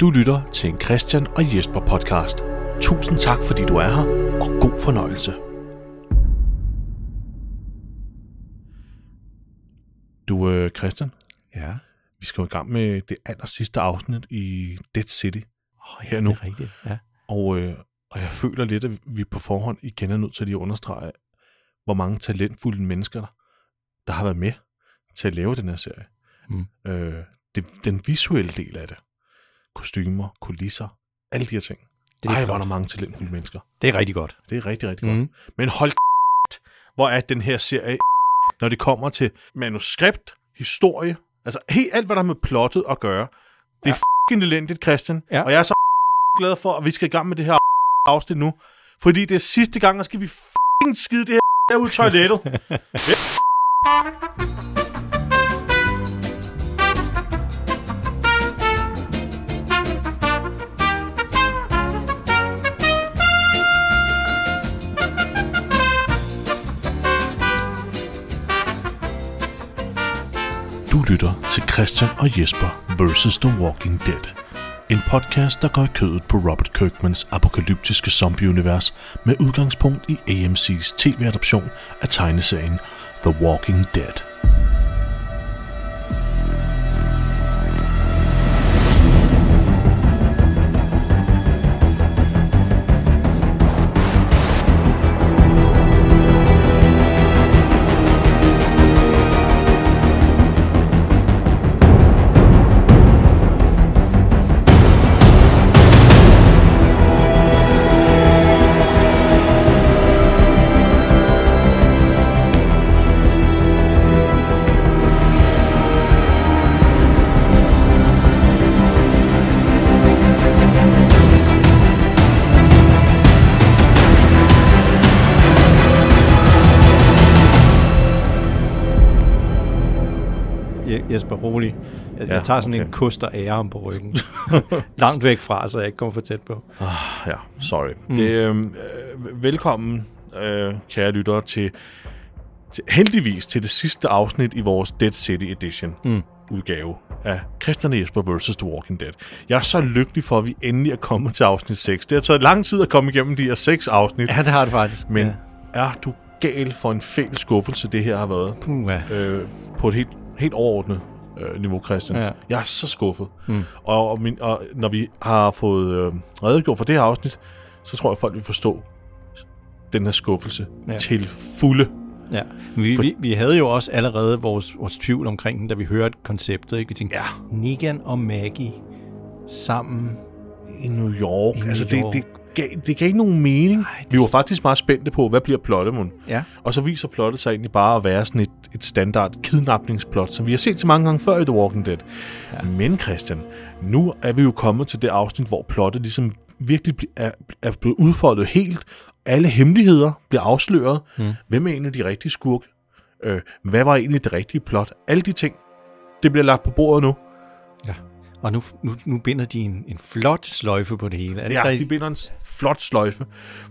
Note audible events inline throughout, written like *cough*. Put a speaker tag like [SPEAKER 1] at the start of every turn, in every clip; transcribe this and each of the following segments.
[SPEAKER 1] Du lytter til en Christian og Jesper podcast. Tusind tak, fordi du er her, og god fornøjelse. Du, øh, Christian,
[SPEAKER 2] Ja.
[SPEAKER 1] vi skal jo i gang med det aller sidste afsnit i Dead City.
[SPEAKER 2] Oh,
[SPEAKER 1] Her
[SPEAKER 2] ja,
[SPEAKER 1] nu.
[SPEAKER 2] det er rigtigt. Ja.
[SPEAKER 1] Og, øh, og jeg føler lidt, at vi på forhånd igen er nødt til lige at understrege, hvor mange talentfulde mennesker, der, der har været med til at lave den her serie. Mm. Øh, det, den visuelle del af det. Kostymer, kulisser, alle de her ting.
[SPEAKER 2] Det
[SPEAKER 1] Det
[SPEAKER 2] er
[SPEAKER 1] er Ej,
[SPEAKER 2] flot.
[SPEAKER 1] hvor er der mange talentfulde mennesker.
[SPEAKER 2] Det er rigtig godt.
[SPEAKER 1] Det er rigtig, rigtig mm. godt.
[SPEAKER 2] Mm.
[SPEAKER 1] Men hold hvor er den her serie, *laughs* når det kommer til manuskript, historie, altså helt alt, hvad der har med plottet at gøre. Det er ja. elendigt, Christian.
[SPEAKER 2] Ja.
[SPEAKER 1] Og jeg er så *laughs* glad for, at vi skal i gang med det her *laughs* afsnit nu. Fordi det er sidste gang, og skal vi f***ing skide det her *laughs* ud i toilettet. Du lytter til Christian og Jesper vs. The Walking Dead. En podcast, der går i kødet på Robert Kirkmans apokalyptiske zombieunivers med udgangspunkt i AMC's tv-adoption af tegneserien The Walking Dead.
[SPEAKER 2] Je- Jesper, rolig. Jeg,
[SPEAKER 1] Ja,
[SPEAKER 2] ja, jeg tager sådan
[SPEAKER 1] okay.
[SPEAKER 2] en kust og ære om på ryggen. *laughs* Langt væk fra, så jeg ikke kommer for tæt på.
[SPEAKER 1] Ja, sorry. Mm. Det, øh, velkommen, øh, kære lyttere, til, til heldigvis til det sidste afsnit i vores Dead City Edition mm. udgave af Christian og Jesper vs. The Walking Dead. Jeg er så lykkelig for, at vi endelig er kommet til afsnit 6. Det har taget lang tid at komme igennem de her 6 afsnit,
[SPEAKER 2] Ja, det har det faktisk.
[SPEAKER 1] men
[SPEAKER 2] Ja.
[SPEAKER 1] er du gal for en fæl skuffelse, det her har været?
[SPEAKER 2] Puh, ja.
[SPEAKER 1] øh, på et helt, helt overordnet øh, niveau, Christian. Ja.
[SPEAKER 2] Ja.
[SPEAKER 1] Jeg er så skuffet. Mm. Og, og, min, og når vi har fået øh, redegjort for det her afsnit, så tror jeg, folk vil forstå den her skuffelse ja.
[SPEAKER 2] Ja.
[SPEAKER 1] til fulde.
[SPEAKER 2] ja. Men vi, vi, vi havde jo også allerede vores, vores tvivl omkring den, da vi hørte konceptet. Ikke? Vi tænkte,
[SPEAKER 1] Ja.
[SPEAKER 2] Negan og Maggie sammen.
[SPEAKER 1] I New York. I
[SPEAKER 2] New
[SPEAKER 1] altså,
[SPEAKER 2] York.
[SPEAKER 1] Det, det, gav, det gav ikke nogen mening. Ej, det... Vi var faktisk meget spændte på, hvad bliver plottet, mon?
[SPEAKER 2] Ja.
[SPEAKER 1] Og så viser plottet sig egentlig bare at være sådan et, et standard kidnapningsplot, som vi har set så mange gange før i The Walking Dead. Ja. Men Christian, nu er vi jo kommet til det afsnit, hvor plottet ligesom virkelig bl- er, er blevet udfoldet helt. Alle hemmeligheder bliver afsløret. Mm. Hvem er egentlig de rigtige skurk? Øh, hvad var egentlig det rigtige plot? Alle de ting, det bliver lagt på bordet nu.
[SPEAKER 2] ja. Og nu, nu, nu binder de en, en flot sløjfe på det hele. Er det
[SPEAKER 1] Ja,
[SPEAKER 2] ikke
[SPEAKER 1] de
[SPEAKER 2] rigtigt?
[SPEAKER 1] binder en s- flot sløjfe.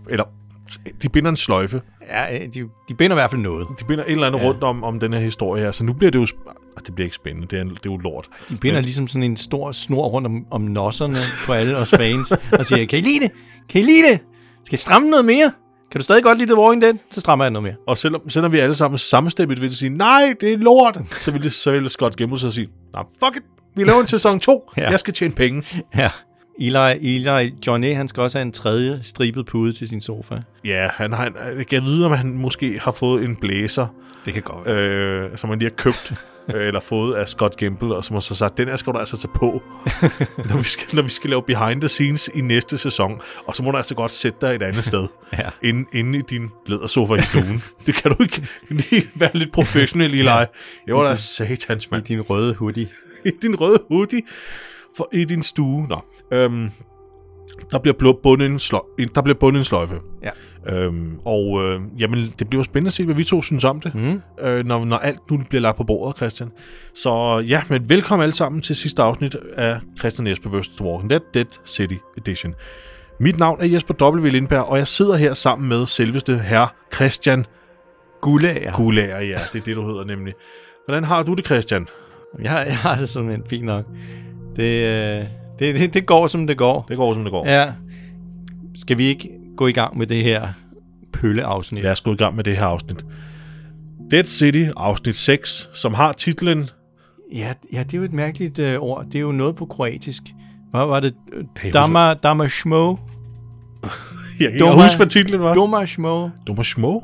[SPEAKER 1] Eller, de binder en sløjfe.
[SPEAKER 2] ja, de, de binder i hvert fald noget.
[SPEAKER 1] De binder et eller andet ja. rundt om, om den her historie her. Så nu bliver det jo... sp- Ah, Det bliver ikke spændende. Det er, det er jo lort.
[SPEAKER 2] De binder ligesom sådan en stor snor rundt om, om nosserne på alle os fans, og siger, kan I lide det? Kan I lide det? Skal jeg stramme noget mere? Kan du stadig godt lide The Walking Dead? Så strammer jeg noget mere.
[SPEAKER 1] Og selvom, selvom vi alle sammen samstemmigt ville sige, nej, det er lort, så ville, så ville Scott gemme sig og sige, nej, fuck it, vi laver en sæson 2, ja.
[SPEAKER 2] *laughs* Ja.
[SPEAKER 1] jeg skal tjene penge.
[SPEAKER 2] Ja. Eli, Eli, Johnny, han skal også have en tredje stribet pude til sin sofa.
[SPEAKER 1] Ja, han har, en- jeg kan vide, om han måske har fået en blæser,
[SPEAKER 2] Det kan godt være.
[SPEAKER 1] øh, som han lige har købt,
[SPEAKER 2] *laughs*
[SPEAKER 1] øh, eller fået af Scott Gimple, og som har så sagt, den her skal du altså tage på,
[SPEAKER 2] *laughs*
[SPEAKER 1] når, vi skal, når vi skal lave behind the scenes i næste sæson, og så må du altså godt sætte dig et andet sted,
[SPEAKER 2] *laughs* Ja.
[SPEAKER 1] inde, inde i din lædersofa i
[SPEAKER 2] *laughs*
[SPEAKER 1] stuen. det kan du ikke lige være lidt professionel i, Eli. Det var da satans, mand.
[SPEAKER 2] I din røde hoodie.
[SPEAKER 1] *laughs* i din røde hoodie for, i din stue. Nå. Øhm, der bliver blå- bundet en, sløj, en, der bliver bundet en sløjfe.
[SPEAKER 2] Ja.
[SPEAKER 1] Øhm, og øh, jamen, det bliver jo spændende at se, hvad vi to synes om det,
[SPEAKER 2] Hmm?
[SPEAKER 1] mm. øh, når, når alt nu bliver lagt på bordet, Christian. Så ja, men velkommen alle sammen til sidste afsnit af Christian Jesper vs. The Walking Dead, Dead City Edition. Mit navn er Jesper W. Lindberg, og jeg sidder her sammen med selveste herre Christian
[SPEAKER 2] Gulager.
[SPEAKER 1] Gulager. Ja, det er det, du hedder nemlig. Hvordan har du det, Christian?
[SPEAKER 2] Jeg, jeg har det sådan en fint nok. Det, øh, Det, det, det går, som det går.
[SPEAKER 1] Det går, som det går. Ja.
[SPEAKER 2] Ja. Skal vi ikke gå i gang med det her pølleafsnit?
[SPEAKER 1] Lad os gå i gang med det her afsnit. Dead City, afsnit 6, som har titlen
[SPEAKER 2] Ja, ja det er jo et mærkeligt øh, ord. Det er jo noget på kroatisk. Hvad var det?
[SPEAKER 1] husker-
[SPEAKER 2] Dama, dama shmo.
[SPEAKER 1] Jeg kan
[SPEAKER 2] Doma-
[SPEAKER 1] ikke huske, hvad titlen var.
[SPEAKER 2] Doma shmo.
[SPEAKER 1] Dummer Små.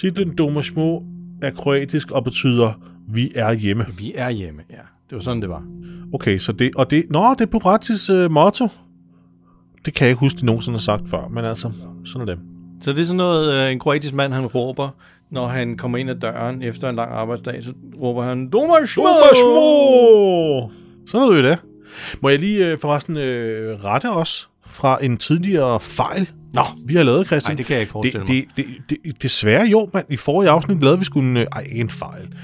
[SPEAKER 1] Titlen Dummer Små er kroatisk og betyder Vi er hjemme.
[SPEAKER 2] Vi er hjemme, ja. Det var sådan, det var.
[SPEAKER 1] Okay, så det... Og det... Nå, det er Buratis øh, motto. Det kan jeg ikke huske, de nogensinde har sagt før, men altså, sådan er det.
[SPEAKER 2] Så det er sådan noget, øh, en kroatisk mand, han råber, når han kommer ind ad døren efter en lang arbejdsdag, så råber han, Doma shmo!
[SPEAKER 1] Dummer Små! Så ved vi det. Må jeg lige øh, forresten øh, rette os fra en tidligere fejl,
[SPEAKER 2] Nå,
[SPEAKER 1] vi har lavet, Christian?
[SPEAKER 2] Nej, det kan jeg ikke forestille
[SPEAKER 1] det, mig. Det, det, det, desværre jo, mand. I forrige afsnit lavede vi skulle en, øh, ej, ikke en fejl.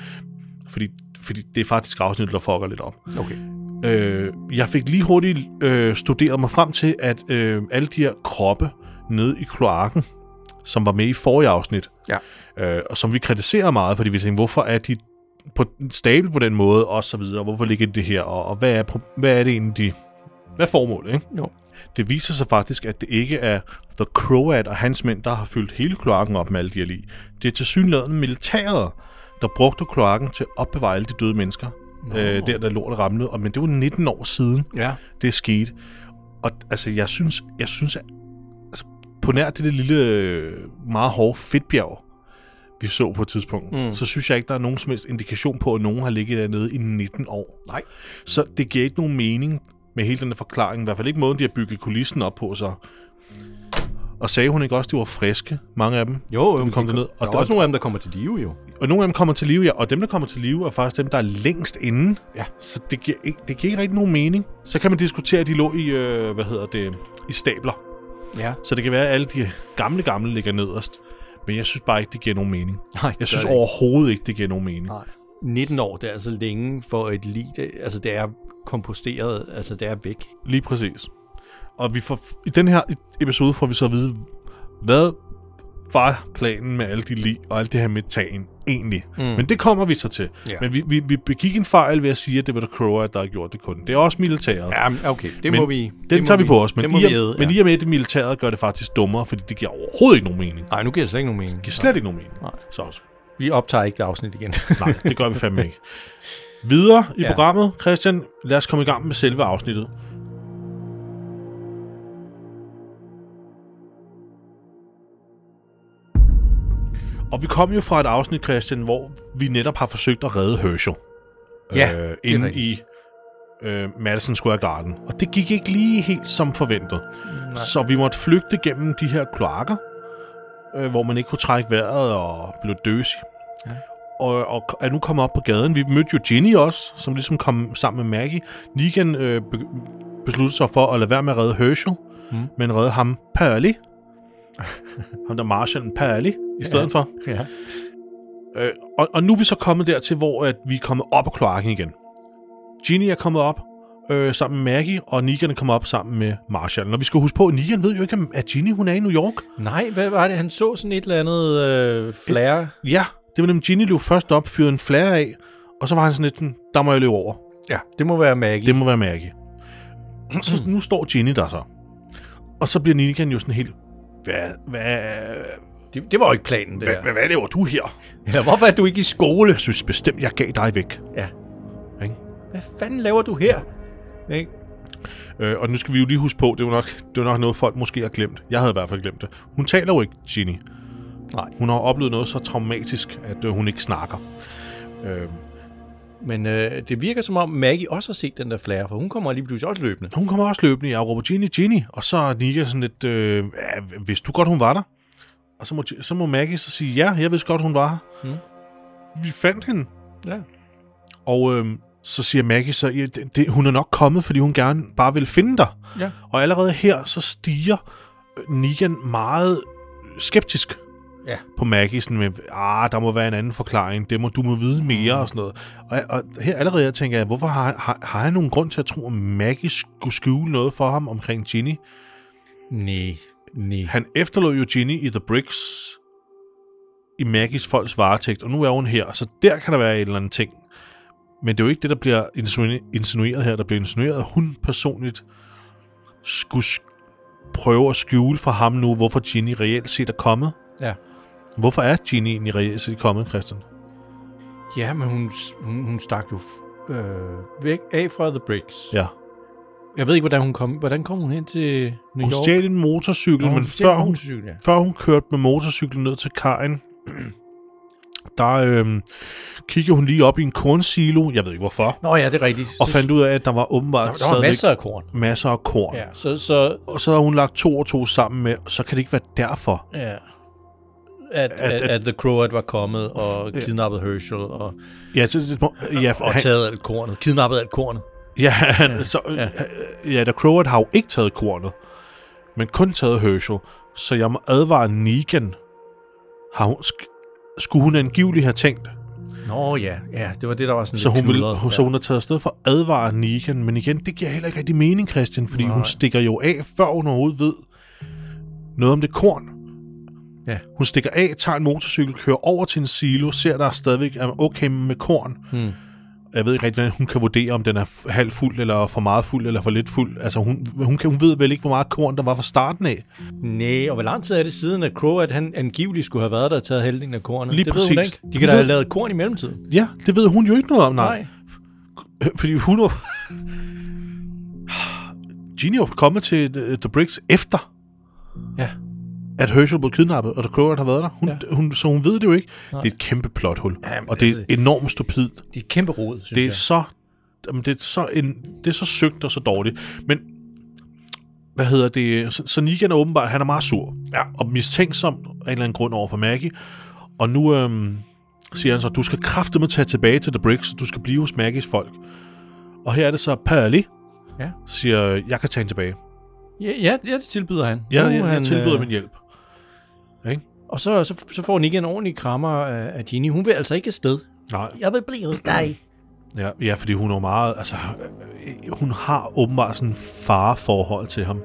[SPEAKER 1] Fordi, fordi det er faktisk afsnittet, der fucker lidt op.
[SPEAKER 2] okay.
[SPEAKER 1] Øh, jeg fik lige hurtigt øh, studeret mig frem til, at øh, alle de her kroppe nede i kloakken, som var med i forrige afsnit,
[SPEAKER 2] Ja.
[SPEAKER 1] øh, og som vi kritiserer meget, fordi vi tænkte, hvorfor er de på, stablet på den måde, og så videre, hvorfor ligger de det her, og, og hvad, er, pro- hvad er det egentlig, de, hvad er formålet, ikke?
[SPEAKER 2] Jo.
[SPEAKER 1] Det viser sig faktisk, at det ikke er The Croat og hans mænd, der har fyldt hele kloakken op med alle de her lig. Det er til synligheden militæret, der brugte kloakken til at opbevare alle de døde mennesker. Øh, der, der lortet ramlede. Og, men det var 19 år siden,
[SPEAKER 2] Ja.
[SPEAKER 1] det skete. Og altså, jeg synes, jeg synes at, altså, på nær det der lille, øh, meget hårde fedtbjerg, vi så på et tidspunkt, mm. så synes jeg ikke, der er nogen som helst indikation på, at nogen har ligget dernede i 19 år.
[SPEAKER 2] Nej.
[SPEAKER 1] Så det giver ikke nogen mening med hele den der forklaring. I hvert fald ikke måden, de har bygget kulissen op på sig. Og sagde hun ikke også, at de var friske, mange af dem?
[SPEAKER 2] Jo, jo.
[SPEAKER 1] kom
[SPEAKER 2] det-
[SPEAKER 1] derned, og
[SPEAKER 2] der er
[SPEAKER 1] der-
[SPEAKER 2] også nogle af dem, der kommer til live, jo.
[SPEAKER 1] Og nogle af dem kommer til live, ja. Og dem, der kommer til live, er faktisk dem, der er længst inde.
[SPEAKER 2] Ja.
[SPEAKER 1] Så det giver, ikke, det giver ikke rigtig nogen mening. Så kan man diskutere, at de lå i, øh, hvad hedder det, i stabler.
[SPEAKER 2] Ja.
[SPEAKER 1] Så det kan være, at alle de gamle, gamle ligger nederst. Men jeg synes bare ikke, det giver nogen mening.
[SPEAKER 2] Nej, det
[SPEAKER 1] Jeg
[SPEAKER 2] gør
[SPEAKER 1] synes
[SPEAKER 2] det
[SPEAKER 1] overhovedet ikke, det giver nogen mening.
[SPEAKER 2] Nej. 19 år, det er altså længe for et lig. Det, altså, det er komposteret, altså det er væk.
[SPEAKER 1] Lige præcis. Og vi får, i den her e- episode får vi så at vide, hvad var planen med alle de lig og alt det her med tagen egentlig. Mm. Men det kommer vi så til.
[SPEAKER 2] Ja.
[SPEAKER 1] Men vi, vi, vi begik en fejl ved at sige, at det var The Crow, der har gjort det kun. Det er også militæret.
[SPEAKER 2] Ja, men okay, det
[SPEAKER 1] Men
[SPEAKER 2] må vi...
[SPEAKER 1] Den
[SPEAKER 2] det
[SPEAKER 1] tager
[SPEAKER 2] må
[SPEAKER 1] vi på os,
[SPEAKER 2] det
[SPEAKER 1] men,
[SPEAKER 2] må
[SPEAKER 1] i,
[SPEAKER 2] vi æde,
[SPEAKER 1] og, men
[SPEAKER 2] ja.
[SPEAKER 1] i og med, at det militæret gør det faktisk dummere, fordi det giver overhovedet ikke nogen mening. Det
[SPEAKER 2] Nej, nu giver det slet ikke nogen mening.
[SPEAKER 1] giver slet ikke nogen mening.
[SPEAKER 2] Nej.
[SPEAKER 1] Så også,
[SPEAKER 2] Vi optager ikke det afsnit igen.
[SPEAKER 1] nej, det gør vi fandme ikke. Videre i
[SPEAKER 2] Ja.
[SPEAKER 1] ja. programmet, Christian, lad os komme i gang med selve afsnittet. Og vi kom jo fra et afsnit, Christian, hvor vi netop har forsøgt at redde Herschel.
[SPEAKER 2] *laughs* Ja,
[SPEAKER 1] øh,
[SPEAKER 2] er
[SPEAKER 1] inde
[SPEAKER 2] rigtigt.
[SPEAKER 1] i øh, Madison Square Garden. Og det gik ikke lige helt som forventet. Nej. Så vi måtte flygte gennem de her kloakker, øh, hvor man ikke kunne trække vejret og blev døsig.
[SPEAKER 2] Ja.
[SPEAKER 1] Ja. Og, og er nu kommet op på gaden. Vi mødte jo Ginny også, som ligesom kom sammen med Maggie. Negan øh, be- besluttede sig for at lade være med at redde Herschel,
[SPEAKER 2] Mm.
[SPEAKER 1] mm. men redde ham Pearly. *laughs* ham der Marshall Pearly i stedet ja. for.
[SPEAKER 2] ja.
[SPEAKER 1] Øh, og, og nu er vi så kommet dertil, hvor at vi er kommet op af kloakken igen. Ginny er kommet op øh, sammen med Maggie, og Negan er kommet op sammen med Marshall. Og vi skal huske på, at Negan ved jo ikke, om- at Ginny hun er i New York.
[SPEAKER 2] Nej, hvad var det? Han så sådan et eller andet øh, flare.
[SPEAKER 1] Ja, det var nemlig, Ginny løb først op, fyrede en flare af, og så var han sådan lidt, "Hm, der må jeg løbe over.
[SPEAKER 2] Ja, det må være Maggie.
[SPEAKER 1] Det må være Maggie. Og så nu står Ginny der så. Og så bliver Negan jo sådan helt, hvad, hvad,
[SPEAKER 2] Det, det var jo ikke planen, det
[SPEAKER 1] hvad,
[SPEAKER 2] der.
[SPEAKER 1] hvad, hvad laver du her?
[SPEAKER 2] Ja, hvorfor er du ikke i skole?
[SPEAKER 1] Jeg synes bestemt, jeg gav dig væk.
[SPEAKER 2] Ja.
[SPEAKER 1] Ikke?
[SPEAKER 2] Hvad fanden laver du her? Ikke?
[SPEAKER 1] Øh, og nu skal vi jo lige huske på, det er jo nok, det er jo nok noget, folk måske har glemt. Jeg havde i hvert fald glemt det. Hun taler jo ikke, Ginny.
[SPEAKER 2] Nej.
[SPEAKER 1] Hun har oplevet noget så traumatisk, at øh, hun ikke snakker. Øh,
[SPEAKER 2] Men øh, det virker som om Maggie også har set den der flare, for hun kommer lige pludselig også løbende.
[SPEAKER 1] hun kommer også løbende, jeg råber Ginny, Ginny. Og så er Nika sådan lidt, øh, ja, vidste du godt, hun var der? Og så må, så må Maggie så sige, ja, jeg vidste godt, hun var her. Mm. Vi fandt hende.
[SPEAKER 2] Ja.
[SPEAKER 1] Og øh, så siger Maggie så, ja, det, det, hun er nok kommet, fordi hun gerne bare vil finde dig.
[SPEAKER 2] Ja.
[SPEAKER 1] Og allerede her, så stiger øh, Negan meget øh, skeptisk
[SPEAKER 2] Ja.
[SPEAKER 1] på Maggie, sådan med, ah, der må være en anden forklaring, det må, du må vide mere og sådan noget. Og, og her allerede her tænker jeg, hvorfor har, har, har han nogen grund til at tro, at Maggie skulle skjule noget for ham omkring Ginny?
[SPEAKER 2] Nej, nej.
[SPEAKER 1] Han efterlod jo Ginny i The Bricks i Maggies folks varetægt, og nu er hun her, så der kan der være en eller anden ting. Men det er jo ikke det, der bliver insinu- insinueret her. Der bliver insinueret, at hun personligt skulle sk- prøve at skjule for ham nu, hvorfor Ginny reelt set er kommet.
[SPEAKER 2] Ja.
[SPEAKER 1] Hvorfor er Ginny egentlig reelt set kommet, Christian?
[SPEAKER 2] Ja, men hun, hun, hun stak jo f- øh, væk af fra The Bricks.
[SPEAKER 1] Ja.
[SPEAKER 2] Jeg ved ikke, hvordan hun kom, hvordan kom hun hen til New
[SPEAKER 1] Hun
[SPEAKER 2] York?
[SPEAKER 1] stjal en motorcykel,
[SPEAKER 2] Nå,
[SPEAKER 1] men
[SPEAKER 2] stjal
[SPEAKER 1] før
[SPEAKER 2] en
[SPEAKER 1] hun
[SPEAKER 2] motorcykel, ja.
[SPEAKER 1] før hun kørte med motorcyklen ned til kajen, *clears throat* der øhm, kigger hun lige op i en kornsilo, jeg ved ikke hvorfor,
[SPEAKER 2] Nå ja, det er rigtigt.
[SPEAKER 1] og
[SPEAKER 2] Så-
[SPEAKER 1] fandt ud af, at der var åbenbart
[SPEAKER 2] der, der var
[SPEAKER 1] stadigvæk
[SPEAKER 2] masser af korn.
[SPEAKER 1] masser af korn.
[SPEAKER 2] Ja, så, så
[SPEAKER 1] Og så har hun lagt to og to sammen med, så kan det ikke være derfor.
[SPEAKER 2] ja. At, at,
[SPEAKER 1] at-
[SPEAKER 2] at, The Croat var kommet og kidnappet Herschel og,
[SPEAKER 1] Ja, så, det må- ja,
[SPEAKER 2] og
[SPEAKER 1] han,
[SPEAKER 2] taget alt kornet, kidnappet alt kornet.
[SPEAKER 1] ja, han, så, ja. ja da Croward har jo ikke taget kornet, men kun taget Herschel, så jeg må advare Negan. Har hun, sk- skulle hun angiveligt have tænkt,
[SPEAKER 2] Nå ja, ja, det var det, der var sådan
[SPEAKER 1] Så
[SPEAKER 2] lidt
[SPEAKER 1] hun, vil,
[SPEAKER 2] knudret.
[SPEAKER 1] så hun er taget afsted for at advare Negan, men igen, det giver heller ikke rigtig mening, Christian, fordi Nej. hun stikker jo af, før hun overhovedet ved noget om det korn.
[SPEAKER 2] Ja.
[SPEAKER 1] Hun stikker af, tager en motorcykel, kører over til en silo, ser, der er stadigvæk er okay med korn.
[SPEAKER 2] Hmm.
[SPEAKER 1] Jeg ved ikke rigtig, hvordan hun kan vurdere, om den er f- halvt fuld, eller for meget fuld, eller for lidt fuld. Altså, hun, hun, kan, hun ved vel ikke, hvor meget korn der var fra starten af.
[SPEAKER 2] Nej, og hvor lang tid er det siden, at Crow, at han angiveligt skulle have været der og taget halvdelen af kornet?
[SPEAKER 1] Lige
[SPEAKER 2] det Ved hun
[SPEAKER 1] præcis.
[SPEAKER 2] ikke. De kan da
[SPEAKER 1] Hun
[SPEAKER 2] have
[SPEAKER 1] ved-
[SPEAKER 2] lavet korn i mellemtiden.
[SPEAKER 1] Ja, det ved hun jo ikke noget om, nej. Øh, Fordi hun er... Ginny er kommet til The, The Bricks efter,
[SPEAKER 2] Ja.
[SPEAKER 1] at Herschel blev kidnappet, og The Croat har været der. Hun, ja. hun, så hun ved det jo ikke.
[SPEAKER 2] Nej.
[SPEAKER 1] Nej. Det er et kæmpe plothul,
[SPEAKER 2] Jamen,
[SPEAKER 1] og det er
[SPEAKER 2] altså-
[SPEAKER 1] enormt stupid.
[SPEAKER 2] Det er et kæmpe rod, synes
[SPEAKER 1] Det er
[SPEAKER 2] jeg.
[SPEAKER 1] så, jamen, det er så, en, det er så søgt og så dårligt. Men hvad hedder det? Så, så Negan er åbenbart, han er meget sur. Ja. Og mistænksom af en eller anden grund over for Maggie. Og nu øhm, siger han så, du skal kraftedeme tage tilbage til The Bricks, og du skal blive hos Maggies folk. Og her er det så Pally,
[SPEAKER 2] Ja.
[SPEAKER 1] siger, jeg kan tage hende tilbage.
[SPEAKER 2] Ja, ja, ja, det tilbyder han.
[SPEAKER 1] Ja,
[SPEAKER 2] Nu
[SPEAKER 1] jeg,
[SPEAKER 2] er
[SPEAKER 1] jeg, jeg tilbyder
[SPEAKER 2] øh,
[SPEAKER 1] min hjælp. Ikke?
[SPEAKER 2] Og så, så, så får Nick en ordentlig krammer af, af Ginny. Hun vil altså ikke afsted.
[SPEAKER 1] Nej,
[SPEAKER 2] Jeg vil blive hos dig.
[SPEAKER 1] ja, ja, fordi hun er jo meget, altså, øh, hun har åbenbart sådan en fareforhold til ham.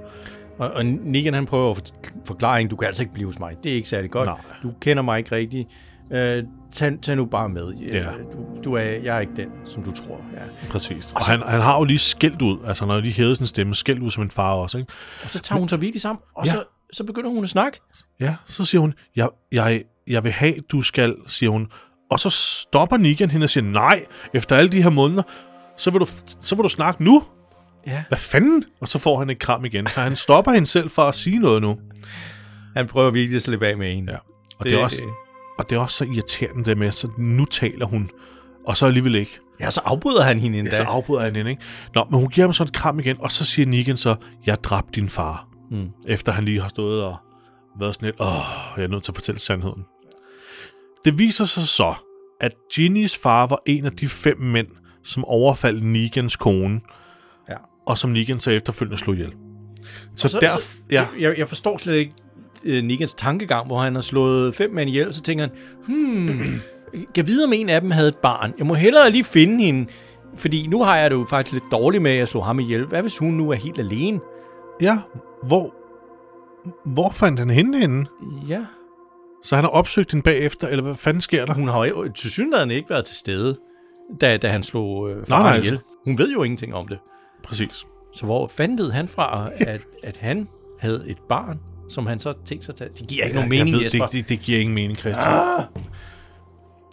[SPEAKER 2] Og, og Nick, han prøver at for- forklare hende, du kan altså ikke blive hos mig. Det er ikke særlig godt.
[SPEAKER 1] Nej.
[SPEAKER 2] Du kender mig ikke rigtigt. Øh, tag, tag nu bare med. Øh,
[SPEAKER 1] Ja.
[SPEAKER 2] Du, du er, jeg er ikke den, som du tror. Ja.
[SPEAKER 1] Præcis. Og han, han har jo lige skældt ud, altså når de hævede sin stemme, skældt ud som en far også, ikke?
[SPEAKER 2] Og så tager hun sig virkelig sammen, og
[SPEAKER 1] Ja.
[SPEAKER 2] så, så begynder hun at snakke.
[SPEAKER 1] Ja, så siger hun, jeg, jeg, jeg vil have, du skal, siger hun. Og så stopper Negan hende og siger, nej, efter alle de her måneder, så vil du, så vil du snakke nu.
[SPEAKER 2] Ja.
[SPEAKER 1] Hvad fanden? Og så får han et kram igen, så han stopper hende selv fra at sige noget nu.
[SPEAKER 2] Han prøver virkelig at slippe af med hende.
[SPEAKER 1] Ja. Og det, det, er også, og det er også så irriterende det med, så nu taler hun, og så alligevel ikke.
[SPEAKER 2] Ja, så afbryder han hende endda.
[SPEAKER 1] Ja, så afbryder han hende, ikke? Nå, men hun giver ham sådan et kram igen, og så siger Negan så, jeg dræbte din far.
[SPEAKER 2] Mm.
[SPEAKER 1] Efter han lige har stået og været sådan lidt, åh, jeg er nødt til at fortælle sandheden. Det viser sig så, at Ginny's far var en af de fem mænd, som overfaldt Negans kone,
[SPEAKER 2] Ja.
[SPEAKER 1] og som Negan så efterfølgende slog ihjel. Så,
[SPEAKER 2] så-
[SPEAKER 1] så der...
[SPEAKER 2] så-
[SPEAKER 1] ja,
[SPEAKER 2] Jeg, jeg forstår slet ikke øh, Nikans tankegang, hvor han har slået fem mænd ihjel, så tænker han, hmm, *clears throat* kan vide, om en af dem havde et barn. Jeg må hellere lige finde hende, fordi nu har jeg det jo faktisk lidt dårligt med, at jeg slog ham ihjel. Hvad hvis hun nu er helt alene?
[SPEAKER 1] ja, hvor... Hvor fandt han hende henne?
[SPEAKER 2] Ja.
[SPEAKER 1] Så han har opsøgt hende bagefter, eller hvad fanden sker der?
[SPEAKER 2] Hun har jo til synligheden ikke været til stede, da, da han slog øh, faren
[SPEAKER 1] nej.
[SPEAKER 2] ihjel. Hun ved jo ingenting om det.
[SPEAKER 1] Præcis.
[SPEAKER 2] Så hvor fanden ved han
[SPEAKER 1] *laughs*
[SPEAKER 2] fra, at, at han havde et barn, som han så tænkte sig at tage? Det giver ikke ja, nogen
[SPEAKER 1] Jeg- jeg
[SPEAKER 2] mening,
[SPEAKER 1] ved,
[SPEAKER 2] Jesper.
[SPEAKER 1] Det, det, det giver ingen mening, Christian. Ah!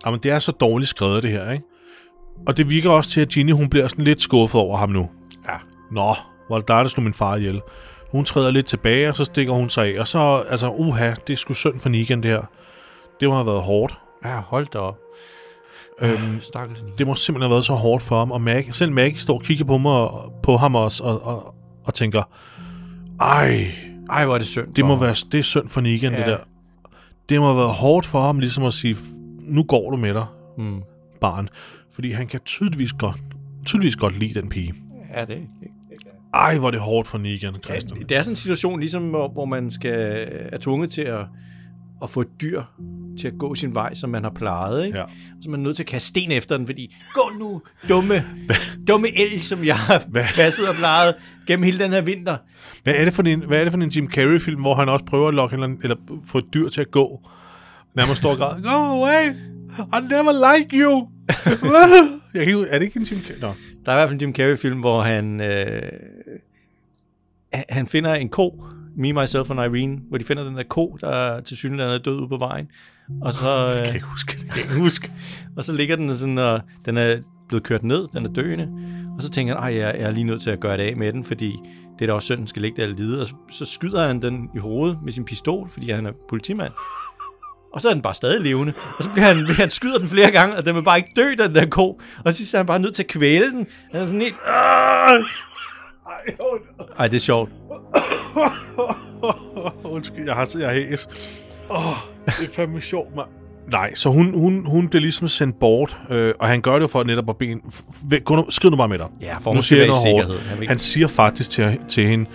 [SPEAKER 1] Jamen, det er så dårligt skrevet, det her, ikke? Og det virker også til, at Ginny, hun bliver sådan lidt skuffet over ham nu.
[SPEAKER 2] Ja.
[SPEAKER 1] Nå, hvor der er det slog min far ihjel. Hun træder lidt tilbage, og så stikker hun sig af. Og så, altså, uha, det er sgu synd for Negan, det her. Det må have været hårdt.
[SPEAKER 2] Ja, hold da op.
[SPEAKER 1] Øhm,
[SPEAKER 2] Stakkels Nick.
[SPEAKER 1] det må simpelthen have været så hårdt for ham. Og Maggie, selv Maggie står og kigger på, mig, og- på ham også, og, og, og tænker, ej,
[SPEAKER 2] Ej, hvor er det synd.
[SPEAKER 1] Det
[SPEAKER 2] for
[SPEAKER 1] må
[SPEAKER 2] ham.
[SPEAKER 1] være det er synd for Negan, ja.
[SPEAKER 2] Ja.
[SPEAKER 1] det der. Det må have været hårdt for ham ligesom at sige, nu går du med dig,
[SPEAKER 2] Mm.
[SPEAKER 1] barn. Fordi han kan tydeligvis godt, tydeligvis godt lide den pige.
[SPEAKER 2] Ja, det,
[SPEAKER 1] Ej, hvor er det hårdt for Negan, Christian.
[SPEAKER 2] det er sådan en situation, ligesom, hvor, hvor man skal er tvunget til at, at få et dyr til at gå sin vej, som man har plejet. Ikke?
[SPEAKER 1] Ja.
[SPEAKER 2] Så man er nødt til at kaste sten efter den, fordi gå nu, dumme, dumme el, som jeg har passet og plejet gennem hele den her vinter.
[SPEAKER 1] Hvad er det for en, hvad er det for en Jim Carrey-film, hvor han også prøver at lokke en eller, anden- eller få et dyr til at gå? Nærmest står og græder. Go away! I never like you! Jeg kan ikke, er det ikke en Jim Carrey? Nå.
[SPEAKER 2] Der er i hvert fald en Jim Carrey-film, hvor han, øh, han- han finder en ko, Me, Myself and Irene, hvor de finder den der ko, der til synligheden er død ude på vejen. Og så,
[SPEAKER 1] Jeg kan
[SPEAKER 2] øh,
[SPEAKER 1] ikke huske det. Jeg kan ikke huske.
[SPEAKER 2] og så ligger den sådan, og den er blevet kørt ned, den er døende. Og så tænker han, at jeg, jeg er lige nødt til at gøre det af med den, fordi det er da også synd, den skal ligge der og lide. Og så, så skyder han den i hovedet med sin pistol, fordi han er politimand. Og så er den bare stadig levende. Og så bliver han, han skyder den flere gange, og den vil bare ikke dø, den der ko. Og så er han bare nødt til at kvæle den. Han er sådan helt... "Aah!"
[SPEAKER 1] Ej, und-
[SPEAKER 2] Ej, det er sjovt.
[SPEAKER 1] *laughs* Undskyld, jeg har, jeg har hæs. Åh, det er fandme sjovt, mand. Nej, så hun, hun, hun bliver ligesom sendt bort, øh, og han gør det jo for netop at bede hende- f- f- gå nu- Skriv nu bare med dig.
[SPEAKER 2] Ja, for
[SPEAKER 1] nu
[SPEAKER 2] hun
[SPEAKER 1] siger
[SPEAKER 2] skal
[SPEAKER 1] jeg
[SPEAKER 2] være i
[SPEAKER 1] noget hårdt.
[SPEAKER 2] sikkerhed. Han, vil ikke-
[SPEAKER 1] Han siger faktisk til, til hende,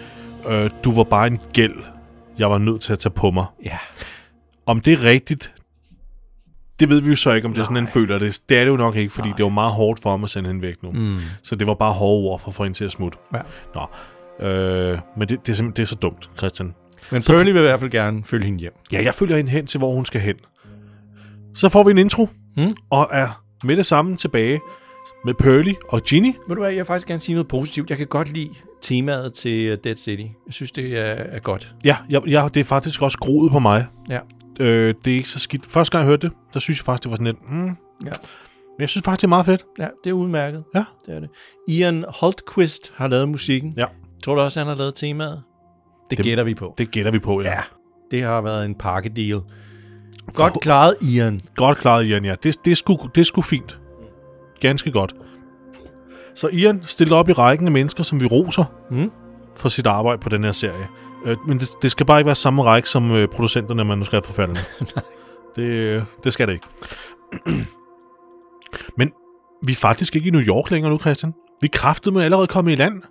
[SPEAKER 1] øh, du var bare en gæld, jeg var nødt til at tage på mig.
[SPEAKER 2] ja.
[SPEAKER 1] Om det er rigtigt, det ved vi jo så ikke, om det er sådan, han føler det. Det er det jo nok ikke, fordi Nej. det var meget hårdt for ham at sende hende væk nu. Mm. Så det var bare hårde ord for at få hende til at smutte.
[SPEAKER 2] Ja.
[SPEAKER 1] Nå, øh, men det, det, er simpelthen det er så dumt, Christian.
[SPEAKER 2] Men Pearly vil i hvert fald gerne følge hende hjem.
[SPEAKER 1] Ja, jeg følger hende hen til, hvor hun skal hen. Så får vi en intro,
[SPEAKER 2] Mm.
[SPEAKER 1] og er med det samme tilbage med Pearly og Ginny.
[SPEAKER 2] Ved du hvad, jeg vil faktisk gerne sige noget positivt. Jeg kan godt lide temaet til øh, Dead City. Jeg synes, det er, er godt.
[SPEAKER 1] Ja, jeg, jeg, det er faktisk også groet på mig.
[SPEAKER 2] Ja.
[SPEAKER 1] Øh, det er ikke så skidt. Første gang jeg hørte det, der synes jeg faktisk, det var sådan lidt... Mm. Men
[SPEAKER 2] Ja.
[SPEAKER 1] jeg synes faktisk, det er meget fedt.
[SPEAKER 2] Ja, det er udmærket.
[SPEAKER 1] Ja.
[SPEAKER 2] Det er det. Ian Holtquist har lavet musikken.
[SPEAKER 1] Ja.
[SPEAKER 2] Tror du også, han har lavet temaet? Det,
[SPEAKER 1] Det-
[SPEAKER 2] det gætter vi på.
[SPEAKER 1] Det gætter vi på, ja.
[SPEAKER 2] Det har været en pakkedeal. Godt klaret, Ian.
[SPEAKER 1] Godt klaret, Ian, ja. Det, det, er sgu, det er sgu fint. Ganske godt. Så Ian stiller op i rækken af mennesker, som vi roser
[SPEAKER 2] Mm.
[SPEAKER 1] for sit arbejde på den her serie. Øh, men det, det skal bare ikke være samme række som øh, producenterne af
[SPEAKER 2] *laughs*
[SPEAKER 1] manuskriptforfatterne. det, øh, det skal det ikke. *clears throat* men vi er faktisk ikke i New York længere nu, Christian. Vi kræftede med allerede kommet i land.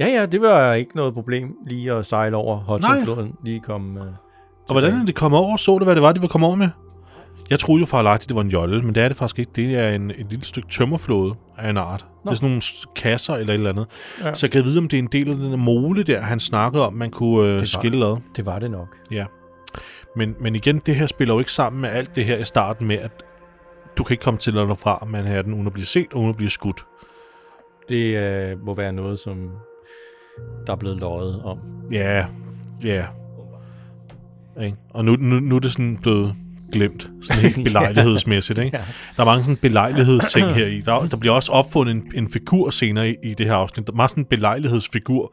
[SPEAKER 2] Ja, ja, det var ikke noget problem lige at sejle over Hudsonfloden. Lige komme... Øh,
[SPEAKER 1] Og hvordan er det kommet over? Så det, hvad det var, de var kommet over med? Jeg troede jo fejlagtigt, det var en jolle, men det er det faktisk ikke. Det er en, et lille stykke tømmerflåde af en art. Nå. Det er sådan nogle s- kasser eller et eller andet. Ja.
[SPEAKER 2] Ja.
[SPEAKER 1] Så jeg kan vide, om det er en del af den der mole der, han snakkede om, man kunne øh, skille ad.
[SPEAKER 2] det var det nok.
[SPEAKER 1] Ja. Men, men igen, det her spiller jo ikke sammen med alt det her i starten med, at du kan ikke komme til eller fra med den uden at blive set og uden at blive skudt.
[SPEAKER 2] Det øh, må være noget, som der er blevet løjet om.
[SPEAKER 1] Ja, ja. Ikke? Og nu, nu, nu er det sådan blevet glemt, sådan helt belejlighedsmæssigt. Ikke?
[SPEAKER 2] Ja.
[SPEAKER 1] Der er mange sådan belejlighedsting her i. Der, der bliver også opfundet en, en figur senere i, i det her afsnit. Der er meget sådan en belejlighedsfigur,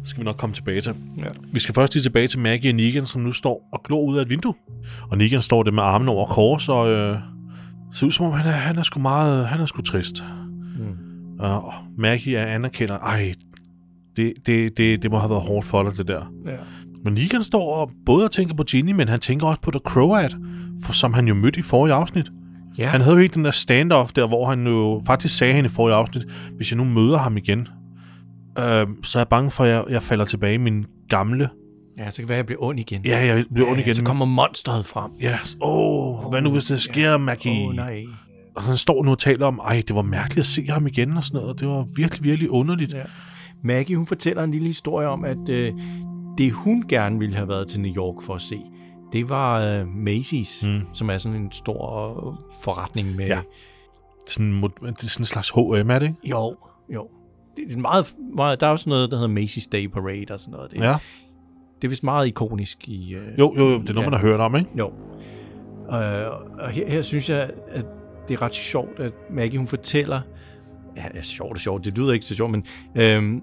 [SPEAKER 1] Det skal vi nok komme tilbage til.
[SPEAKER 2] Ja.
[SPEAKER 1] Vi skal først lige tilbage til Maggie og Negan, som nu står og glor ud af et vindue. Og Negan står der med armen over kors, og øh, ser ud som om, han er, han er sgu meget, han er sgu trist.
[SPEAKER 2] Mm.
[SPEAKER 1] Og Maggie er- anerkender, ej, det, det, det, det må have været hårdt for dig, det der.
[SPEAKER 2] Ja.
[SPEAKER 1] Men Negan står og både og tænker på Ginny, men han tænker også på The Croat, for, som han jo mødte i forrige afsnit.
[SPEAKER 2] Ja.
[SPEAKER 1] Han havde jo ikke den der standoff der, hvor han jo faktisk sagde hende i forrige afsnit, hvis jeg nu møder ham igen, øh, så er jeg bange for, at jeg, jeg falder tilbage i min gamle...
[SPEAKER 2] ja, så kan det være, at jeg bliver ond igen.
[SPEAKER 1] Ja, jeg bliver ond igen.
[SPEAKER 2] Så kommer monsteret frem.
[SPEAKER 1] Ja, åh, oh, hvad nu hvis det sker, yeah. Maggie?
[SPEAKER 2] Åh, oh, nej.
[SPEAKER 1] Og han står nu og taler om, ej, det var mærkeligt at se ham igen og sådan noget, og det var virkelig, virkelig underligt.
[SPEAKER 2] Ja. Maggie, hun fortæller en lille historie om, at øh, det hun gerne ville have været til New York for at se, det var øh, Macy's,
[SPEAKER 1] Mm.
[SPEAKER 2] mm. som er sådan en stor øh, forretning med...
[SPEAKER 1] Ja. Sådan, mod- det er sådan en slags H&M, er det ikke?
[SPEAKER 2] Jo, jo. Det det er meget, meget, der er også noget, der hedder Macy's Day Parade og sådan noget. Det,
[SPEAKER 1] Ja.
[SPEAKER 2] det er vist meget ikonisk i... Øh,
[SPEAKER 1] Jo, jo, jo, det er noget,
[SPEAKER 2] Ja.
[SPEAKER 1] man har hørt om, ikke?
[SPEAKER 2] Jo. Øh, og her, her synes jeg, at det er ret sjovt, at Maggie hun fortæller, ja, det er sjovt og sjovt, det lyder ikke så sjovt, men øhm,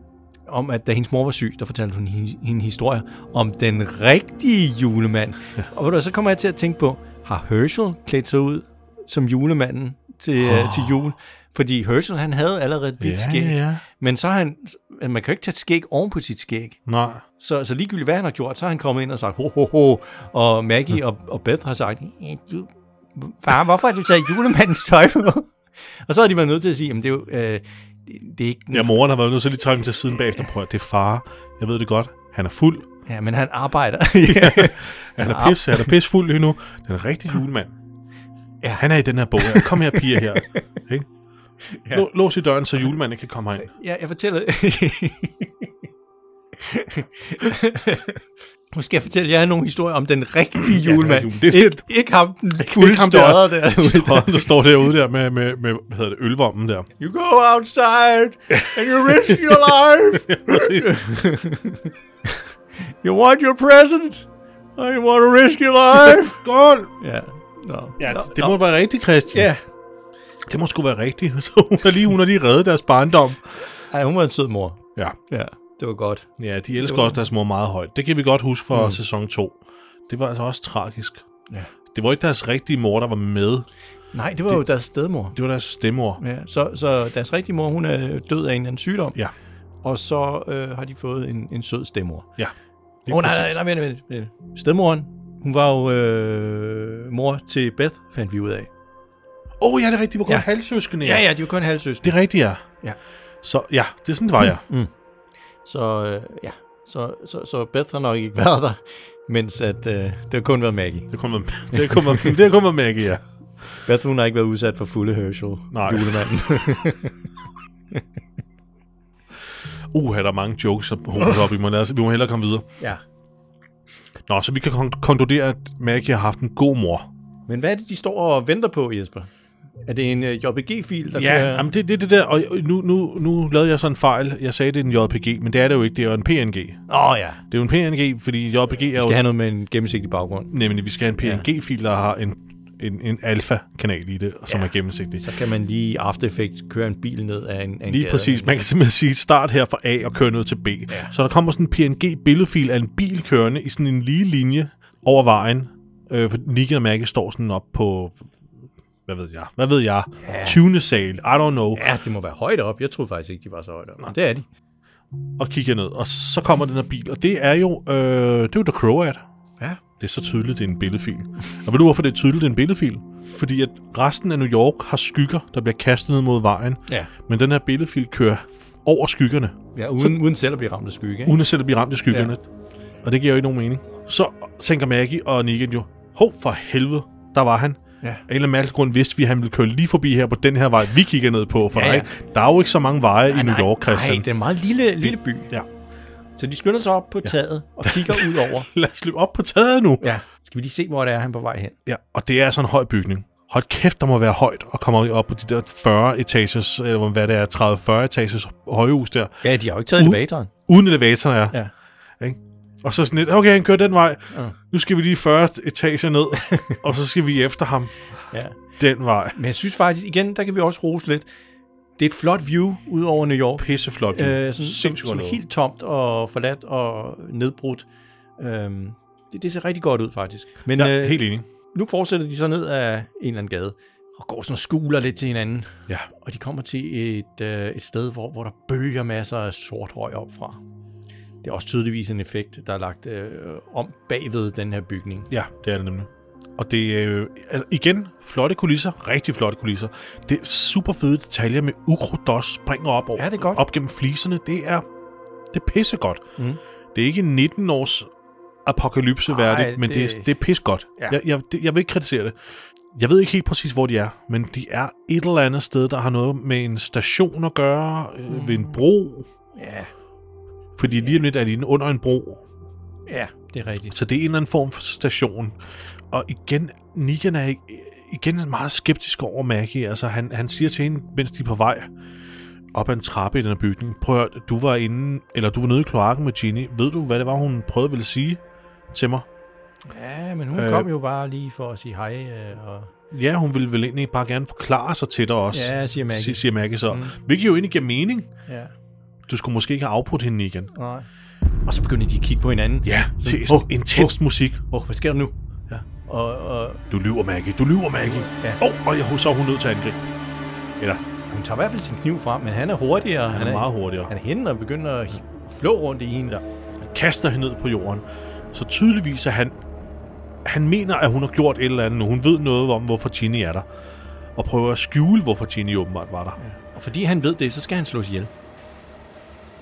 [SPEAKER 2] om at da hendes mor var syg, der fortalte hun hende, hende historier om den rigtige julemand. Ja. Og ved du, hvad, så kommer jeg til at tænke på, har Herschel klædt sig ud som julemanden til, oh. til jul? Fordi Herschel, han havde allerede et hvidt
[SPEAKER 1] Ja,
[SPEAKER 2] skæg,
[SPEAKER 1] ja.
[SPEAKER 2] men så har han, altså, man kan jo ikke tage et skæg oven på sit skæg.
[SPEAKER 1] Nej.
[SPEAKER 2] Så, så ligegyldigt hvad han har gjort, så er han kommet ind og sagt, ho, ho, ho. Og Maggie og, og Beth har sagt, "Ja, du, far, hvorfor har du taget julemandens tøj på? og så har de været nødt til at sige, jamen det er jo, øh, det, det er ikke,
[SPEAKER 1] Ja, moren har været nødt til lige at tage ham til siden bagefter. Prøv at det er far. Jeg ved det godt. Han er fuld.
[SPEAKER 2] ja, men han arbejder.
[SPEAKER 1] *laughs* Han er pis. Han er pisfuld lige nu. Den er rigtig julemand.
[SPEAKER 2] Ja.
[SPEAKER 1] Han er i den her bog. her. Kom her, piger
[SPEAKER 2] *laughs*
[SPEAKER 1] her. Ikke?
[SPEAKER 2] Ja.
[SPEAKER 1] Lå- Lås i døren, så julemanden ikke kan komme herind.
[SPEAKER 2] ja, jeg fortæller... Nu skal jeg fortælle jer nogle historier om den rigtige
[SPEAKER 1] Ja,
[SPEAKER 2] julemand.
[SPEAKER 1] julen,
[SPEAKER 2] Ja,
[SPEAKER 1] det
[SPEAKER 2] det,
[SPEAKER 1] er
[SPEAKER 2] ikke, ikke ham, den fulde
[SPEAKER 1] Ikke ham der.
[SPEAKER 2] stodder der.
[SPEAKER 1] *laughs* Står, der står derude der med, med, med hvad hedder det, ølvommen der.
[SPEAKER 2] You go outside and you risk your
[SPEAKER 1] *laughs*
[SPEAKER 2] life. You want your present. And you want to risk your *laughs* life.
[SPEAKER 1] Skål!
[SPEAKER 2] ja, no.
[SPEAKER 1] Ja, det, det må være rigtigt, Christian.
[SPEAKER 2] Ja.
[SPEAKER 1] Det må sgu være rigtigt. *laughs* Så hun har lige, hun har lige reddet deres barndom.
[SPEAKER 2] Ej, hun var en sød mor.
[SPEAKER 1] Ja.
[SPEAKER 2] Ja, det var godt.
[SPEAKER 1] ja, de elsker også deres mor meget højt. Det kan vi godt huske fra mm. sæson 2. Det var altså også tragisk.
[SPEAKER 2] Ja.
[SPEAKER 1] Det var ikke deres rigtige mor, der var med.
[SPEAKER 2] Nej, det var det... jo deres stedmor.
[SPEAKER 1] Det var deres stemmor.
[SPEAKER 2] Ja, så, så deres rigtige mor, hun er død af en eller anden sygdom.
[SPEAKER 1] Ja.
[SPEAKER 2] Og så øh, har de fået en, en sød stedmor.
[SPEAKER 1] Ja.
[SPEAKER 2] Åh, oh, nej, nej, nej, vent, vent, vent. Stedmoren, hun var jo øh, mor til Beth, fandt vi ud af.
[SPEAKER 1] Åh, oh, ja, det er rigtigt. Det var kun ja.
[SPEAKER 2] Ja.
[SPEAKER 1] halvsøskende.
[SPEAKER 2] Ja, ja, de var kun halvsøster.
[SPEAKER 1] Det er rigtigt, ja.
[SPEAKER 2] Ja.
[SPEAKER 1] Så ja, det er sådan, det var jeg.
[SPEAKER 2] Mm. Så, øh, ja. så, så, så Beth har nok ikke været der, mens at, øh, det har kun været Maggie.
[SPEAKER 1] Det kommer *laughs* det kommer det kommer med ikke, ja.
[SPEAKER 2] Beth, hun har ikke været udsat for fulde Herschel,
[SPEAKER 1] Nej. *laughs*
[SPEAKER 2] julemanden.
[SPEAKER 1] Uh, der er mange jokes, der hovedet op i mig. Lad os, vi må hellere komme videre.
[SPEAKER 2] ja.
[SPEAKER 1] Nå, så vi kan kon- konkludere, at Maggie har haft en god mor.
[SPEAKER 2] Men hvad er det, de står og venter på, Jesper? Er det en øh, JPG-fil, der
[SPEAKER 1] Ja,
[SPEAKER 2] kører-
[SPEAKER 1] jamen det er det, det der, og nu, nu, nu lavede jeg så en fejl. Jeg sagde, det er en JPG, men det er det jo ikke. Det er jo en PNG.
[SPEAKER 2] Åh oh, ja.
[SPEAKER 1] Det er jo en PNG, fordi JPG er
[SPEAKER 2] Vi
[SPEAKER 1] jo...
[SPEAKER 2] skal have noget med en gennemsigtig baggrund.
[SPEAKER 1] Nemlig, vi skal have en PNG-fil, der har en, en, en alfa-kanal i det, som
[SPEAKER 2] Ja.
[SPEAKER 1] er gennemsigtig.
[SPEAKER 2] Så kan man lige i After Effects køre en bil ned af en, af en
[SPEAKER 1] Lige
[SPEAKER 2] gade.
[SPEAKER 1] præcis. Man kan simpelthen sige start her fra A og køre ned til B. Ja. Så der kommer sådan en PNG-billedfil af en bil kørende i sådan en lige linje over vejen. Øh, for Nick og Maggie står sådan op på, hvad ved jeg, hvad ved jeg, ja. 20. sal, I don't know, ja.
[SPEAKER 2] Ja, det må være højt op. Jeg troede faktisk ikke, de var så højt op. Men det er de.
[SPEAKER 1] og kigger ned. Og så kommer den her bil, og det er jo, øh, det er jo The Croat.
[SPEAKER 2] Ja.
[SPEAKER 1] Det er så tydeligt, det er en billedfil. Og ved du, hvorfor det er tydeligt, det er en billedfil? Fordi at resten af New York har skygger, der bliver kastet ned mod vejen.
[SPEAKER 2] Ja,
[SPEAKER 1] Men den her billedfil kører over skyggerne.
[SPEAKER 2] ja uden, uden selv at blive ramt af skygge. Ikke?
[SPEAKER 1] uden at selv at blive ramt i skyggerne. Ja. Og det giver jo ikke nogen mening. Så tænker Maggie og Negan jo, hov for helvede, der var han.
[SPEAKER 2] Ja.
[SPEAKER 1] Af en eller anden mærkelig grund vidste vi, at han ville køre lige forbi her på den her vej, vi kigger ned på. For
[SPEAKER 2] Ja,
[SPEAKER 1] ja, ja.
[SPEAKER 2] ja.
[SPEAKER 1] der er jo ikke så mange veje nej, i New
[SPEAKER 2] nej,
[SPEAKER 1] York, Christian.
[SPEAKER 2] Nej, det er en meget lille, lille by.
[SPEAKER 1] Ja.
[SPEAKER 2] Så de skynder sig op på taget og kigger ud
[SPEAKER 1] *laughs*
[SPEAKER 2] over.
[SPEAKER 1] Lad os løbe op på taget nu.
[SPEAKER 2] Ja. Skal vi lige se, hvor det er, han er på vej hen?
[SPEAKER 1] Ja, og det er sådan en høj bygning. Hold kæft, der må være højt at komme op på de der 40 etages, eller hvad det er, 30-40 etages højhus der,
[SPEAKER 2] Ja, de har jo ikke taget
[SPEAKER 1] Uh.
[SPEAKER 2] elevatoren.
[SPEAKER 1] uden elevatoren er.
[SPEAKER 2] Ja.
[SPEAKER 1] Og så sådan lidt, okay, han kører den vej.
[SPEAKER 2] Ja.
[SPEAKER 1] Nu skal vi lige 40 etager
[SPEAKER 2] *laughs*
[SPEAKER 1] ned, og så skal vi efter ham
[SPEAKER 2] ja.
[SPEAKER 1] den vej.
[SPEAKER 2] Men jeg synes faktisk, igen, der kan vi også rose lidt. Det er et flot view ud over New York.
[SPEAKER 1] pisseflot.
[SPEAKER 2] Øh, sådan, som, som er helt tomt og forladt og nedbrudt. Øhm, det, det ser rigtig godt ud, faktisk. Men
[SPEAKER 1] ja,
[SPEAKER 2] øh,
[SPEAKER 1] helt enig.
[SPEAKER 2] nu fortsætter de så ned af en eller anden gade og går sådan og skuler lidt til hinanden.
[SPEAKER 1] Ja.
[SPEAKER 2] Og de kommer til et, øh, et sted, hvor, hvor der bølger masser af sort røg op fra. Det er også tydeligvis en effekt, der er lagt øh, om bagved den her bygning.
[SPEAKER 1] ja, det er det nemlig. Og det er øh, altså igen flotte kulisser, rigtig flotte kulisser. Det er super fede detaljer med ukrudt, der også springer op, over,
[SPEAKER 2] Ja, det er godt.
[SPEAKER 1] op gennem fliserne. Det er, det er pissegodt.
[SPEAKER 2] Mm.
[SPEAKER 1] Det er ikke 19 års apokalypse
[SPEAKER 2] Nej,
[SPEAKER 1] værdigt, men det, det er,
[SPEAKER 2] det-
[SPEAKER 1] det er pissegodt.
[SPEAKER 2] Ja.
[SPEAKER 1] Jeg, jeg, det, jeg vil ikke kritisere det. Jeg ved ikke helt præcis, hvor de er, men de er et eller andet sted, der har noget med en station at gøre, øh,
[SPEAKER 2] Mm.
[SPEAKER 1] ved en bro,
[SPEAKER 2] Ja,
[SPEAKER 1] fordi lige om lidt er de under en bro,
[SPEAKER 2] ja, det er rigtigt.
[SPEAKER 1] Så det er en eller anden form for station. Og igen, Negan er ikke- igen meget skeptisk over Maggie. Altså, han, han siger til hende, mens de er på vej op ad en trappe i den her bygning, prøv at høre, du var inde, eller du var nede i kloakken med Ginny. Ved du, hvad det var, hun prøvede ville sige til mig?
[SPEAKER 2] Ja, men hun
[SPEAKER 1] Øh.
[SPEAKER 2] øh, kom jo bare lige for at sige hej. Øh, og,
[SPEAKER 1] Ja, hun ville vel egentlig bare gerne forklare sig til dig også,
[SPEAKER 2] ja, siger
[SPEAKER 1] si-
[SPEAKER 2] Maggie.
[SPEAKER 1] siger Maggie så. Mm. Hvilket jo egentlig giver mening.
[SPEAKER 2] Ja,
[SPEAKER 1] Du skulle måske ikke have afbrudt hende igen.
[SPEAKER 2] nej. Og så begynder de at kigge på hinanden.
[SPEAKER 1] Ja,
[SPEAKER 2] Så-
[SPEAKER 1] til sådan
[SPEAKER 2] Åh,
[SPEAKER 1] intens musik.
[SPEAKER 2] Åh, oh, hvad sker der nu?
[SPEAKER 1] Ja.
[SPEAKER 2] Og, og
[SPEAKER 1] Du lyver, Maggie. Du lyver, Maggie.
[SPEAKER 2] Ja.
[SPEAKER 1] Åh, oh, og jeg, så er hun nødt til at angribe. Eller,
[SPEAKER 2] hun tager i hvert fald sin kniv frem, men han er hurtigere.
[SPEAKER 1] han er meget hurtigere.
[SPEAKER 2] Han er henne og begynder at hi- flå rundt i hende.
[SPEAKER 1] Ja. kaster hende ned på jorden. Så tydeligvis er han... Han mener, at hun har gjort et eller andet nu. Hun ved noget om, hvorfor Ginny er der. Og prøver at skjule, hvorfor Ginny åbenbart var der.
[SPEAKER 2] Og fordi han ved det, så skal han slås ihjel.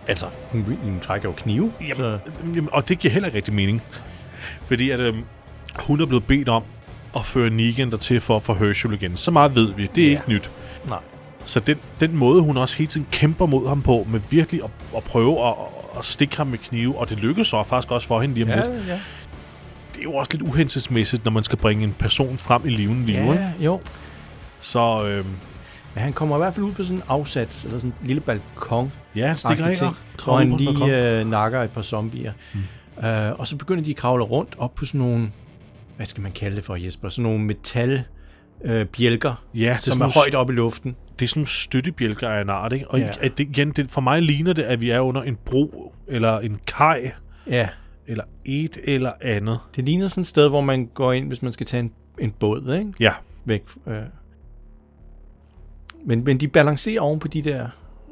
[SPEAKER 2] Altså, hun, hun trækker jo knive.
[SPEAKER 1] Jamen, jamen, og det giver heller ikke rigtig mening. Fordi at, øhm, hun er blevet bedt om at føre Negan dertil for at få Herschel igen. Så meget ved vi. Det er
[SPEAKER 2] Ja.
[SPEAKER 1] ikke nyt.
[SPEAKER 2] nej.
[SPEAKER 1] Så den, den måde, hun også hele tiden kæmper mod ham på, med virkelig at, at prøve at, at stikke ham med knive, og det lykkes så faktisk også for hende lige om lidt,
[SPEAKER 2] ja.
[SPEAKER 1] det er jo også lidt uhensigtsmæssigt, når man skal bringe en person frem i liven lige nu. ikke?
[SPEAKER 2] Ja, jo.
[SPEAKER 1] Så øh,
[SPEAKER 2] Men han kommer i hvert fald ud på sådan en afsats, eller sådan en lille balkon.
[SPEAKER 1] ja, han stikker ikke
[SPEAKER 2] ting,
[SPEAKER 1] og
[SPEAKER 2] og
[SPEAKER 1] kravler
[SPEAKER 2] han
[SPEAKER 1] på den Hmm. balkon.
[SPEAKER 2] lige øh, nakker et par zombier. Mm. Øh, og så begynder de at kravle rundt op på sådan nogle, hvad skal man kalde det for, Jesper? Sådan nogle metal øh, bjælker,
[SPEAKER 1] Ja, det er
[SPEAKER 2] som
[SPEAKER 1] sådan
[SPEAKER 2] er
[SPEAKER 1] nogle
[SPEAKER 2] højt op i luften.
[SPEAKER 1] det er sådan nogle støttebjælker af en art, ikke? Og
[SPEAKER 2] Ja.
[SPEAKER 1] ja. at det, igen, det, for mig ligner det, at vi er under en bro, eller en kaj,
[SPEAKER 2] Ja,
[SPEAKER 1] eller et eller andet.
[SPEAKER 2] det ligner sådan et sted, hvor man går ind, hvis man skal tage en, en båd, ikke?
[SPEAKER 1] Ja,
[SPEAKER 2] væk. Øh. Men, men de balancerer oven på de der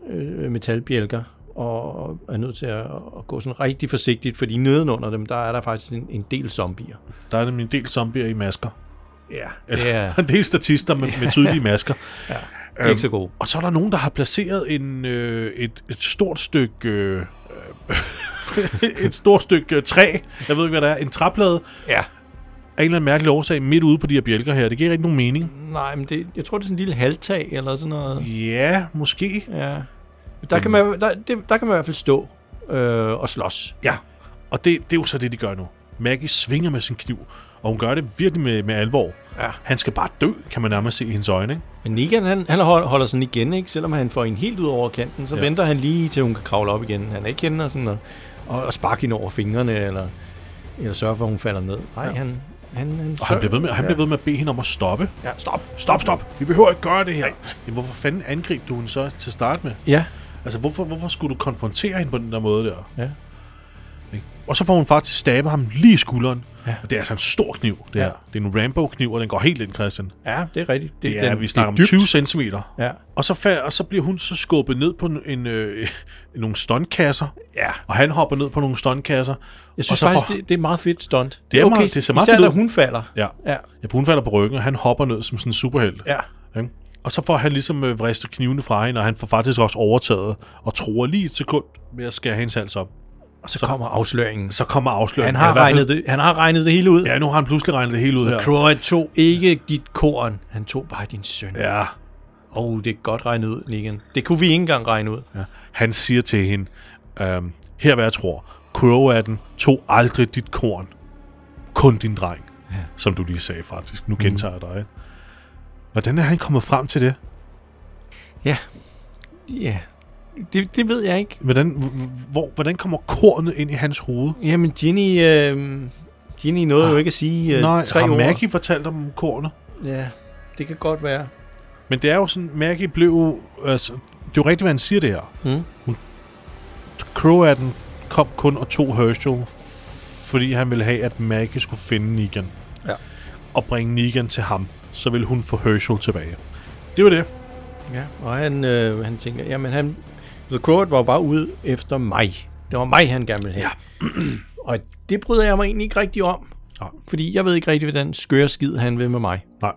[SPEAKER 2] øh, metalbjælker, og er nødt til at, at gå sådan rigtig forsigtigt, fordi nedenunder dem, der er der faktisk en, en del zombier.
[SPEAKER 1] der er nemlig en del zombier i masker.
[SPEAKER 2] Ja,
[SPEAKER 1] Eller
[SPEAKER 2] det er,
[SPEAKER 1] *laughs* en del statister med, med tydelige
[SPEAKER 2] *laughs*
[SPEAKER 1] masker.
[SPEAKER 2] det er ikke så gode.
[SPEAKER 1] Og så er der nogen, der har placeret en, øh, et, et stort stykke... Øh, *laughs* øh, et stort stykke øh, træ, jeg ved ikke, hvad det er, en træplade,
[SPEAKER 2] Ja.
[SPEAKER 1] af en eller anden mærkelig årsag midt ude på de her bjælker her. Det giver ikke nogen mening.
[SPEAKER 2] Nej, men det, jeg tror, det er sådan en lille halvtag eller sådan
[SPEAKER 1] Mm.
[SPEAKER 2] noget.
[SPEAKER 1] Ja, måske.
[SPEAKER 2] Ja. Men Der kan man, der, det, der kan man i hvert fald stå øh, og slås.
[SPEAKER 1] Ja, og det, det er jo så det, de gør nu. Maggie svinger med sin kniv, og hun gør det virkelig med, med alvor.
[SPEAKER 2] Ja.
[SPEAKER 1] Han skal bare dø, kan man nærmest se i hendes øjne. Ikke?
[SPEAKER 2] Men Negan, han, han hold- holder sådan igen, ikke? Selvom han får en helt ud over kanten, så ja.
[SPEAKER 1] Ja.
[SPEAKER 2] venter han lige til, hun kan kravle op igen. Han er ikke henne og sådan og, og, og sparke hende over fingrene, eller, eller sørge for, at hun falder ned. Nej, ja. han... han, han
[SPEAKER 1] Og han bliver ved med, han
[SPEAKER 2] ja.
[SPEAKER 1] bliver ved med at bede hende om at stoppe.
[SPEAKER 2] Ja, stop.
[SPEAKER 1] Stop, stop! Vi behøver ikke gøre det her! Jamen, hvorfor fanden angreb du hende så til start med?
[SPEAKER 2] Ja,
[SPEAKER 1] Altså, hvorfor, hvorfor skulle du konfrontere hende på den der måde der?
[SPEAKER 2] ja.
[SPEAKER 1] Ikke? Og så får hun faktisk stabe ham lige i skulderen.
[SPEAKER 2] Ja.
[SPEAKER 1] Ja. Og det er altså en stor kniv, det her.
[SPEAKER 2] Ja.
[SPEAKER 1] Det er en Rambo-kniv, og den går helt ind, Christian. Det,
[SPEAKER 2] Ja, det er rigtigt.
[SPEAKER 1] det er,
[SPEAKER 2] den-
[SPEAKER 1] vi snakker
[SPEAKER 2] det er
[SPEAKER 1] om
[SPEAKER 2] dybt.
[SPEAKER 1] 20 cm.
[SPEAKER 2] Ja.
[SPEAKER 1] Og så, fa- og så bliver hun så skubbet ned på en, øh, *laughs* nogle stuntkasser,
[SPEAKER 2] Ja.
[SPEAKER 1] og han hopper ned på nogle stuntkasser.
[SPEAKER 2] Jeg
[SPEAKER 1] og
[SPEAKER 2] synes
[SPEAKER 1] så
[SPEAKER 2] faktisk,
[SPEAKER 1] får-
[SPEAKER 2] det, det er meget fedt stunt.
[SPEAKER 1] Det er meget- det ser meget
[SPEAKER 2] især,
[SPEAKER 1] fedt
[SPEAKER 2] da
[SPEAKER 1] ud.
[SPEAKER 2] hun falder.
[SPEAKER 1] Ja.
[SPEAKER 2] Ja.
[SPEAKER 1] ja, hun falder på ryggen, og han hopper ned som sådan en superhelt.
[SPEAKER 2] Ja.
[SPEAKER 1] Ikke? Og så får han ligesom øh, vristet knivene fra hende, og han får faktisk også overtaget og tror lige et sekund med at skære hendes hals op.
[SPEAKER 2] Og så, kommer afsløringen.
[SPEAKER 1] Så kommer
[SPEAKER 2] Han
[SPEAKER 1] afsløringen.
[SPEAKER 2] har,
[SPEAKER 1] Ja, i hvert fald-
[SPEAKER 2] regnet det, han har regnet det hele ud.
[SPEAKER 1] Ja, nu har han pludselig regnet det hele ud her.
[SPEAKER 2] Croy tog ikke dit korn. Han tog bare din søn.
[SPEAKER 1] Ja,
[SPEAKER 2] Åh, oh, det er godt regnet ud, Negan. Det kunne vi ikke engang regne ud.
[SPEAKER 1] ja. Han siger til hende, øhm, her hvad jeg tror, Croaten tog aldrig dit korn, kun din dreng. Ja. Som du lige sagde faktisk.
[SPEAKER 2] Mhm.
[SPEAKER 1] Nu gentager jeg dig. ikke? Hvordan er han kommet frem til det?
[SPEAKER 2] Ja. Ja. Det, det ved jeg ikke.
[SPEAKER 1] Hvordan, h- hvor, hvordan kommer kornet ind i hans hoved?
[SPEAKER 2] Jamen, Ginny... Øh, Ginny nåede ah, jo ikke at sige øh,
[SPEAKER 1] Nej,
[SPEAKER 2] tre
[SPEAKER 1] har
[SPEAKER 2] ord.
[SPEAKER 1] Maggie fortalt om kornet?
[SPEAKER 2] Ja, det kan godt være.
[SPEAKER 1] Men det er jo sådan, Maggie blev jo, altså, det er jo rigtigt, hvad han siger det her.
[SPEAKER 2] Mm.
[SPEAKER 1] Hun, Croaten kom kun og tog Herschel, fordi han ville have, at Maggie skulle finde Negan.
[SPEAKER 2] Ja.
[SPEAKER 1] Og bringe Negan til ham, så ville hun få Herschel tilbage. Det var det.
[SPEAKER 2] Ja, og han, øh, han tænker... Jamen, han... The Croat var jo bare ude efter mig. Det var mig, han gerne ville have. og det bryder jeg mig egentlig ikke rigtig om.
[SPEAKER 1] Nej.
[SPEAKER 2] Fordi jeg ved ikke rigtig, hvad den skøre skid, han vil med mig.
[SPEAKER 1] Nej.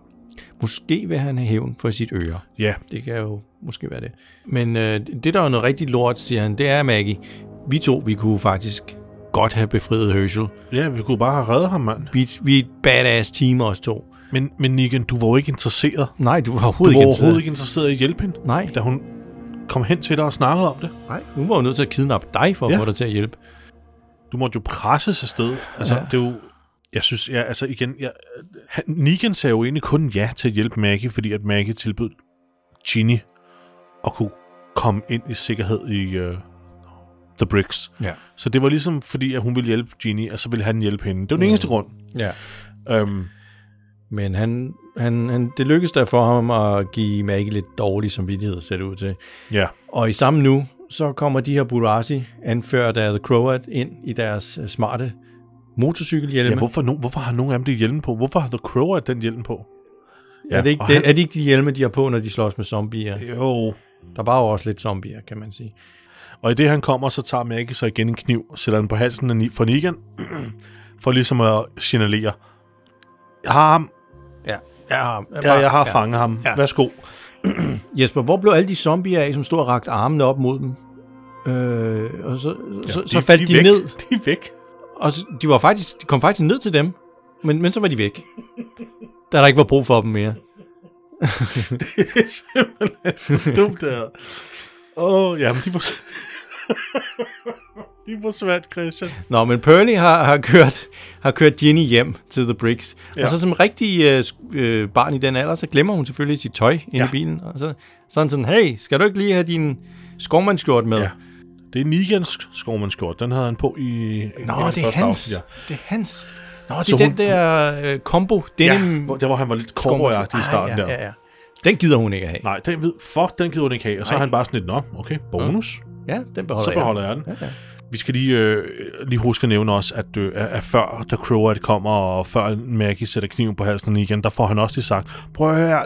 [SPEAKER 2] Måske vil han have hævn for sit øre.
[SPEAKER 1] Ja,
[SPEAKER 2] Det kan jo måske være det. Men øh, det, der er noget rigtig lort, siger han, det er Maggie. Vi to, vi kunne faktisk godt have befriet Herschel.
[SPEAKER 1] ja vi kunne bare have reddet ham, mand.
[SPEAKER 2] Vi, vi er et badass team, os to.
[SPEAKER 1] Men, men Negan, du var jo ikke interesseret.
[SPEAKER 2] Nej, du var
[SPEAKER 1] Du
[SPEAKER 2] overhovedet,
[SPEAKER 1] var
[SPEAKER 2] ikke interesseret.
[SPEAKER 1] overhovedet ikke interesseret i at hjælpe hende,
[SPEAKER 2] Nej,
[SPEAKER 1] da hun kom hen til dig og snakkede om det.
[SPEAKER 2] nej. Hun var jo nødt til at kidnappe dig for at
[SPEAKER 1] Ja.
[SPEAKER 2] få dig til at hjælpe.
[SPEAKER 1] du måtte jo presses afsted. Altså,
[SPEAKER 2] Ja.
[SPEAKER 1] ja. det er jo... Jeg synes, jeg, altså igen, jeg, han, Negan sagde jo egentlig kun ja til at hjælpe Maggie, fordi at Maggie tilbød Ginny at kunne komme ind i sikkerhed i uh, The Bricks.
[SPEAKER 2] Ja.
[SPEAKER 1] Så det var ligesom fordi, at hun ville hjælpe Ginny, og så ville han hjælpe hende. Det var den eneste grund.
[SPEAKER 2] ja.
[SPEAKER 1] Um,
[SPEAKER 2] Men han, han, han, det lykkedes der for ham at give Maggie lidt dårlig samvittighed, ser det ud til.
[SPEAKER 1] ja,
[SPEAKER 2] Og i samme nu, så kommer de her Burasi, anført af The Croat, ind i deres øh, smarte motorcykelhjelme.
[SPEAKER 1] ja hvorfor, no, hvorfor har nogen af dem det hjelm på? Hvorfor har The Crow at den hjelm på?
[SPEAKER 2] Ja, Øh. er, det ikke,
[SPEAKER 1] og
[SPEAKER 2] det,
[SPEAKER 1] han-
[SPEAKER 2] er det ikke de hjelme, de har på, når de slås med zombier?
[SPEAKER 1] Jo.
[SPEAKER 2] Der var jo også lidt zombier, kan man sige.
[SPEAKER 1] Og i det han kommer, så tager Maggie så igen en kniv, og sætter den på halsen af Ni- for Negan, *clears throat* for ligesom at signalere, jeg har ham,
[SPEAKER 2] Ja, jeg har, jeg
[SPEAKER 1] ja, jeg har ja. fanget ham,
[SPEAKER 2] Ja.
[SPEAKER 1] ja. værsgo.
[SPEAKER 2] Jesper, hvor blev alle de zombier af, som stod og rakte armene op mod dem? Øh, og så, ja, så, så faldt de,
[SPEAKER 1] væk.
[SPEAKER 2] ned,
[SPEAKER 1] *laughs* De er væk.
[SPEAKER 2] og så, de, var faktisk, de kom faktisk ned til dem, men, men så var de væk. Da der ikke var brug for dem mere.
[SPEAKER 1] det er simpelthen
[SPEAKER 2] *laughs*
[SPEAKER 1] for dumt, det her. Åh, oh, jamen, de var... *laughs* de var svært, Christian.
[SPEAKER 2] Nå, men Pearly har, har, kørt, har kørt Ginny hjem til The Bricks. Ja.
[SPEAKER 1] Ja.
[SPEAKER 2] Og så som rigtig øh, sk- øh, barn i den alder, så glemmer hun selvfølgelig sit tøj inde ja.
[SPEAKER 1] Ja.
[SPEAKER 2] i bilen. Og så sådan sådan, hey, skal du ikke lige have din skovmandskjort med? Ja.
[SPEAKER 1] Ja. Det er Nigans skovmandskjort. Den havde han på i... i
[SPEAKER 2] Nå, det er
[SPEAKER 1] første
[SPEAKER 2] hans.
[SPEAKER 1] afsnit, Ja.
[SPEAKER 2] Det er hans. Nå, det er
[SPEAKER 1] Så
[SPEAKER 2] den
[SPEAKER 1] hun-
[SPEAKER 2] der øh, combo.
[SPEAKER 1] Ja,
[SPEAKER 2] Denim,
[SPEAKER 1] hvor, der hvor han var lidt cowboyagtig i starten
[SPEAKER 2] ah, ja,
[SPEAKER 1] der.
[SPEAKER 2] Ja, ja. Den gider hun ikke have.
[SPEAKER 1] Nej, den ved, fuck, den gider hun ikke have. Og så
[SPEAKER 2] Nej. Mm.
[SPEAKER 1] er han bare sådan lidt, nå, okay, bonus.
[SPEAKER 2] Ja, den beholder
[SPEAKER 1] Så beholder jeg den.
[SPEAKER 2] Ja, ja.
[SPEAKER 1] Vi skal lige, øh, lige huske at nævne også, at, øh, at før The Croat kommer, og før Maggie sætter kniven på halsen igen, der får han også lige sagt, prøv at høre,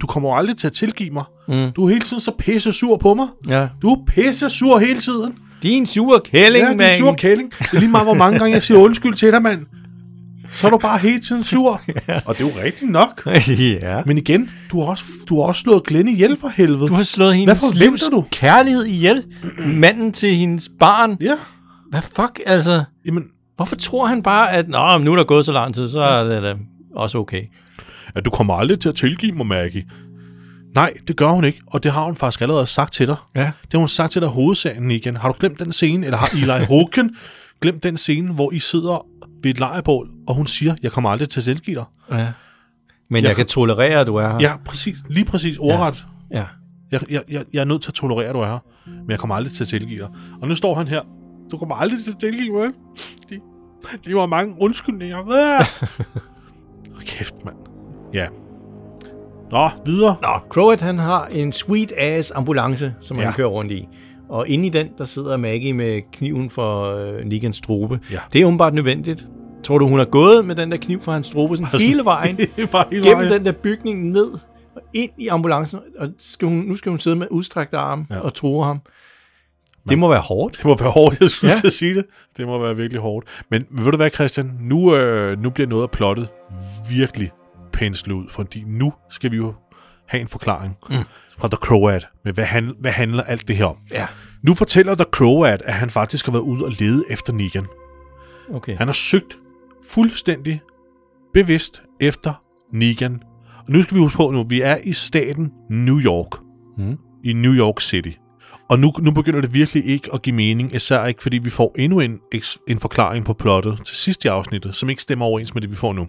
[SPEAKER 1] du kommer jo aldrig til at tilgive mig.
[SPEAKER 2] Mm.
[SPEAKER 1] Du er hele tiden så pisse sur på mig.
[SPEAKER 2] ja.
[SPEAKER 1] Du er pisse sur hele tiden.
[SPEAKER 2] Din sure
[SPEAKER 1] Ja,
[SPEAKER 2] kælling, ja,
[SPEAKER 1] du er
[SPEAKER 2] mand.
[SPEAKER 1] sur kælling. Det er lige meget, hvor mange gange jeg siger undskyld til dig, mand. Så er du bare hele tiden
[SPEAKER 2] *laughs*
[SPEAKER 1] sur. Og det er jo rigtigt nok.
[SPEAKER 2] *laughs* ja.
[SPEAKER 1] Men igen, du har også, du har også slået Glenn ihjel for helvede.
[SPEAKER 2] Du har slået hendes
[SPEAKER 1] forventer
[SPEAKER 2] livs
[SPEAKER 1] du?
[SPEAKER 2] kærlighed ihjel. Manden til hendes barn.
[SPEAKER 1] Ja,
[SPEAKER 2] Hvad fuck, altså?
[SPEAKER 1] jamen,
[SPEAKER 2] Hvorfor tror han bare, at Nå, men nu er der gået så lang tid, så er det da også okay?
[SPEAKER 1] at du kommer aldrig til at tilgive mig, Maggie. Nej, det gør hun ikke, og det har hun faktisk allerede sagt til dig.
[SPEAKER 2] Ja.
[SPEAKER 1] Det har hun sagt til dig i hovedserien igen. Har du glemt den scene, eller har Eli Hoken glemt den scene, hvor I sidder ved et lejebål, og hun siger, jeg kommer aldrig til at tilgive dig.
[SPEAKER 2] ja. Men jeg, jeg kan tolerere, at du er her.
[SPEAKER 1] Ja, præcis, lige præcis ordret.
[SPEAKER 2] ja.
[SPEAKER 1] Jeg, jeg, jeg, jeg er nødt til at tolerere, at du er her, men jeg kommer aldrig til at tilgive dig. Og nu står han her. Du kommer aldrig til at tilgive mig. De, de var mange undskyldninger. Ah! Hold Kæft, mand. Ja. Nå, videre.
[SPEAKER 2] Nå, Crowet han har en sweet ass ambulance, som ja. han
[SPEAKER 1] Ja.
[SPEAKER 2] kører rundt i. Og inde i den, der sidder Maggie med kniven for øh, Negans strobe.
[SPEAKER 1] Ja.
[SPEAKER 2] Det er åbenbart nødvendigt. Tror du, hun har gået med den der kniv for hans strobe sådan Altså, *laughs* hele
[SPEAKER 1] *laughs*
[SPEAKER 2] vejen?
[SPEAKER 1] Bare hele
[SPEAKER 2] gennem
[SPEAKER 1] vejen.
[SPEAKER 2] den der bygning ned og ind i ambulancen, og skal hun, nu skal hun sidde med udstrakte arme ja.
[SPEAKER 1] Ja.
[SPEAKER 2] og true ham. Det må være hårdt.
[SPEAKER 1] Det må være hårdt, jeg skulle
[SPEAKER 2] Ja.
[SPEAKER 1] ja. til at sige det. Det må være virkelig hårdt. Men ved du hvad, Christian? Nu, øh, nu bliver noget af plottet virkelig penslet ud, fordi nu skal vi jo have en forklaring mm. fra The Croat med, hvad, han, hvad handler alt det her om.
[SPEAKER 2] Ja,
[SPEAKER 1] Nu fortæller The Croat, at han faktisk har været ude og lede efter Negan.
[SPEAKER 2] okay.
[SPEAKER 1] Han har søgt fuldstændig bevidst efter Negan. Og nu skal vi huske på nu, vi er i staten New York.
[SPEAKER 2] Mm.
[SPEAKER 1] I New York City. Og nu, nu begynder det virkelig ikke at give mening, især ikke fordi vi får endnu en, eks- en forklaring på plottet til sidst i afsnittet, som ikke stemmer overens med det, vi får nu.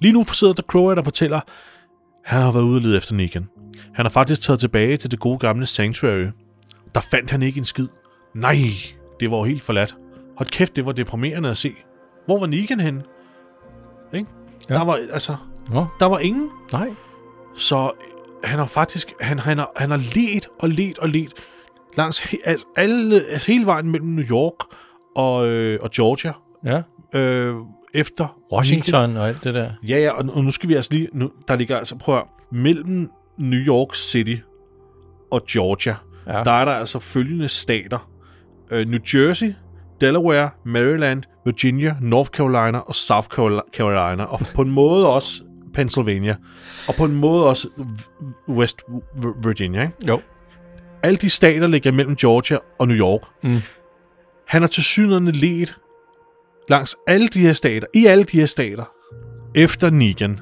[SPEAKER 1] Lige nu sidder der Croat og fortæller, at han har været ude og lede efter Negan. Han har faktisk taget tilbage til det gode gamle Sanctuary. Der fandt han ikke en skid. Nej, det var jo helt forladt. Hold kæft, det var deprimerende at se. Hvor var Negan henne? Ikke?
[SPEAKER 2] Ja.
[SPEAKER 1] Ja. Der var altså,
[SPEAKER 2] Nå,
[SPEAKER 1] der var ingen.
[SPEAKER 2] nej.
[SPEAKER 1] Så han har faktisk, han, han, har, han har let og let og let langs he, altså alle, altså hele vejen mellem New York og, øh, og Georgia
[SPEAKER 2] Ja.
[SPEAKER 1] øh, efter
[SPEAKER 2] Washington og alt det der.
[SPEAKER 1] Ja, ja, og, og nu skal vi altså lige... Nu, der ligger altså, prøv at, høre, mellem New York City og Georgia,
[SPEAKER 2] Ja.
[SPEAKER 1] ja. der er der altså følgende stater. Øh, New Jersey, Delaware, Maryland, Virginia, North Carolina og South Carol- Carolina. Og på en måde også Pennsylvania. Og på en måde også v- West V- Virginia. Ikke?
[SPEAKER 2] Jo.
[SPEAKER 1] Alle de stater ligger mellem Georgia og New York.
[SPEAKER 2] Mm.
[SPEAKER 1] Han har til synligheden let langs alle de her stater, i alle de her stater, efter Negan.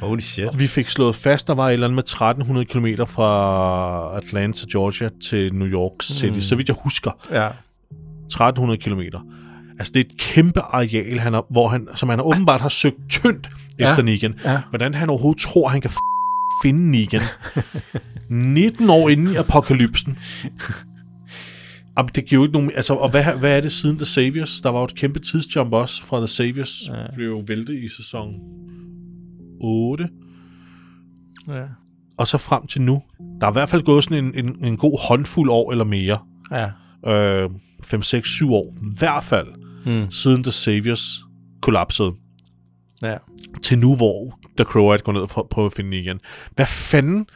[SPEAKER 2] Holy shit.
[SPEAKER 1] Vi fik slået fast, der var et eller andet med 1300 km fra Atlanta, Georgia til New York City, mm. så vidt jeg husker.
[SPEAKER 2] Ja.
[SPEAKER 1] 1300 km. Altså, det er et kæmpe areal, han har, hvor han, som han åbenbart har søgt tyndt
[SPEAKER 2] Ja.
[SPEAKER 1] ja. efter Negan.
[SPEAKER 2] Ja.
[SPEAKER 1] Hvordan han overhovedet tror, han kan f- finde *laughs* Negan. 19 år inde i apokalypsen. Jamen, det giver jo ikke nogen... Altså, og hvad, hvad er det siden The Saviors? Der var jo et kæmpe tidsjump også fra The Saviors.
[SPEAKER 2] Ja.
[SPEAKER 1] Ja. Blev jo væltet i sæson 8
[SPEAKER 2] Ja.
[SPEAKER 1] og så frem til nu, der er i hvert fald gået sådan en, en, en god håndfuld år eller mere.
[SPEAKER 2] ja.
[SPEAKER 1] Øh, 5, 6, 7 år. I hvert fald
[SPEAKER 2] Mm.
[SPEAKER 1] siden The Saviors kollapsede.
[SPEAKER 2] ja.
[SPEAKER 1] Til nu, hvor The Croat går ned og prø- prøver at finde igen. Hvad fanden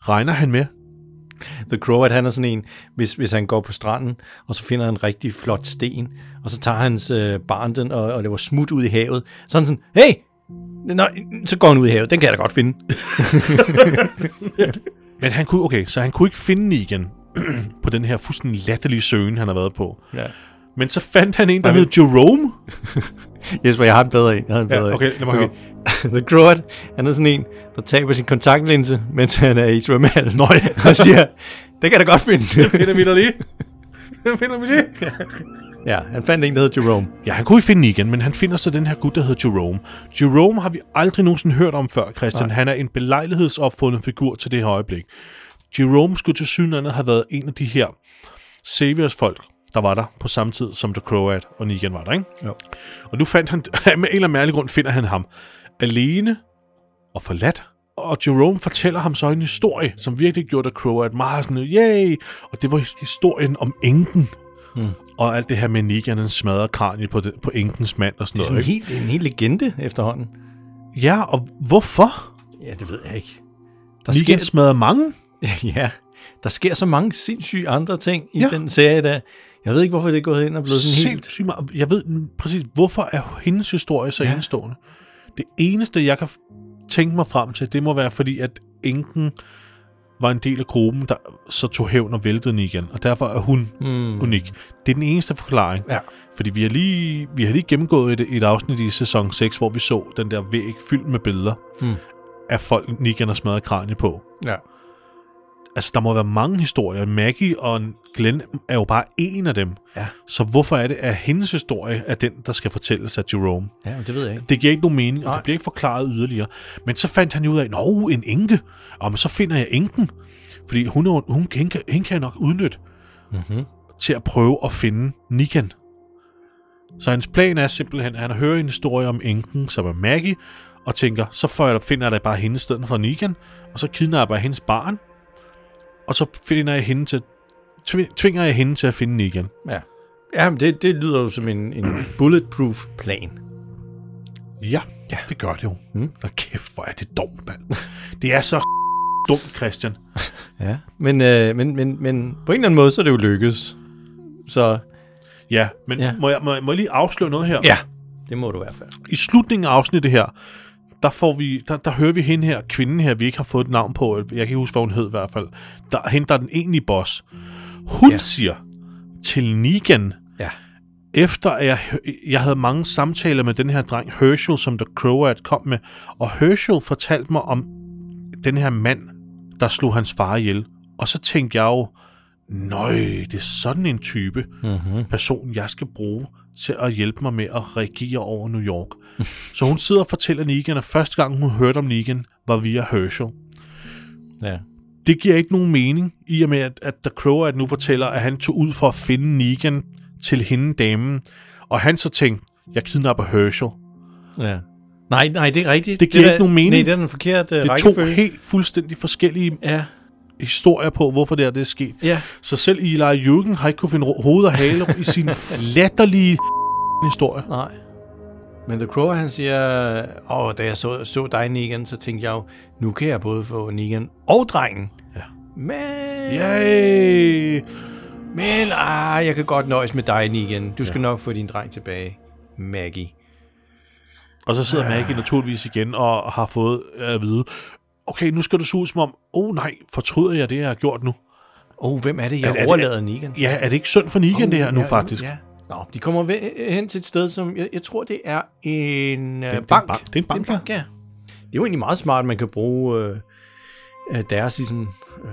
[SPEAKER 1] regner han med?
[SPEAKER 2] The Crow, at han er sådan en, hvis, hvis han går på stranden, og så finder han en rigtig flot sten, og så tager hans øh, barn den og, og laver smut ud i havet. Så er han sådan, hey! Nå, så går han ud i havet. Den kan jeg da godt finde.
[SPEAKER 1] Men han *clears throat* kunne, okay, så han kunne ikke finde igen på den her fuldstændig latterlige søgen, han har været på.
[SPEAKER 2] Ja.
[SPEAKER 1] Men så fandt han en, der
[SPEAKER 2] Hvad
[SPEAKER 1] hed Jerome.
[SPEAKER 2] Jesper, jeg har en bedre en. Jeg har en
[SPEAKER 1] Ja,
[SPEAKER 2] bedre en.
[SPEAKER 1] okay, lad mig høre.
[SPEAKER 2] *laughs* The Groat, han er sådan en, der taber sin kontaktlinse, mens han er i svømmehallen.
[SPEAKER 1] Nå ja,
[SPEAKER 2] *laughs* Og siger, det kan jeg da godt finde.
[SPEAKER 1] finder vi dig lige. Den *laughs* finder vi lige.
[SPEAKER 2] ja, han fandt en, der hedder Jerome.
[SPEAKER 1] Ja, han kunne ikke finde igen, men han finder så den her gut, der hedder Jerome. Jerome har vi aldrig nogensinde hørt om før, Christian. Nej. Han er en belejlighedsopfundet figur til det her øjeblik. Jerome skulle til synligheden have været en af de her Saviors folk, der var der på samme tid, som The Croat og Negan var der, ikke?
[SPEAKER 2] Jo.
[SPEAKER 1] Og nu fandt han, *laughs* med en eller anden mærkelig grund finder han ham alene og forladt. Og Jerome fortæller ham så en historie, som virkelig gjorde The Croat meget sådan, yay! Og det var historien om enken,
[SPEAKER 2] Mm.
[SPEAKER 1] og alt det her med Negan, han smadrer kraniet på, det, på enkens mand og sådan
[SPEAKER 2] Sådan
[SPEAKER 1] noget.
[SPEAKER 2] en helt, en helt legende efterhånden.
[SPEAKER 1] Ikke? Ja, og hvorfor?
[SPEAKER 2] Ja, det ved jeg ikke. Der *laughs*
[SPEAKER 1] Negan
[SPEAKER 2] sker,
[SPEAKER 1] smadrer mange.
[SPEAKER 2] ja, der sker så mange sindssyge andre ting i
[SPEAKER 1] Ja.
[SPEAKER 2] ja. den serie, der... Jeg ved ikke, hvorfor det er gået hen og blevet sådan helt...
[SPEAKER 1] Sindssygt meget. Jeg ved n- præcis, hvorfor er hendes historie så ja.
[SPEAKER 2] Ja.
[SPEAKER 1] enestående. Det eneste, jeg kan f- tænke mig frem til, det må være fordi, at enken var en del af gruppen, der så tog hævn og væltede Negan, og derfor er hun
[SPEAKER 2] Mm.
[SPEAKER 1] unik. Det er den eneste forklaring.
[SPEAKER 2] Ja.
[SPEAKER 1] Fordi vi har lige, vi har lige gennemgået et, et afsnit i sæson 6, hvor vi så den der væg fyldt med billeder
[SPEAKER 2] Mm.
[SPEAKER 1] af folk, Negan har smadret kraniet på.
[SPEAKER 2] ja.
[SPEAKER 1] Altså, der må være mange historier. Maggie og Glenn er jo bare en af dem.
[SPEAKER 2] Ja.
[SPEAKER 1] Så hvorfor er det, at hendes historie er den, der skal fortælles af Jerome?
[SPEAKER 2] Ja, men det ved jeg ikke.
[SPEAKER 1] Det giver ikke nogen mening, og
[SPEAKER 2] Nej.
[SPEAKER 1] det bliver ikke forklaret yderligere. Men så fandt han jo ud af, nå, en enke. Og men så finder jeg enken. Fordi hun, er jo- hun, hende, kan, hende kan jeg nok udnytte
[SPEAKER 2] Mm-hmm.
[SPEAKER 1] til at prøve at finde Nikan. Så hans plan er simpelthen, at han hører en historie om enken, som er Maggie, og tænker, så får jeg, finder jeg da bare hende i stedet for Nikan, og så kidnapper jeg hendes barn, og så finder jeg hende til, tvi- tvinger jeg hende til at finde Nikan.
[SPEAKER 2] Ja. Jamen, det, det lyder jo som en, en bulletproof plan.
[SPEAKER 1] Ja, ja,
[SPEAKER 2] Ja.
[SPEAKER 1] det gør det jo. Mm.
[SPEAKER 2] Mm.
[SPEAKER 1] Og kæft, hvor er det dumt, mand. Det er så *laughs* dumt, Christian.
[SPEAKER 2] Ja. Men, øh, men, men, men på en eller anden måde, så er det jo lykkedes. Så
[SPEAKER 1] Ja, men ja.
[SPEAKER 2] Ja.
[SPEAKER 1] Må, jeg, må, jeg, må jeg lige afsløre noget her?
[SPEAKER 2] ja, det må du i hvert fald.
[SPEAKER 1] I slutningen af afsnittet her, der, får vi, der, der hører vi hende her, kvinden her, vi ikke har fået et navn på, jeg kan ikke huske, hvad hun hed i hvert fald, der henter den egentlige boss. Hun ja.
[SPEAKER 2] Ja.
[SPEAKER 1] siger til Negan,
[SPEAKER 2] Ja.
[SPEAKER 1] efter at jeg, hø- jeg havde mange samtaler med den her dreng, Herschel, som The Croat kom med, og Herschel fortalte mig om den her mand, der slog hans far ihjel. Og så tænkte jeg jo, nøj, det er sådan en type
[SPEAKER 2] Mm-hmm.
[SPEAKER 1] person, jeg skal bruge til at hjælpe mig med at regere over New York. Så hun sidder og fortæller Negan, at første gang hun hørte om Negan, var via Herschel.
[SPEAKER 2] Ja.
[SPEAKER 1] Det giver ikke nogen mening, i og med, at, at The Crow at nu fortæller, at han tog ud for at finde Negan til hende damen, og han så tænkte, jeg kidnapper Herschel.
[SPEAKER 2] ja. Nej, nej, det er rigtigt.
[SPEAKER 1] Det giver
[SPEAKER 2] er
[SPEAKER 1] ikke nogen mening.
[SPEAKER 2] Nej, det er den forkerte
[SPEAKER 1] Det er to
[SPEAKER 2] rækkefølge.
[SPEAKER 1] helt fuldstændig forskellige
[SPEAKER 2] Ja,
[SPEAKER 1] historier på, hvorfor det er, det er sket.
[SPEAKER 2] ja.
[SPEAKER 1] Så selv Eli Jürgen har ikke kunne finde ro- hoved og hale i sin latterlige historie.
[SPEAKER 2] Nej. Men The Crow, han siger, åh, da jeg så, så dig, Negan, så tænkte jeg jo, nu kan jeg både få Negan og drengen.
[SPEAKER 1] Ja.
[SPEAKER 2] Men,
[SPEAKER 1] Yay!
[SPEAKER 2] men ah, jeg kan godt nøjes med dig, Negan. Du skal nok få din dreng tilbage, Maggie.
[SPEAKER 1] Og så sidder Maggie naturligvis igen og har fået øh, at vide, okay, nu skal du suge som om, oh nej, fortryder jeg det, jeg har gjort nu?
[SPEAKER 2] Åh, oh, hvem er det, jeg
[SPEAKER 1] Er- er det-
[SPEAKER 2] overlader Negan?
[SPEAKER 1] Ja, er det ikke synd for Negan, oh, det her nu
[SPEAKER 2] ja,
[SPEAKER 1] faktisk?
[SPEAKER 2] Ja. Nå, de kommer ved, hen til et sted, som jeg, jeg tror, det er en øh,
[SPEAKER 1] er en
[SPEAKER 2] bank.
[SPEAKER 1] bank. Det er en bank,
[SPEAKER 2] ja. Det er jo egentlig meget smart, at man kan bruge øh, øh, deres ligesom... Øh,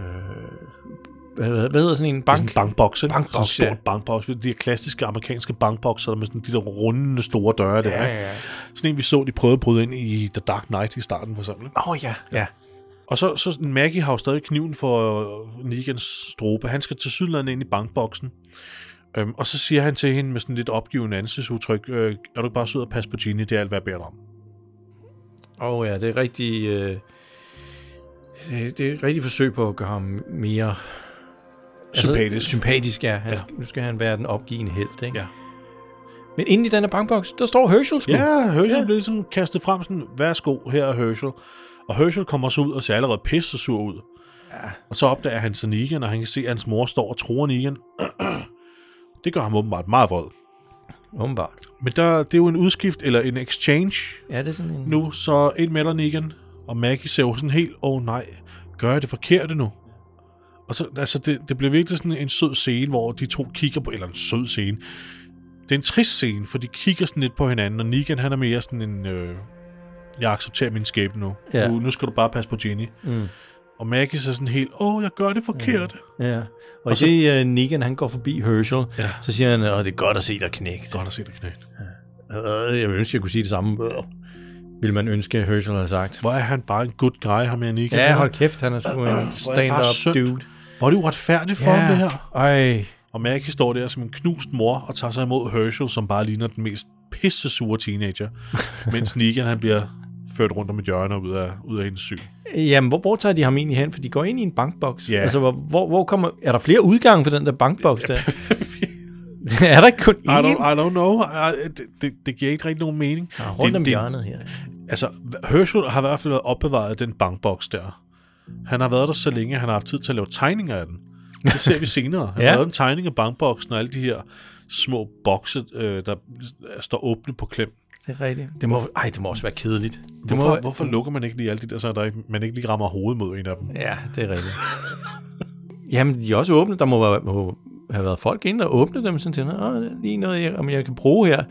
[SPEAKER 2] hvad, hvad hvad hedder sådan en bank?
[SPEAKER 1] Sådan en bankboks, ikke?
[SPEAKER 2] Bankboks,
[SPEAKER 1] sådan en
[SPEAKER 2] ja.
[SPEAKER 1] stor bankboks. De her klassiske amerikanske bankbokser med sådan de der rundende store døre der.
[SPEAKER 2] Ja,
[SPEAKER 1] ikke?
[SPEAKER 2] ja, ja.
[SPEAKER 1] Sådan en, vi så, de prøvede at bryde ind i The Dark Knight i starten for eksempel. ikke?
[SPEAKER 2] Åh, oh, ja. ja.
[SPEAKER 1] Og så, så sådan, Maggie har jo stadig kniven for øh, Negans strobe. Han skal til sydlandet ind i bankboksen. Øhm, og så siger han til hende med sådan lidt opgivende ansigtsudtryk, øh, er du ikke bare sød og passe på Genie, det er alt, hvad jeg beder dig om.
[SPEAKER 2] Åh, oh, ja, det er rigtig... Øh, det, det er et rigtigt forsøg på at gøre ham mere...
[SPEAKER 1] Sympatisk.
[SPEAKER 2] Altså, sympatisk, ja. Han,
[SPEAKER 1] Ja.
[SPEAKER 2] ja. Nu skal han være den opgivende held, ikke?
[SPEAKER 1] Ja.
[SPEAKER 2] Men inde i den her bankboks, der står Herschel sgu.
[SPEAKER 1] Ja, Herschel ja.
[SPEAKER 2] Ja.
[SPEAKER 1] blev ligesom kastet frem sådan, værsgo, her er Herschel. Og Herschel kommer så ud og ser allerede pisse sur ud. Ja. Og så opdager han så Negan, og han kan se, at hans mor står og tror Negan. *clears throat* det gør ham åbenbart meget vred.
[SPEAKER 2] Åbenbart.
[SPEAKER 1] Men der, det er jo en udskift, eller en exchange
[SPEAKER 2] Ja, det er sådan en...
[SPEAKER 1] nu, så ind melder Negan, og Maggie ser jo sådan helt, åh oh, nej, gør jeg det forkerte nu? Og så, altså, det, det bliver virkelig sådan en sød scene, hvor de to kigger på, eller en sød scene, Det er en trist scene, for de kigger sådan lidt på hinanden, og Negan han er mere sådan en... Øh, jeg accepterer min skæbne nu.
[SPEAKER 2] Ja.
[SPEAKER 1] nu. Nu skal du bare passe på Jenny.
[SPEAKER 2] Mm.
[SPEAKER 1] Og Maggie er sådan helt, åh, jeg gør det forkert. Mm.
[SPEAKER 2] Ja. Og, og
[SPEAKER 1] Og
[SPEAKER 2] så,
[SPEAKER 1] så-
[SPEAKER 2] det, uh, Negan, han går forbi Herschel,
[SPEAKER 1] Ja.
[SPEAKER 2] så siger han, at det er godt at se dig knægt.
[SPEAKER 1] Godt at se dig knægt.
[SPEAKER 2] Øh, Jeg ønsker, jeg kunne sige det samme. Øh, Vil man ønske, at Herschel havde sagt.
[SPEAKER 1] Hvor er han bare en good guy, ham her Negan.
[SPEAKER 2] Ja,
[SPEAKER 1] Han-
[SPEAKER 2] hold kæft, han er sgu en
[SPEAKER 1] bare
[SPEAKER 2] stand-up
[SPEAKER 1] synd
[SPEAKER 2] dude.
[SPEAKER 1] Hvor er det uretfærdigt for ham, det her.
[SPEAKER 2] Ej,
[SPEAKER 1] Og Maggie står der som en knust mor og tager sig imod Herschel, som bare ligner den mest pisse sure *laughs* teenager, mens Negan han bliver ført rundt om et hjørne og ud af, ud af hendes syn.
[SPEAKER 2] Jamen, hvor, hvor tager de ham egentlig hen? For de går ind i en bankboks.
[SPEAKER 1] Ja.
[SPEAKER 2] Altså, hvor, hvor, hvor kommer... Er der flere udgange for den der bankboks
[SPEAKER 1] *laughs*
[SPEAKER 2] der? er der ikke kun
[SPEAKER 1] I don't,
[SPEAKER 2] én?
[SPEAKER 1] I don't know. I, det, det, det giver ikke rigtig nogen mening.
[SPEAKER 2] Ja, rundt
[SPEAKER 1] det,
[SPEAKER 2] om
[SPEAKER 1] det-
[SPEAKER 2] hjørnet her.
[SPEAKER 1] Altså, Herschel har i hvert fald været opbevaret af den bankboks der. Han har været der så længe, han har haft tid til at lave tegninger af den. Det ser *laughs* vi senere. Han
[SPEAKER 2] Ja.
[SPEAKER 1] ja. har lavet en tegning af bankboksen og alle de her små bokse, øh, der står åbne på klem.
[SPEAKER 2] Det er rigtigt. Det må, ej, det må også være kedeligt. Det
[SPEAKER 1] Hvorfor,
[SPEAKER 2] må,
[SPEAKER 1] hvorfor lukker man ikke lige alle de der, så der ikke, man ikke lige rammer hovedet mod en af dem?
[SPEAKER 2] Ja, det er rigtigt. Jamen, de er også åbne. Der må, være, må have været folk inde og åbne dem, sådan til, Nå, der er lige noget, jeg, om jeg kan bruge her.
[SPEAKER 1] Nå,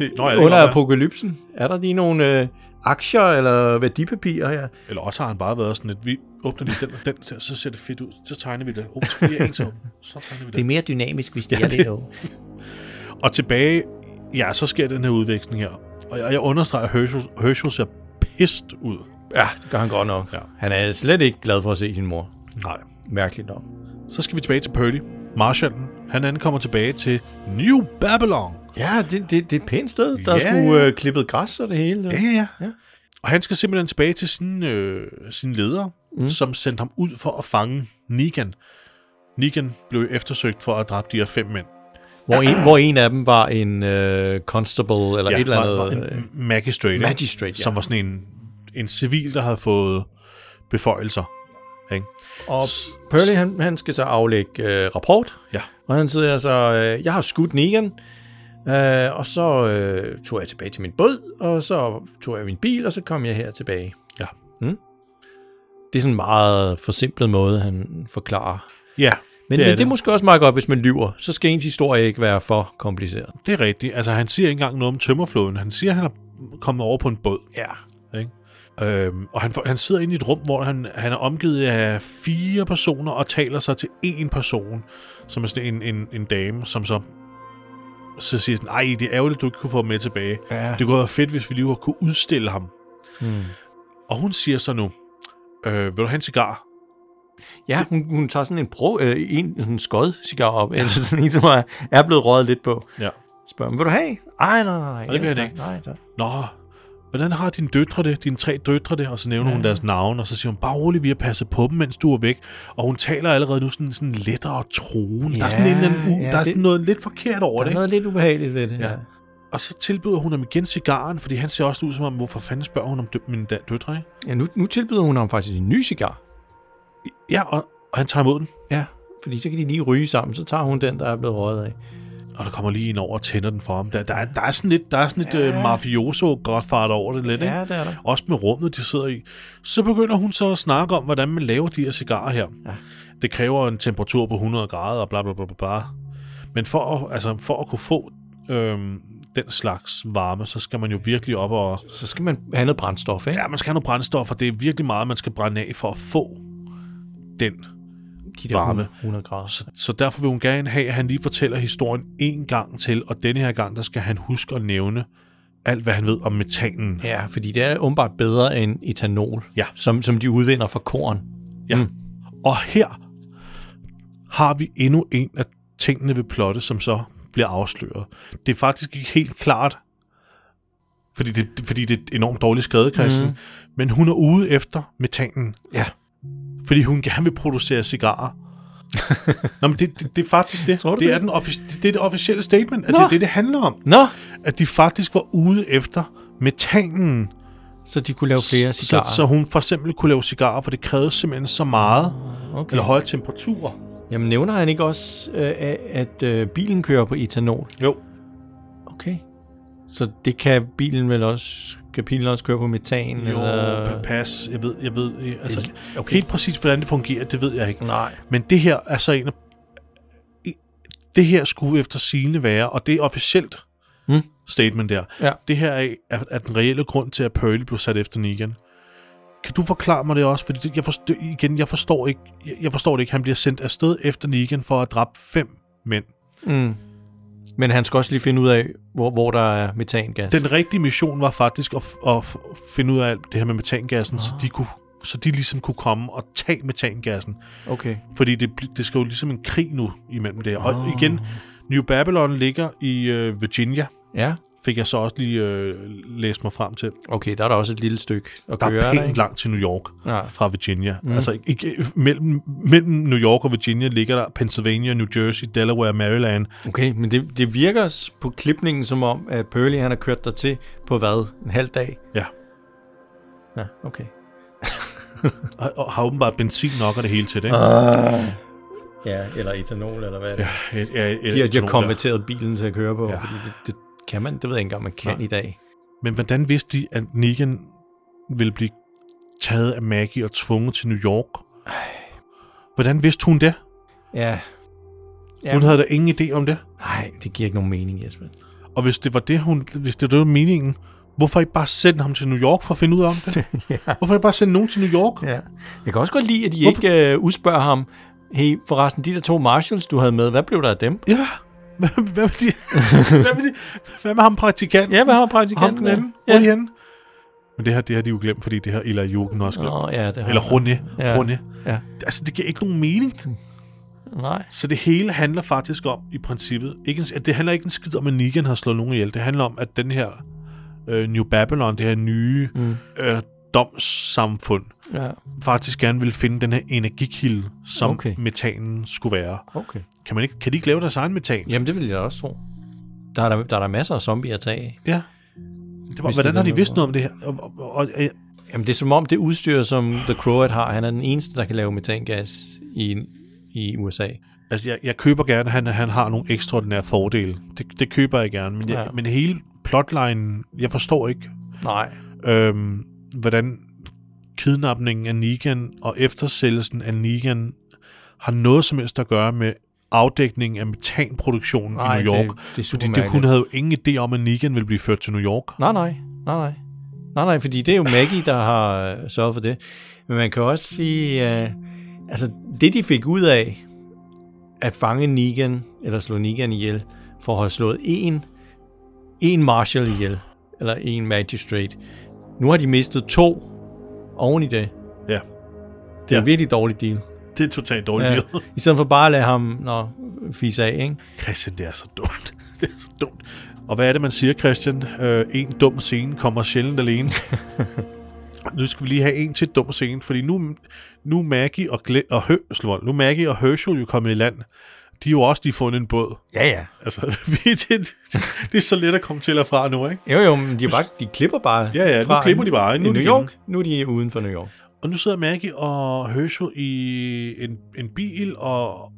[SPEAKER 1] ja, det
[SPEAKER 2] Under
[SPEAKER 1] kan godt være.
[SPEAKER 2] apokalypsen, er der lige nogle øh, aktier eller værdipapirer her?
[SPEAKER 1] Eller også har han bare været sådan, at vi åbner lige den og den, der, så ser det fedt ud. Så tegner vi det. Oh, så, bliver en til. *laughs* så tegner vi det.
[SPEAKER 2] mere dynamisk, hvis det
[SPEAKER 1] Ja, det-
[SPEAKER 2] over.
[SPEAKER 1] Og tilbage, ja, så sker den her udveksling her. Og jeg, jeg understreger, at Herschel, Herschel ser pist ud.
[SPEAKER 2] Ja, det gør han godt nok.
[SPEAKER 1] Ja.
[SPEAKER 2] Han er slet ikke glad for at se sin mor.
[SPEAKER 1] Nej.
[SPEAKER 2] Mærkeligt nok.
[SPEAKER 1] Så skal vi tilbage til Purdy. Marshallen, han ankommer tilbage til New Babylon.
[SPEAKER 2] Ja, det, det, det er et pænt sted. Der er
[SPEAKER 1] Ja,
[SPEAKER 2] sgu
[SPEAKER 1] ja.
[SPEAKER 2] øh, klippet græs og det hele.
[SPEAKER 1] ja,
[SPEAKER 2] Ja.
[SPEAKER 1] Og han skal simpelthen tilbage til sin, øh, sin leder,
[SPEAKER 2] Mm.
[SPEAKER 1] mm. som sendte ham ud for at fange Negan. Negan blev eftersøgt for at dræbe de her fem mænd.
[SPEAKER 2] Hvor, en, hvor en af dem var en øh, constable eller et eller andet.
[SPEAKER 1] var- var
[SPEAKER 2] øh,
[SPEAKER 1] en magistrate, ikke?
[SPEAKER 2] magistrate, ja.
[SPEAKER 1] som var sådan en, en civil, der havde fået beføjelser. Ikke?
[SPEAKER 2] Og Pearly, han, han skal så aflægge øh, rapport,
[SPEAKER 1] Ja.
[SPEAKER 2] og han siger så, øh, jeg har skudt Negan, øh, og så øh, tog jeg tilbage til min båd, og så tog jeg min bil, og så kom jeg her tilbage.
[SPEAKER 1] Ja.
[SPEAKER 2] Mm? Det er sådan en meget forsimplet måde, han forklarer.
[SPEAKER 1] Ja, det er
[SPEAKER 2] Men det, men det er
[SPEAKER 1] det.
[SPEAKER 2] måske også meget godt, hvis man lyver. Så skal ens historie ikke være for kompliceret.
[SPEAKER 1] det er rigtigt. Altså, han siger ikke engang noget om tømmerfloden. Han siger, at han er kommet over på en båd.
[SPEAKER 2] Ja.
[SPEAKER 1] Ikke? Øhm, og han, får- han sidder inde i et rum, hvor han, han er omgivet af fire personer og taler sig til én person, som er sådan en, en, en dame, som så, så siger sådan, ej, det er ærgerligt, du ikke kunne få ham med tilbage.
[SPEAKER 2] Ja.
[SPEAKER 1] Det kunne være fedt, hvis vi lige kunne udstille ham.
[SPEAKER 2] Hmm.
[SPEAKER 1] Og hun siger så nu, øh, vil du have en cigar?
[SPEAKER 2] Ja, hun, hun tager sådan en, bro, øh, en sådan en skod cigar op, eller sådan en, som er, er blevet røget lidt på.
[SPEAKER 1] Ja.
[SPEAKER 2] Spørger hun, vil du have? Ej, nej, nej, nej.
[SPEAKER 1] Og det vil
[SPEAKER 2] ellers
[SPEAKER 1] han
[SPEAKER 2] tak.
[SPEAKER 1] ikke.
[SPEAKER 2] Nej, tak.
[SPEAKER 1] Nå, hvordan har dine døtre det, dine tre døtre det? Og så nævner ja. hun deres navne, og så siger hun, bare rolig, vi har passet på dem, mens du er væk. Og hun taler allerede nu sådan, sådan lettere troen. Ja, der er sådan, en eller anden, u-
[SPEAKER 2] Ja,
[SPEAKER 1] ja, der er
[SPEAKER 2] det-
[SPEAKER 1] sådan noget lidt forkert over
[SPEAKER 2] Der
[SPEAKER 1] det.
[SPEAKER 2] er
[SPEAKER 1] ikke?
[SPEAKER 2] noget lidt ubehageligt ved det.
[SPEAKER 1] Ja. Og så tilbyder hun ham igen cigaren, fordi han ser også ud som om, hvorfor fanden spørger hun om dø- mine da- døtre, ikke?
[SPEAKER 2] ja nu, nu tilbyder hun ham faktisk en ny cigar.
[SPEAKER 1] Ja, og, og han tager imod den,
[SPEAKER 2] Ja, fordi så kan de lige ryge sammen, så tager hun den, der er blevet røget af.
[SPEAKER 1] og der kommer lige en over og tænder den for ham. Der, der, er, der er sådan lidt, der er sådan lidt ja. uh, mafioso-godfather over det lidt, ikke?
[SPEAKER 2] det er der.
[SPEAKER 1] også med rummet, de sidder i, så begynder hun så at snakke om, hvordan man laver de her cigarer her.
[SPEAKER 2] Ja.
[SPEAKER 1] Det kræver en temperatur på 100 grader og bla bla bla bla. bla. Men for at, altså, for at kunne få øhm, den slags varme, så skal man jo virkelig op og...
[SPEAKER 2] Så skal man have noget brændstof, ikke?
[SPEAKER 1] Ja, man skal have noget brændstof, og det er virkelig meget, man skal brænde af for at få den.
[SPEAKER 2] de der
[SPEAKER 1] varme.
[SPEAKER 2] 100 grader.
[SPEAKER 1] Så, så derfor vil hun gerne have, at han lige fortæller historien en gang til, og denne her gang, der skal han huske at nævne alt, hvad han ved om metanen.
[SPEAKER 2] Ja, fordi det er åbenbart bedre end etanol,
[SPEAKER 1] Ja.
[SPEAKER 2] som, som de udvinder fra korn.
[SPEAKER 1] Ja.
[SPEAKER 2] Mm.
[SPEAKER 1] Mm. Og her har vi endnu en af tingene ved plottet, som så bliver afsløret. Det er faktisk ikke helt klart, fordi det, fordi det er enormt dårligt
[SPEAKER 2] Mhm.
[SPEAKER 1] skrevet, Christian, mm. men hun er ude efter metanen,
[SPEAKER 2] Ja.
[SPEAKER 1] fordi hun gerne vil producere
[SPEAKER 2] *laughs*
[SPEAKER 1] cigarer. Nå, men det, det, det er faktisk det.
[SPEAKER 2] Tror du
[SPEAKER 1] det,
[SPEAKER 2] det?
[SPEAKER 1] Er den offic- det, det er det officielle statement, at
[SPEAKER 2] Nå.
[SPEAKER 1] det er det, det handler om.
[SPEAKER 2] Nå!
[SPEAKER 1] At de faktisk var ude efter metanen,
[SPEAKER 2] Så de kunne lave flere
[SPEAKER 1] så,
[SPEAKER 2] cigarer. Ah,
[SPEAKER 1] så hun for eksempel kunne lave cigarer, for det krævede simpelthen så meget,
[SPEAKER 2] okay.
[SPEAKER 1] eller høje temperaturer.
[SPEAKER 2] Jamen nævner han ikke også, øh, at- at øh, bilen kører på etanol?
[SPEAKER 1] Jo.
[SPEAKER 2] Okay. Så det kan bilen vel også, kan bilen også køre på metan?
[SPEAKER 1] Jo,
[SPEAKER 2] eller?
[SPEAKER 1] pa- pas. Jeg ved, jeg ved. øh, Altså,
[SPEAKER 2] Det- okay.
[SPEAKER 1] okay. Helt præcis, hvordan det fungerer, det ved jeg ikke.
[SPEAKER 2] Nej.
[SPEAKER 1] Men det her er så en af... i- det her skulle efter sigende være, og det er officielt
[SPEAKER 2] Mm.
[SPEAKER 1] statement der,
[SPEAKER 2] Ja.
[SPEAKER 1] det her er, er, er den reelle grund til, at Pearl blev sat efter Negan. Kan du forklare mig det også? Fordi det, jeg forstår, igen, jeg forstår, ikke, jeg, jeg forstår det ikke. Han bliver sendt afsted efter Negan for at dræbe fem mænd.
[SPEAKER 2] Mm. Men han skal også lige finde ud af, hvor, hvor der er metangas.
[SPEAKER 1] Den rigtige mission var faktisk at, f- at f- finde ud af alt det her med metangassen,
[SPEAKER 2] Ah.
[SPEAKER 1] så de kunne så de ligesom kunne komme og tage metangassen.
[SPEAKER 2] Okay.
[SPEAKER 1] Fordi det, bl- det skal jo ligesom en krig nu imellem det her. Og igen, New Babylon ligger i øh, Virginia,
[SPEAKER 2] Ja.
[SPEAKER 1] fik jeg så også lige øh, læst mig frem til.
[SPEAKER 2] Okay, der er der også et lille stykke at
[SPEAKER 1] Der
[SPEAKER 2] køre.
[SPEAKER 1] er pænt
[SPEAKER 2] ikke?
[SPEAKER 1] langt til New York
[SPEAKER 2] Ja.
[SPEAKER 1] fra Virginia. Mm. Altså ikke, mellem, mellem New York og Virginia ligger der Pennsylvania, New Jersey, Delaware, Maryland.
[SPEAKER 2] Okay, men det, det virker s- på klipningen som om, at Pearly han har kørt dig til på hvad? En halv dag?
[SPEAKER 1] Ja,
[SPEAKER 2] Ja, okay.
[SPEAKER 1] og, og har åbenbart benzin nok og det hele til det. ikke?
[SPEAKER 2] Uh. Ja, eller etanol, eller hvad det
[SPEAKER 1] Ja, jeg, jeg, jeg,
[SPEAKER 2] De har- de har
[SPEAKER 1] tror, der-
[SPEAKER 2] konverteret bilen til at køre på,
[SPEAKER 1] Ja.
[SPEAKER 2] ja. fordi det, det kan man, det ved jeg ikke engang, man kan
[SPEAKER 1] Nej.
[SPEAKER 2] Nej. i dag.
[SPEAKER 1] Men hvordan vidste de, at Negan ville blive taget af Maggie og tvunget til New York? Hvordan vidste hun det?
[SPEAKER 2] Ja. ja.
[SPEAKER 1] Hun havde da ingen idé om det.
[SPEAKER 2] Nej, det giver ikke nogen mening, Jesper.
[SPEAKER 1] Og hvis det var det, hun, hvis det var meningen, hvorfor ikke bare sende ham til New York for at finde ud af om det?
[SPEAKER 2] *laughs* ja.
[SPEAKER 1] Hvorfor ikke bare sende nogen til New York?
[SPEAKER 2] ja. Jeg kan også godt lide, at I
[SPEAKER 1] Hvorfor-
[SPEAKER 2] ikke øh, udspørger ham, hey, forresten, de der to Marshalls, du havde med, hvad blev der af dem?
[SPEAKER 1] Ja. Hvad, hvad, med de,
[SPEAKER 2] *laughs*
[SPEAKER 1] hvad, med de, hvad med ham praktikanten?
[SPEAKER 2] Ja, hvad har
[SPEAKER 1] Ham
[SPEAKER 2] praktikanten?
[SPEAKER 1] den anden?
[SPEAKER 2] Ja.
[SPEAKER 1] Hvor er de henne? Men det her, det har de jo glemt, fordi det her Ella Jürgen også glemt.
[SPEAKER 2] Nå, ja, det har
[SPEAKER 1] Eller Runde. Ja.
[SPEAKER 2] Ja.
[SPEAKER 1] Runde.
[SPEAKER 2] Ja.
[SPEAKER 1] Altså, det giver ikke nogen mening.
[SPEAKER 2] Nej.
[SPEAKER 1] Så det hele handler faktisk om, i princippet, ikke, en- at det handler ikke en skid om, at Negan har slået nogen ihjel. Det handler om, at den her øh, New Babylon, det her nye
[SPEAKER 2] Mm.
[SPEAKER 1] øh, domssamfund,
[SPEAKER 2] Ja,
[SPEAKER 1] faktisk gerne ville finde den her energikilde, som okay.
[SPEAKER 2] Okay.
[SPEAKER 1] metanen skulle være.
[SPEAKER 2] okay.
[SPEAKER 1] Kan, man ikke, kan de ikke lave deres egen metan?
[SPEAKER 2] Jamen, det vil jeg da også tro. Der er der, der, er der masser af zombier at tage af.
[SPEAKER 1] Ja. Det var,
[SPEAKER 2] Hvis
[SPEAKER 1] hvordan
[SPEAKER 2] det
[SPEAKER 1] har
[SPEAKER 2] er
[SPEAKER 1] de
[SPEAKER 2] den
[SPEAKER 1] vidst
[SPEAKER 2] måde.
[SPEAKER 1] noget om det her? Og, og, og, og, øh,
[SPEAKER 2] Jamen, det er som om det udstyr, som The Croat har, han er den eneste, der kan lave metangas i, i USA.
[SPEAKER 1] altså, jeg, jeg køber gerne, at han, han har nogle ekstraordinære fordele. Det, det køber jeg gerne. Men, jeg,
[SPEAKER 2] Ja.
[SPEAKER 1] men hele plotlinen, jeg forstår ikke,
[SPEAKER 2] Nej.
[SPEAKER 1] øhm, hvordan kidnapningen af Negan og eftersættelsen af Negan har noget som helst at gøre med afdækningen af metanproduktionen
[SPEAKER 2] Nej,
[SPEAKER 1] i New York.
[SPEAKER 2] det- det er
[SPEAKER 1] fordi det,
[SPEAKER 2] supermærkeligt.
[SPEAKER 1] hun havde jo ingen idé om, at Negan ville blive ført til New York.
[SPEAKER 2] Nej, nej. Nej, nej. Nej, nej, fordi det er jo Maggie, der har øh, sørget for det. Men man kan også sige, øh, altså det de fik ud af at fange Negan, eller slå Negan ihjel, for at have slået en, en Marshall ihjel, eller en Magistrate. Nu har de mistet to oven i det.
[SPEAKER 1] Ja.
[SPEAKER 2] Det er
[SPEAKER 1] Ja.
[SPEAKER 2] ja. virkelig dårlig deal.
[SPEAKER 1] Det er totalt dårligt.
[SPEAKER 2] Ja.
[SPEAKER 1] Ja.
[SPEAKER 2] I stedet for bare at lade ham nå, fise af, ikke?
[SPEAKER 1] Christian, det er så dumt. *laughs* det er så dumt. Og hvad er det, man siger, Christian? Øh, en dum scene kommer sjældent alene. nu skal vi lige have en til dum scene, fordi nu, nu er Maggie og, Gle- og Hø- slå- nu er Maggie og Herschel jo kommet i land. De er jo også lige fundet en båd.
[SPEAKER 2] Ja, ja.
[SPEAKER 1] Altså, *laughs* vi- det, det er så let at komme til og fra nu, ikke?
[SPEAKER 2] Jo, jo, men de, er bare, de klipper bare
[SPEAKER 1] Ja, ja, nu
[SPEAKER 2] fra
[SPEAKER 1] klipper de bare, ikke? Nu
[SPEAKER 2] Nu
[SPEAKER 1] er de
[SPEAKER 2] New York. Nu er de uden for New York.
[SPEAKER 1] Og nu sidder Maggie og Herschel i en, en bil, og, og,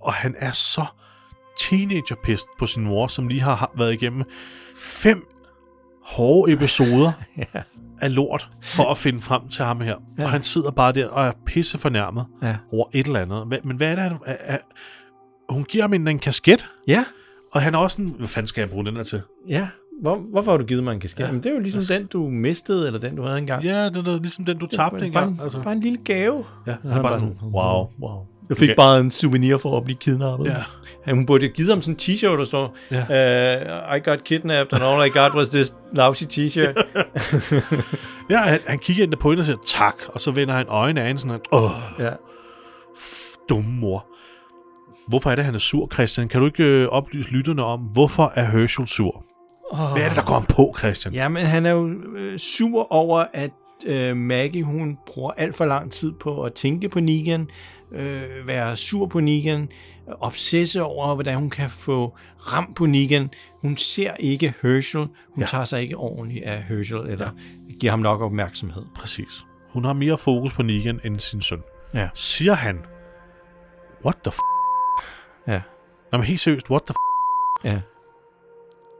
[SPEAKER 1] og han er så teenagerpist på sin mor, som lige har ha- været igennem fem hårde *laughs* episoder
[SPEAKER 2] Ja.
[SPEAKER 1] af lort for at finde frem til ham her. Ja.
[SPEAKER 2] Ja.
[SPEAKER 1] Og han sidder bare der og er pisse fornærmet
[SPEAKER 2] Ja.
[SPEAKER 1] over et eller andet. Hva- Men hvad er det, han... Er, er, hun giver ham en, en kasket,
[SPEAKER 2] Ja,
[SPEAKER 1] og han er også sådan, hvad fanden skal jeg bruge den her til?
[SPEAKER 2] ja. Hvor, hvorfor har du givet mig en kasket?
[SPEAKER 1] Ja. Altså-
[SPEAKER 2] Ja. Jamen, det er jo ligesom den, du mistede, eller den, du havde engang.
[SPEAKER 1] Ja, det er da ligesom den, du tabte
[SPEAKER 2] bare, en,
[SPEAKER 1] engang. Altså,
[SPEAKER 2] bare en lille gave.
[SPEAKER 1] ja, han er bare sådan, wow, wow.
[SPEAKER 2] Jeg fik
[SPEAKER 1] Okay.
[SPEAKER 2] okay. bare en souvenir for at blive kidnappet.
[SPEAKER 1] Ja.
[SPEAKER 2] Han, hun burde have givet ham sådan en t-shirt, der står,
[SPEAKER 1] Ja.
[SPEAKER 2] uh, I got kidnapped, and all I got was this lousy
[SPEAKER 1] *laughs*
[SPEAKER 2] t-shirt.
[SPEAKER 1] Ja, han, han kigger ind på hende og siger tak, og så vender han øjnene af hende sådan, her, åh,
[SPEAKER 2] ja.
[SPEAKER 1] dumme mor. Hvorfor er det, han er sur, Christian? Kan du ikke øh, oplyse lytterne om, hvorfor er Herschel sur?
[SPEAKER 2] Oh.
[SPEAKER 1] Hvad er det, der går ham på, Christian?
[SPEAKER 2] Jamen, han er jo øh, sur over, at øh, Maggie, hun bruger alt for lang tid på at tænke på Negan, øh, være sur på Negan, øh, obsesse over, hvordan hun kan få ram på Negan. Hun ser ikke Herschel, hun
[SPEAKER 1] Ja.
[SPEAKER 2] ja. tager sig ikke ordentligt af Herschel, eller ja. giver ham nok opmærksomhed.
[SPEAKER 1] Præcis. Hun har mere fokus på Negan end sin søn.
[SPEAKER 2] Ja.
[SPEAKER 1] Siger han, what the f***?
[SPEAKER 2] Ja.
[SPEAKER 1] Nå, men helt seriøst, what the f***?
[SPEAKER 2] Ja.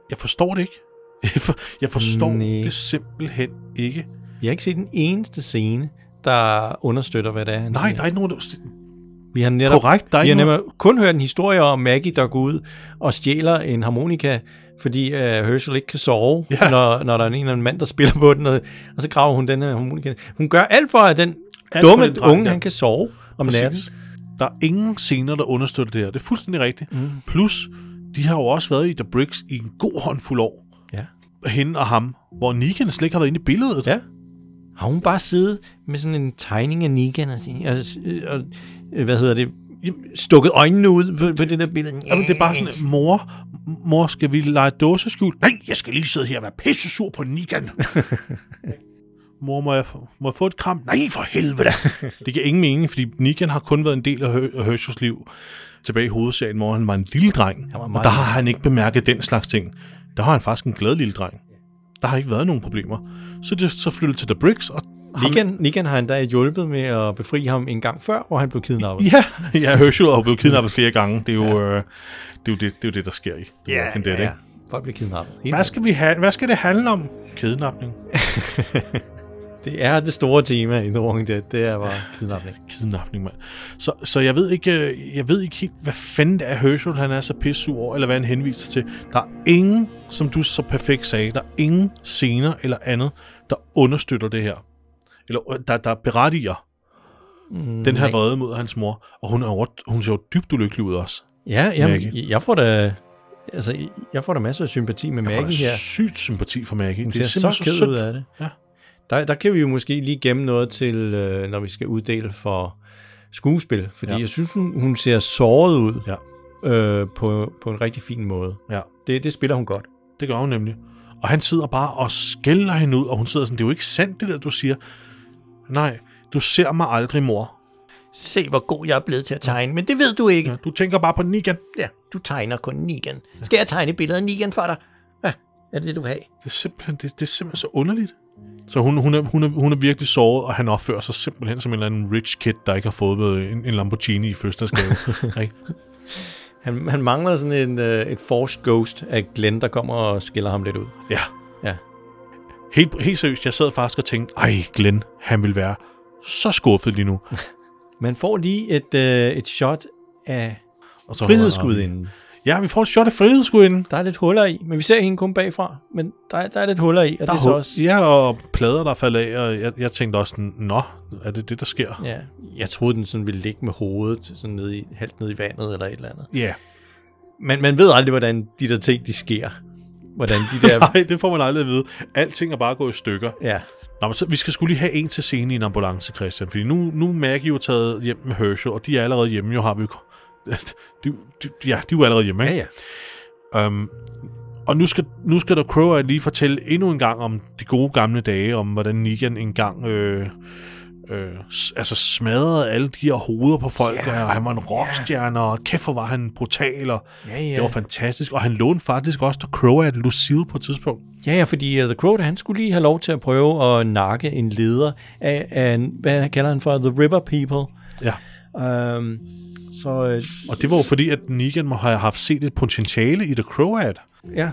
[SPEAKER 1] Jeg forstår det ikke. Jeg for- Jeg forstår
[SPEAKER 2] Næ.
[SPEAKER 1] nee. det simpelthen ikke.
[SPEAKER 2] Jeg har ikke set den eneste scene, der understøtter, hvad det er, han
[SPEAKER 1] Nej,
[SPEAKER 2] siger.
[SPEAKER 1] der er ikke nogen... der-
[SPEAKER 2] Vi har netop,
[SPEAKER 1] Korrekt, der er
[SPEAKER 2] vi har
[SPEAKER 1] ikke noget,
[SPEAKER 2] nemlig kun hørt en historie om Maggie, der går ud og stjæler en harmonika, fordi øh, Herschel ikke kan sove,
[SPEAKER 1] Ja.
[SPEAKER 2] ja. *laughs* når, når der er en eller anden mand, der spiller på den, og, og så graver hun den her harmonika. Hun gør alt for, at den
[SPEAKER 1] Alt
[SPEAKER 2] alt dumme
[SPEAKER 1] for den dreng
[SPEAKER 2] unge,
[SPEAKER 1] der.
[SPEAKER 2] han kan sove om natten.
[SPEAKER 1] Præcis. Der er ingen scener, der understøtter det her. Det er fuldstændig rigtigt. Mm. Plus, de har jo også været i The Bricks i en god håndfuld år.
[SPEAKER 2] Ja.
[SPEAKER 1] Hende og ham. Hvor Negan slet ikke har været inde i billedet.
[SPEAKER 2] Ja. Har hun bare siddet med sådan en tegning af Negan og, sådan- og, og øh, hvad hedder det, stukket øjnene ud på, på det der billede?
[SPEAKER 1] Jamen, det er bare sådan, mor, mor, skal vi lege dåseskjul? Nej, jeg skal lige sidde her og være pisse sur på Negan. mor, må jeg, få- må jeg få et kram? Nej, for helvede da. Det giver ingen mening, fordi Negan har kun været en del af Her- af Herschels liv tilbage i hovedserien, hvor han var en lille dreng.
[SPEAKER 2] var
[SPEAKER 1] Og
[SPEAKER 2] meget
[SPEAKER 1] der har han ikke bemærket den slags ting. Der har han faktisk en glad lille dreng. Der har ikke været nogen problemer. Så det så flyttet til The Bricks, og ham-
[SPEAKER 2] Negan, Negan har endda hjulpet med at befri ham en gang før, hvor han blev
[SPEAKER 1] *laughs*
[SPEAKER 2] kidnappet.
[SPEAKER 1] Ja, ja Herschel er jo blevet kidnappet flere gange. Det er jo, ja. øh, det, er jo det, det er jo det, der sker i The Walking Dead, ikke?
[SPEAKER 2] Folk bliver kidnappet. Helt
[SPEAKER 1] Hvad skal, vi ha- hvad skal det handle om? Kidnapning.
[SPEAKER 2] Det er det store tema i The Walking Dead, det er bare kidnapning.
[SPEAKER 1] Kidnapning, mand. Så, så jeg, ved ikke, øh, jeg ved ikke helt, hvad fanden det er, Herschel han er så pissur over, eller hvad han henviser til. Der er ingen, som du så perfekt sagde, der er ingen scener eller andet, der understøtter det her. Eller øh, der, der berettiger mm, den her
[SPEAKER 2] nej.
[SPEAKER 1] vrede mod hans mor. Og hun, er, jo ret- hun ser jo dybt ulykkelig ud også.
[SPEAKER 2] Ja,
[SPEAKER 1] Maggie.
[SPEAKER 2] jamen, jeg får da... Altså, jeg får da masser af sympati med
[SPEAKER 1] Hun har
[SPEAKER 2] Maggie her.
[SPEAKER 1] sygt sympati for Maggie.
[SPEAKER 2] Hun
[SPEAKER 1] det er
[SPEAKER 2] ser så
[SPEAKER 1] simpelthen
[SPEAKER 2] ked
[SPEAKER 1] sødt.
[SPEAKER 2] ud af det.
[SPEAKER 1] Ja.
[SPEAKER 2] Der, der kan vi jo måske lige gemme noget til, øh, når vi skal uddele for skuespil. Fordi
[SPEAKER 1] Ja.
[SPEAKER 2] ja. jeg synes, hun, hun ser såret ud
[SPEAKER 1] Ja.
[SPEAKER 2] øh, på, på en rigtig fin måde.
[SPEAKER 1] Ja.
[SPEAKER 2] Det, det spiller hun godt.
[SPEAKER 1] Det gør hun nemlig. Og han sidder bare og skælder hende ud, og hun sidder sådan, det er jo ikke sandt det der, du siger. Nej, du ser mig aldrig, mor.
[SPEAKER 2] Se, hvor god jeg er blevet til at tegne, men det ved du ikke.
[SPEAKER 1] Ja, du tænker bare på den igen.
[SPEAKER 2] Ja, du tegner kun Nigan. Skal jeg tegne billedet af Nigan for dig? Ja, er det det, du vil have?
[SPEAKER 1] Det er simpelthen, det, det er simpelthen så underligt. Så hun, hun, er, hun, er, hun er virkelig såret, og han opfører sig simpelthen som en eller anden rich kid, der ikke har fået øh, en, en Lamborghini i fødselsdagsgave.
[SPEAKER 2] *laughs*
[SPEAKER 1] ikke?
[SPEAKER 2] Han, han mangler sådan en, øh, et forced ghost af Glenn, der kommer og skiller ham lidt ud.
[SPEAKER 1] Ja.
[SPEAKER 2] Ja.
[SPEAKER 1] Helt, helt seriøst, jeg sad faktisk og tænkte, ej Glenn, han vil være så skuffet lige nu.
[SPEAKER 2] Man får lige et, øh, et shot af
[SPEAKER 1] Og så
[SPEAKER 2] frihedsgudinden.
[SPEAKER 1] Ja, vi får et shot af frihedsgudinden.
[SPEAKER 2] Der er lidt huller i, men vi ser hende kun bagfra. Men der, er- der er lidt huller i, og
[SPEAKER 1] Der
[SPEAKER 2] det er så også...
[SPEAKER 1] Ja, og plader, der falder af, og jeg, jeg tænkte også, sådan, nå, er det det, der sker?
[SPEAKER 2] Ja, jeg troede, den sådan ville ligge med hovedet sådan nede i, halvt nede i vandet eller et eller andet.
[SPEAKER 1] Ja. Yeah.
[SPEAKER 2] Men man ved aldrig, hvordan de der ting, de sker. Hvordan de *laughs* der...
[SPEAKER 1] *laughs* Nej, det får man aldrig at vide. Alting er bare gået i stykker.
[SPEAKER 2] ja,
[SPEAKER 1] Nå, men så, vi skal skulle lige have en til scene i en ambulance, Christian, fordi nu, nu er Maggie jo taget hjem med Herschel, og de er allerede hjemme, jo har vi jo... *laughs* De, de, ja, de er jo allerede hjemme, ikke?
[SPEAKER 2] ja.
[SPEAKER 1] Um, og nu skal, nu skal der Crow lige fortælle endnu en gang om de gode gamle dage, om hvordan Negan engang øh, øh, s- altså smadrede alle de her hoveder på folk, yeah, og han var en rockstjerne, yeah. og kæft hvor var han brutal, og
[SPEAKER 2] Ja, ja.
[SPEAKER 1] det var fantastisk. Og han lånte faktisk også der Crow at Lucille på et tidspunkt.
[SPEAKER 2] Ja, ja, fordi uh, The Crow, han skulle lige have lov til at prøve at nakke en leder af, af en- hvad kalder han for, The River People.
[SPEAKER 1] Ja.
[SPEAKER 2] Um, så øh,
[SPEAKER 1] Og det var jo fordi, at Negan må have haft set et potentiale i The Crow ad.
[SPEAKER 2] ja,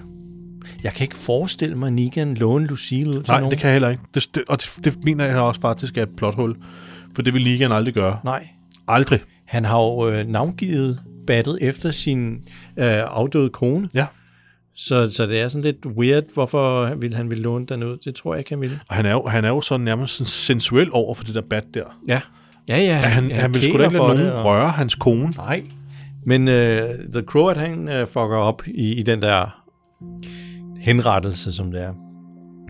[SPEAKER 2] jeg kan ikke forestille mig, at Negan låne Lucille ud til
[SPEAKER 1] Nej,
[SPEAKER 2] nogen.
[SPEAKER 1] det kan jeg heller ikke. Det, det, og det, det mener jeg også faktisk er et plothul, for det vil Negan aldrig gøre.
[SPEAKER 2] Nej,
[SPEAKER 1] Aldrig.
[SPEAKER 2] han har jo øh, navngivet battet efter sin øh, afdøde kone,
[SPEAKER 1] Ja.
[SPEAKER 2] så, så det er sådan lidt weird, hvorfor han ville han ville låne den ud. Det tror jeg ikke, han ville.
[SPEAKER 1] Og han er jo, han er jo så nærmest sådan sensuel over for det der bat der.
[SPEAKER 2] Ja, ja, ja.
[SPEAKER 1] Ja, han, han, han vil sgu da
[SPEAKER 2] kæler
[SPEAKER 1] ikke
[SPEAKER 2] for
[SPEAKER 1] lade nogen
[SPEAKER 2] det, og-
[SPEAKER 1] røre hans kone.
[SPEAKER 2] Nej. Men uh, The Crow, at han uh, fucker op i, i den der henrettelse, som det er.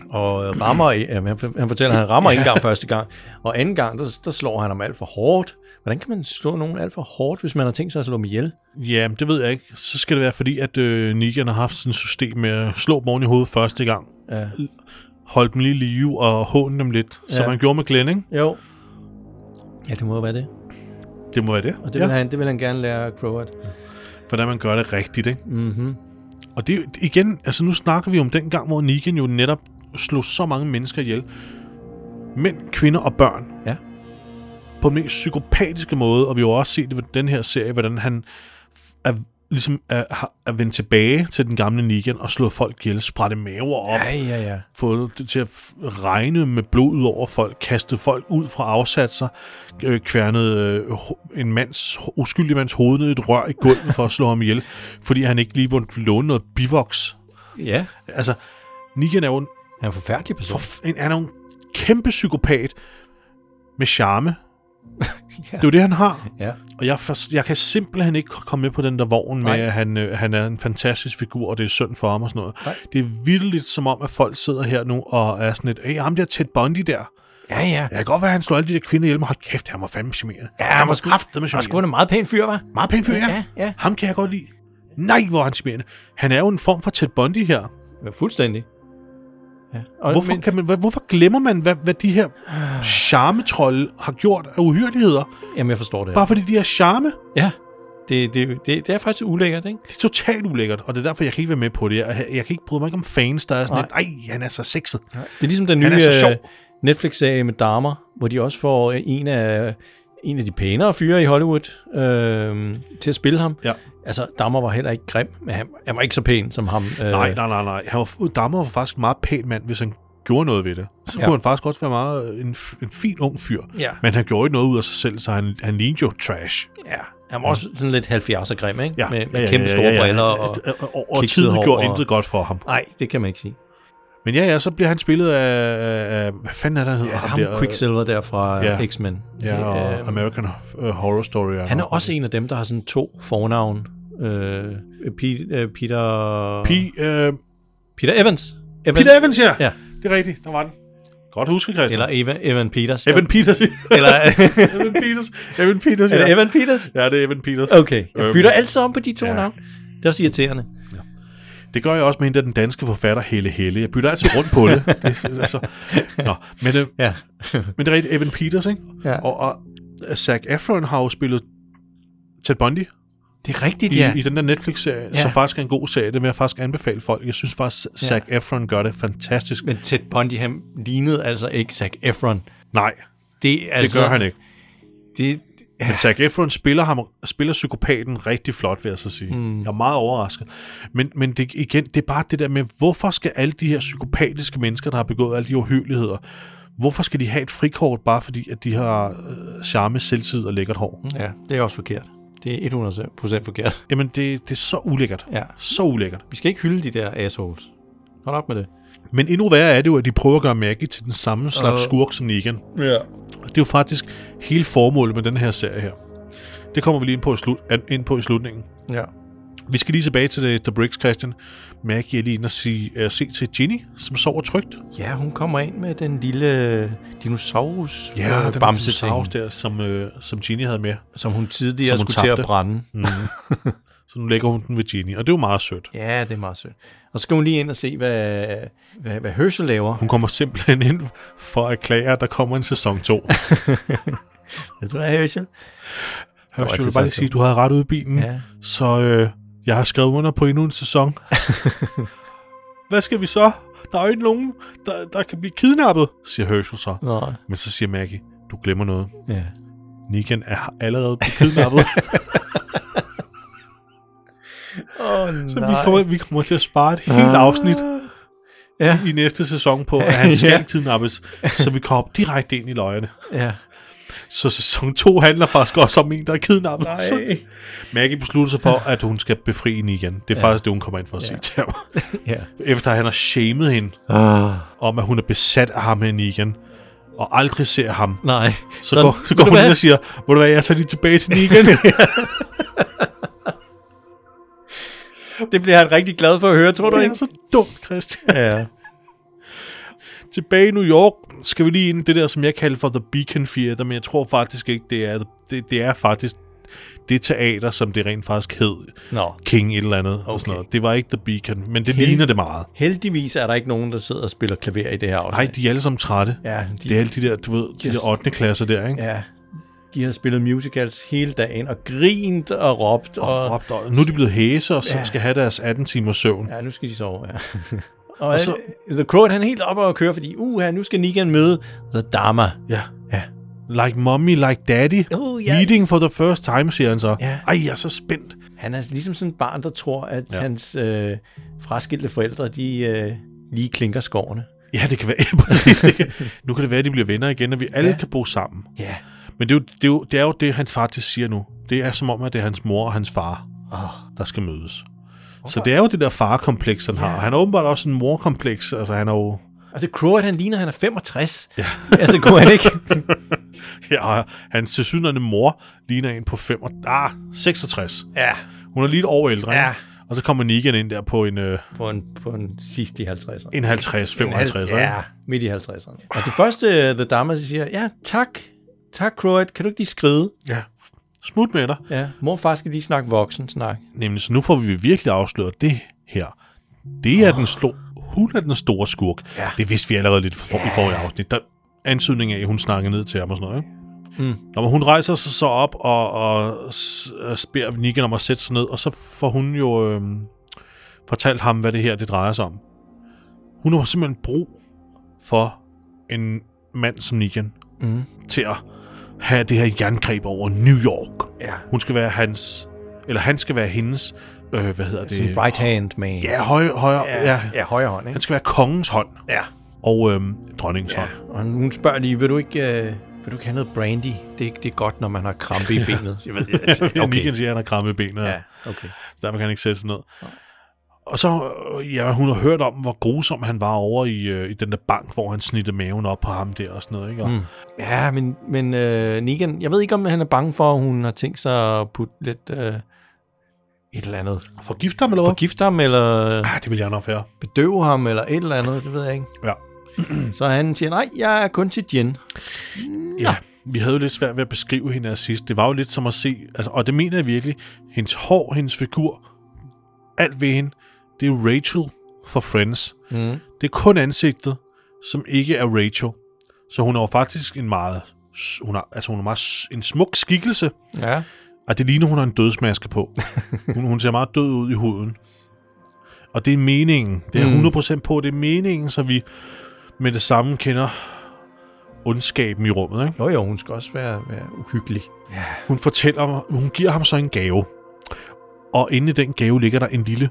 [SPEAKER 2] Og øh, rammer, øh, han, for- han fortæller, at han rammer ikke engang første gang. Og anden gang, der, der slår han ham alt for hårdt. Hvordan kan man slå nogen alt for hårdt, hvis man har tænkt sig at slå dem ihjel?
[SPEAKER 1] Ja, det ved jeg ikke. Så skal det være, fordi at øh, Negan har haft sådan et system med at slå dem oven i hovedet første gang.
[SPEAKER 2] Ja.
[SPEAKER 1] Holde dem lige i live og håne dem lidt, ja. som
[SPEAKER 2] Ja.
[SPEAKER 1] han gjorde med Glenn, ikke?
[SPEAKER 2] Jo. Ja, det må jo være det.
[SPEAKER 1] Det må være det.
[SPEAKER 2] Og det,
[SPEAKER 1] ja.
[SPEAKER 2] vil, han, det vil han gerne lære Crow at.
[SPEAKER 1] Hvordan man gør det rigtigt, ikke?
[SPEAKER 2] Mm-hmm.
[SPEAKER 1] Og det er jo- igen, altså nu snakker vi om den gang, hvor Negan jo netop slog så mange mennesker ihjel. Mænd, kvinder og børn.
[SPEAKER 2] Ja.
[SPEAKER 1] På den mest psykopatiske måde, og vi har jo også set det ved den her serie, hvordan han er ligesom er, har- er vendt tilbage til den gamle Negan og slået folk ihjel, sprætte maver op,
[SPEAKER 2] Ja, ja, ja.
[SPEAKER 1] fået det til at f- regne med blod ud over folk, kastet folk ud fra afsatser, øh, kværnet øh, ho- en mands, uskyldig mands hoved ned i et rør i gulvet for at slå ham ihjel, *laughs* fordi han ikke lige måtte låne noget bivoks.
[SPEAKER 2] Ja,
[SPEAKER 1] Altså, Negan er jo en,
[SPEAKER 2] han er en forfærdelig person.
[SPEAKER 1] forf- en, han er jo en kæmpe psykopat med charme. Det er jo det, han har.
[SPEAKER 2] Ja.
[SPEAKER 1] Og jeg, for, jeg kan simpelthen ikke komme med på den der vogn med,
[SPEAKER 2] Nej.
[SPEAKER 1] at han, øh, han er en fantastisk figur, og det er synd for ham og sådan noget.
[SPEAKER 2] Nej.
[SPEAKER 1] Det er vildt som om, at folk sidder her nu og er sådan lidt, hey, ham der Ted Bundy der,
[SPEAKER 2] Ja, ja.
[SPEAKER 1] jeg kan godt være, at han slår alle de der kvinder ihjel, men hold kæft, han var fandme charmerende.
[SPEAKER 2] Ja,
[SPEAKER 1] han var
[SPEAKER 2] måske-
[SPEAKER 1] kraftet med
[SPEAKER 2] Og sgu
[SPEAKER 1] charmerende.
[SPEAKER 2] en meget pæn fyr, var.
[SPEAKER 1] Meget pæn fyr, ja.
[SPEAKER 2] Ja, ja.
[SPEAKER 1] Ham kan jeg godt lide. Nej, hvor er han charmerende. Han er jo en form for Ted Bundy her.
[SPEAKER 2] Ja, fuldstændig. Ja. Og,
[SPEAKER 1] Hvorfor,
[SPEAKER 2] men,
[SPEAKER 1] kan man, hva- hvorfor glemmer man, hvad, hvad de her charmetrolde har gjort af uhyreligheder?
[SPEAKER 2] jamen, jeg forstår det.
[SPEAKER 1] Bare fordi de er charme?
[SPEAKER 2] Ja, det, det, det, det er faktisk ulækkert, ikke?
[SPEAKER 1] Det er totalt ulækkert, og det er derfor, jeg kan ikke være med på det. Jeg, jeg kan ikke bryde mig ikke om fans, der er sådan lidt, ej, han er så sexet.
[SPEAKER 2] Det er ligesom den nye
[SPEAKER 1] Han er så sjov.
[SPEAKER 2] øh, Netflix-serie med damer, hvor de også får øh, en af, en af de pænere fyre i Hollywood øh, til at spille ham.
[SPEAKER 1] Ja.
[SPEAKER 2] Altså, damer var heller ikke grim, men han, han var ikke så pæn som ham. Øh,
[SPEAKER 1] Nej, nej, nej, nej. Han var, Dammer var faktisk en meget pæn mand, hvis han gjorde noget ved det. Så
[SPEAKER 2] Ja.
[SPEAKER 1] kunne han faktisk også være meget øh, en, f- en fin ung fyr.
[SPEAKER 2] Ja.
[SPEAKER 1] Men han gjorde ikke noget ud af sig selv, så han, han lignede jo trash.
[SPEAKER 2] Ja, han var også sådan lidt 70'er grim, ikke?
[SPEAKER 1] Ja. Altså,
[SPEAKER 2] Med, med kæmpe store briller og...
[SPEAKER 1] øh, og, og, og
[SPEAKER 2] kiksede
[SPEAKER 1] tiden
[SPEAKER 2] hår
[SPEAKER 1] gjorde
[SPEAKER 2] og-
[SPEAKER 1] intet godt for ham.
[SPEAKER 2] Nej, det kan man ikke sige.
[SPEAKER 1] Men ja, ja, så bliver han spillet af... af hvad fanden er det, han hedder?
[SPEAKER 2] Ja,
[SPEAKER 1] Ham
[SPEAKER 2] ham
[SPEAKER 1] der, øh,
[SPEAKER 2] Quicksilver der fra
[SPEAKER 1] ja.
[SPEAKER 2] ja. X-Men.
[SPEAKER 1] Ja, og
[SPEAKER 2] Øh,
[SPEAKER 1] American øh, Horror Story.
[SPEAKER 2] han er også en af dem, der har sådan to fornavn. Øh, Pe- øh, Peter...
[SPEAKER 1] P, øh,
[SPEAKER 2] Peter Evans. Evan,
[SPEAKER 1] Peter Evans, ja.
[SPEAKER 2] Ja.
[SPEAKER 1] Det er rigtigt, der var den. Godt husket, Christian.
[SPEAKER 2] Eller Eva, Evan Peters.
[SPEAKER 1] Evan Peters.
[SPEAKER 2] Eller,
[SPEAKER 1] *laughs* Evan Peters. Evan Peters,
[SPEAKER 2] er det
[SPEAKER 1] ja.
[SPEAKER 2] Evan Peters?
[SPEAKER 1] Ja, det er Evan Peters.
[SPEAKER 2] Okay, jeg
[SPEAKER 1] Øhm,
[SPEAKER 2] bytter altid om på de to
[SPEAKER 1] ja.
[SPEAKER 2] ja. navne. Det er også irriterende.
[SPEAKER 1] Det gør jeg også med hende, der den danske forfatter Helle Helle. Jeg bytter altid rundt på
[SPEAKER 2] *laughs*
[SPEAKER 1] det. det er altså, nå, men, øh,
[SPEAKER 2] Ja.
[SPEAKER 1] men det er rigtigt, Evan Peters, ikke?
[SPEAKER 2] ja.
[SPEAKER 1] Og, og Zac Efron har jo spillet Ted Bundy
[SPEAKER 2] Det er rigtigt,
[SPEAKER 1] i,
[SPEAKER 2] ja.
[SPEAKER 1] i den der Netflix-serie,
[SPEAKER 2] Ja.
[SPEAKER 1] som faktisk er en god serie. Det vil jeg faktisk anbefale folk. Jeg synes faktisk, Zac Efron gør det fantastisk.
[SPEAKER 2] Men Ted Bundy, han lignede altså ikke Zac Efron.
[SPEAKER 1] Nej, det
[SPEAKER 2] Det, er altså,
[SPEAKER 1] gør han ikke.
[SPEAKER 2] Det,
[SPEAKER 1] Men Zac Efron spiller, ham, spiller psykopaten rigtig flot, vil jeg så sige. Mm. Jeg er meget overrasket. Men, men det, igen, det er bare det der med, hvorfor skal alle de her psykopatiske mennesker, der har begået alle de uhyggeligheder, hvorfor skal de have et frikort, bare fordi, at de har øh, charme, selvtid og lækkert hår? Mm.
[SPEAKER 2] ja, det er også forkert. Det er 100% forkert.
[SPEAKER 1] Jamen, det, det er så ulækkert.
[SPEAKER 2] Ja.
[SPEAKER 1] Så ulækkert.
[SPEAKER 2] Vi skal ikke hylde de der assholes. Hold op med det.
[SPEAKER 1] Men endnu værre er det jo, at de prøver at gøre Maggie til den samme slags
[SPEAKER 2] Øh.
[SPEAKER 1] skurk som Negan.
[SPEAKER 2] Ja.
[SPEAKER 1] Og det er jo faktisk hele formålet med den her serie her. Det kommer vi lige ind på i, slut, an- ind på i slutningen.
[SPEAKER 2] Ja.
[SPEAKER 1] Vi skal lige tilbage til det, The Bricks, Christian. Maggie er lige inde og sige, uh, se til Ginny, som sover trygt.
[SPEAKER 2] Ja, hun kommer ind med den lille dinosaurus øh,
[SPEAKER 1] den
[SPEAKER 2] bamse
[SPEAKER 1] saus der, som, uh, som Ginny havde med.
[SPEAKER 2] som hun tidligere
[SPEAKER 1] Som hun
[SPEAKER 2] skulle til
[SPEAKER 1] tabte.
[SPEAKER 2] at brænde. Mm.
[SPEAKER 1] Så nu lægger hun den ved Ginny, og det er jo meget sødt.
[SPEAKER 2] Ja, det er meget sødt. Og så skal hun lige ind og se, hvad, hvad, hvad Herschel laver.
[SPEAKER 1] Hun kommer simpelthen *laughs* ind for at erklære, at der kommer en sæson
[SPEAKER 2] *laughs*
[SPEAKER 1] 2.
[SPEAKER 2] Ved du, hvad Herschel?
[SPEAKER 1] Jeg
[SPEAKER 2] var
[SPEAKER 1] vil bare
[SPEAKER 2] sæson
[SPEAKER 1] lige
[SPEAKER 2] to.
[SPEAKER 1] sige, du havde ret ude i bilen,
[SPEAKER 2] Ja.
[SPEAKER 1] så øh, jeg har skrevet under på endnu en *laughs* sæson. Hvad skal vi så? Der er jo ikke nogen, der, der kan blive kidnappet, siger Herschel så.
[SPEAKER 2] Nå,
[SPEAKER 1] Men så siger Maggie, du glemmer noget.
[SPEAKER 2] ja.
[SPEAKER 1] Negan er allerede blevet *laughs* kidnappet.
[SPEAKER 2] Åh, oh,
[SPEAKER 1] Så vi kommer, vi kommer til at spare et helt afsnit
[SPEAKER 2] Ja,
[SPEAKER 1] i næste sæson på, at *laughs* han skal
[SPEAKER 2] Ja.
[SPEAKER 1] kidnappes, så vi kommer direkte ind i løjerne.
[SPEAKER 2] ja.
[SPEAKER 1] Så sæson 2 handler faktisk også om en, der er kidnappet. Så Maggie beslutter sig for, at hun skal befri hende igen. Det er ja. faktisk det, hun kommer ind for at ja. se til ham.
[SPEAKER 2] ja.
[SPEAKER 1] Efter han har shamed hende
[SPEAKER 2] Ah.
[SPEAKER 1] om, at hun er besat af ham hende igen, og aldrig ser ham.
[SPEAKER 2] Nej.
[SPEAKER 1] Så, går, så går hun ind og siger, hvor du hvad, jeg tager lige tilbage til
[SPEAKER 2] *laughs*
[SPEAKER 1] Negan.
[SPEAKER 2] Det bliver han rigtig glad for at høre, tror du
[SPEAKER 1] det er
[SPEAKER 2] ikke?
[SPEAKER 1] så dumt, Christian.
[SPEAKER 2] Ja.
[SPEAKER 1] Tilbage i New York skal vi lige ind i det der, som jeg kalder for The Beacon Theater, men jeg tror faktisk ikke, det er det, det er faktisk det teater, som det rent faktisk hed.
[SPEAKER 2] Nå.
[SPEAKER 1] King et eller andet. Okay. Og
[SPEAKER 2] Okay.
[SPEAKER 1] sådan noget. Det var ikke The Beacon, men det
[SPEAKER 2] Helt-
[SPEAKER 1] ligner det meget.
[SPEAKER 2] Heldigvis er der ikke nogen, der sidder og spiller klaver i det her afsnit.
[SPEAKER 1] Nej, de er alle sammen trætte.
[SPEAKER 2] Ja, de,
[SPEAKER 1] Det er alle de der, du ved, de
[SPEAKER 2] Yes.
[SPEAKER 1] der 8. klasser der, ikke?
[SPEAKER 2] ja, de har spillet musicals hele dagen og grint og råbt. Og,
[SPEAKER 1] Og, råbt, og nu er de blevet hæse, og så
[SPEAKER 2] Ja.
[SPEAKER 1] skal have deres 18 timers søvn.
[SPEAKER 2] Ja, nu skal de sove, ja. *laughs* og, og
[SPEAKER 1] så-
[SPEAKER 2] uh, så, The Crow, han er helt oppe og køre, fordi uha, nu skal Negan møde The Dharma.
[SPEAKER 1] Ja.
[SPEAKER 2] Ja.
[SPEAKER 1] Like mommy, like daddy.
[SPEAKER 2] Oh, ja.
[SPEAKER 1] Meeting for the first time, siger han så.
[SPEAKER 2] Ja.
[SPEAKER 1] Ej, jeg er så spændt.
[SPEAKER 2] Han er ligesom sådan et barn, der tror, at
[SPEAKER 1] Ja.
[SPEAKER 2] ja. hans øh, fraskilte forældre, de øh, lige klinker skovene.
[SPEAKER 1] Ja, det kan være. *laughs* Ja, præcis. Det kan. Nu kan det være, at de bliver venner igen, og vi alle ja.
[SPEAKER 2] Ja.
[SPEAKER 1] kan bo sammen.
[SPEAKER 2] Ja.
[SPEAKER 1] Men det er, jo, det, er jo, det er jo det, hans far til siger nu. Det er som om, at det er hans mor og hans far,
[SPEAKER 2] Oh.
[SPEAKER 1] der skal mødes. Så det er jo det der farkompleks, han har. Han har åbenbart også en morkompleks. Altså, han er jo...
[SPEAKER 2] Og det Crow, at han ligner, at han er 65.
[SPEAKER 1] Ja.
[SPEAKER 2] *laughs* altså, kunne han ikke?
[SPEAKER 1] *laughs* Ja, og hans tilsyneladende mor ligner en på 5, ah, 66.
[SPEAKER 2] ja,
[SPEAKER 1] Hun er lige et år ældre. ikke?
[SPEAKER 2] Ja.
[SPEAKER 1] Og så kommer Negan ind der på en, øh,
[SPEAKER 2] på en, på en sidst i 50'erne.
[SPEAKER 1] en 50-55.
[SPEAKER 2] Ja, midt i 50'erne. Og det første, øh, The Dharma siger, ja, tak, tak Croat, kan du ikke lige skride?
[SPEAKER 1] ja. Smut med dig.
[SPEAKER 2] Ja, mor og far skal lige snakke voksen snak.
[SPEAKER 1] Nemlig, så nu får vi virkelig afsløret det her. Det er den slo- hun er den store skurk.
[SPEAKER 2] Ja.
[SPEAKER 1] Det vidste vi allerede lidt for, i forrige afsnit. Der antydning af, at hun snakkede ned til ham og sådan noget. Ikke?
[SPEAKER 2] Mm.
[SPEAKER 1] Når hun rejser sig så op og, og s- og spærer Negan om at sætte sig ned, og så får hun jo øh, fortalt ham, hvad det her det drejer sig om. Hun har simpelthen brug for en mand som Negan
[SPEAKER 2] Mm.
[SPEAKER 1] til at have det her jerngreb over New York.
[SPEAKER 2] Ja.
[SPEAKER 1] Hun skal være hans, eller han skal være hendes, øh, hvad hedder
[SPEAKER 2] Sådan
[SPEAKER 1] det?
[SPEAKER 2] right hand man.
[SPEAKER 1] Ja, høj, højre, ja, ja.
[SPEAKER 2] ja højre hånd, ikke?
[SPEAKER 1] Han skal være kongens hånd
[SPEAKER 2] Ja.
[SPEAKER 1] og øh, dronningens ja.
[SPEAKER 2] ja.
[SPEAKER 1] hånd.
[SPEAKER 2] Og hun spørger lige, vil du ikke, øh, vil du ikke have noget brandy? Det, er- det er godt, når man har krampe *laughs* i benet. Jeg ved,
[SPEAKER 1] Okay. *laughs* Negan siger, at han har krammet benet, ja.
[SPEAKER 2] Ja, okay.
[SPEAKER 1] så derfor kan han ikke sætte sig ned. Og så, øh, ja, hun har hørt om, hvor grusom han var over i, øh, i den der bank, hvor han snittede maven op på ham der og sådan noget, ikke? Og, mm.
[SPEAKER 2] Ja, men, men øh, Negan, jeg ved ikke, om han er bange for, at hun har tænkt sig at putte lidt øh, et eller andet.
[SPEAKER 1] Forgifte ham, eller hvad?
[SPEAKER 2] Forgifte ham, eller
[SPEAKER 1] Ah, det vil jeg nok være.
[SPEAKER 2] bedøve ham, eller et eller andet, det ved jeg ikke.
[SPEAKER 1] Ja.
[SPEAKER 2] *clears throat* Så han siger, nej, jeg er kun til gin.
[SPEAKER 1] Ja. Vi havde jo lidt svært ved at beskrive hende her sidst. Det var jo lidt som at se, altså, og det mener jeg virkelig, hendes hår, hendes figur, alt ved hende, det er Rachel fra Friends.
[SPEAKER 2] Mm.
[SPEAKER 1] Det er kun ansigtet, som ikke er Rachel. Så hun er jo faktisk en meget, s- hun er, altså hun er meget, s- en smuk skikkelse,
[SPEAKER 2] Ja.
[SPEAKER 1] og det ligner, hun har en dødsmaske på. Hun, hun ser meget død ud i huden. Og det er meningen. Det er
[SPEAKER 2] Mm.
[SPEAKER 1] jeg 100% på. Det er meningen, så vi med det samme kender ondskaben i rummet. Ikke?
[SPEAKER 2] Jo, jo, hun skal også være, være uhyggelig.
[SPEAKER 1] Hun fortæller, mig- hun giver ham så en gave. Og inde i den gave ligger der en lille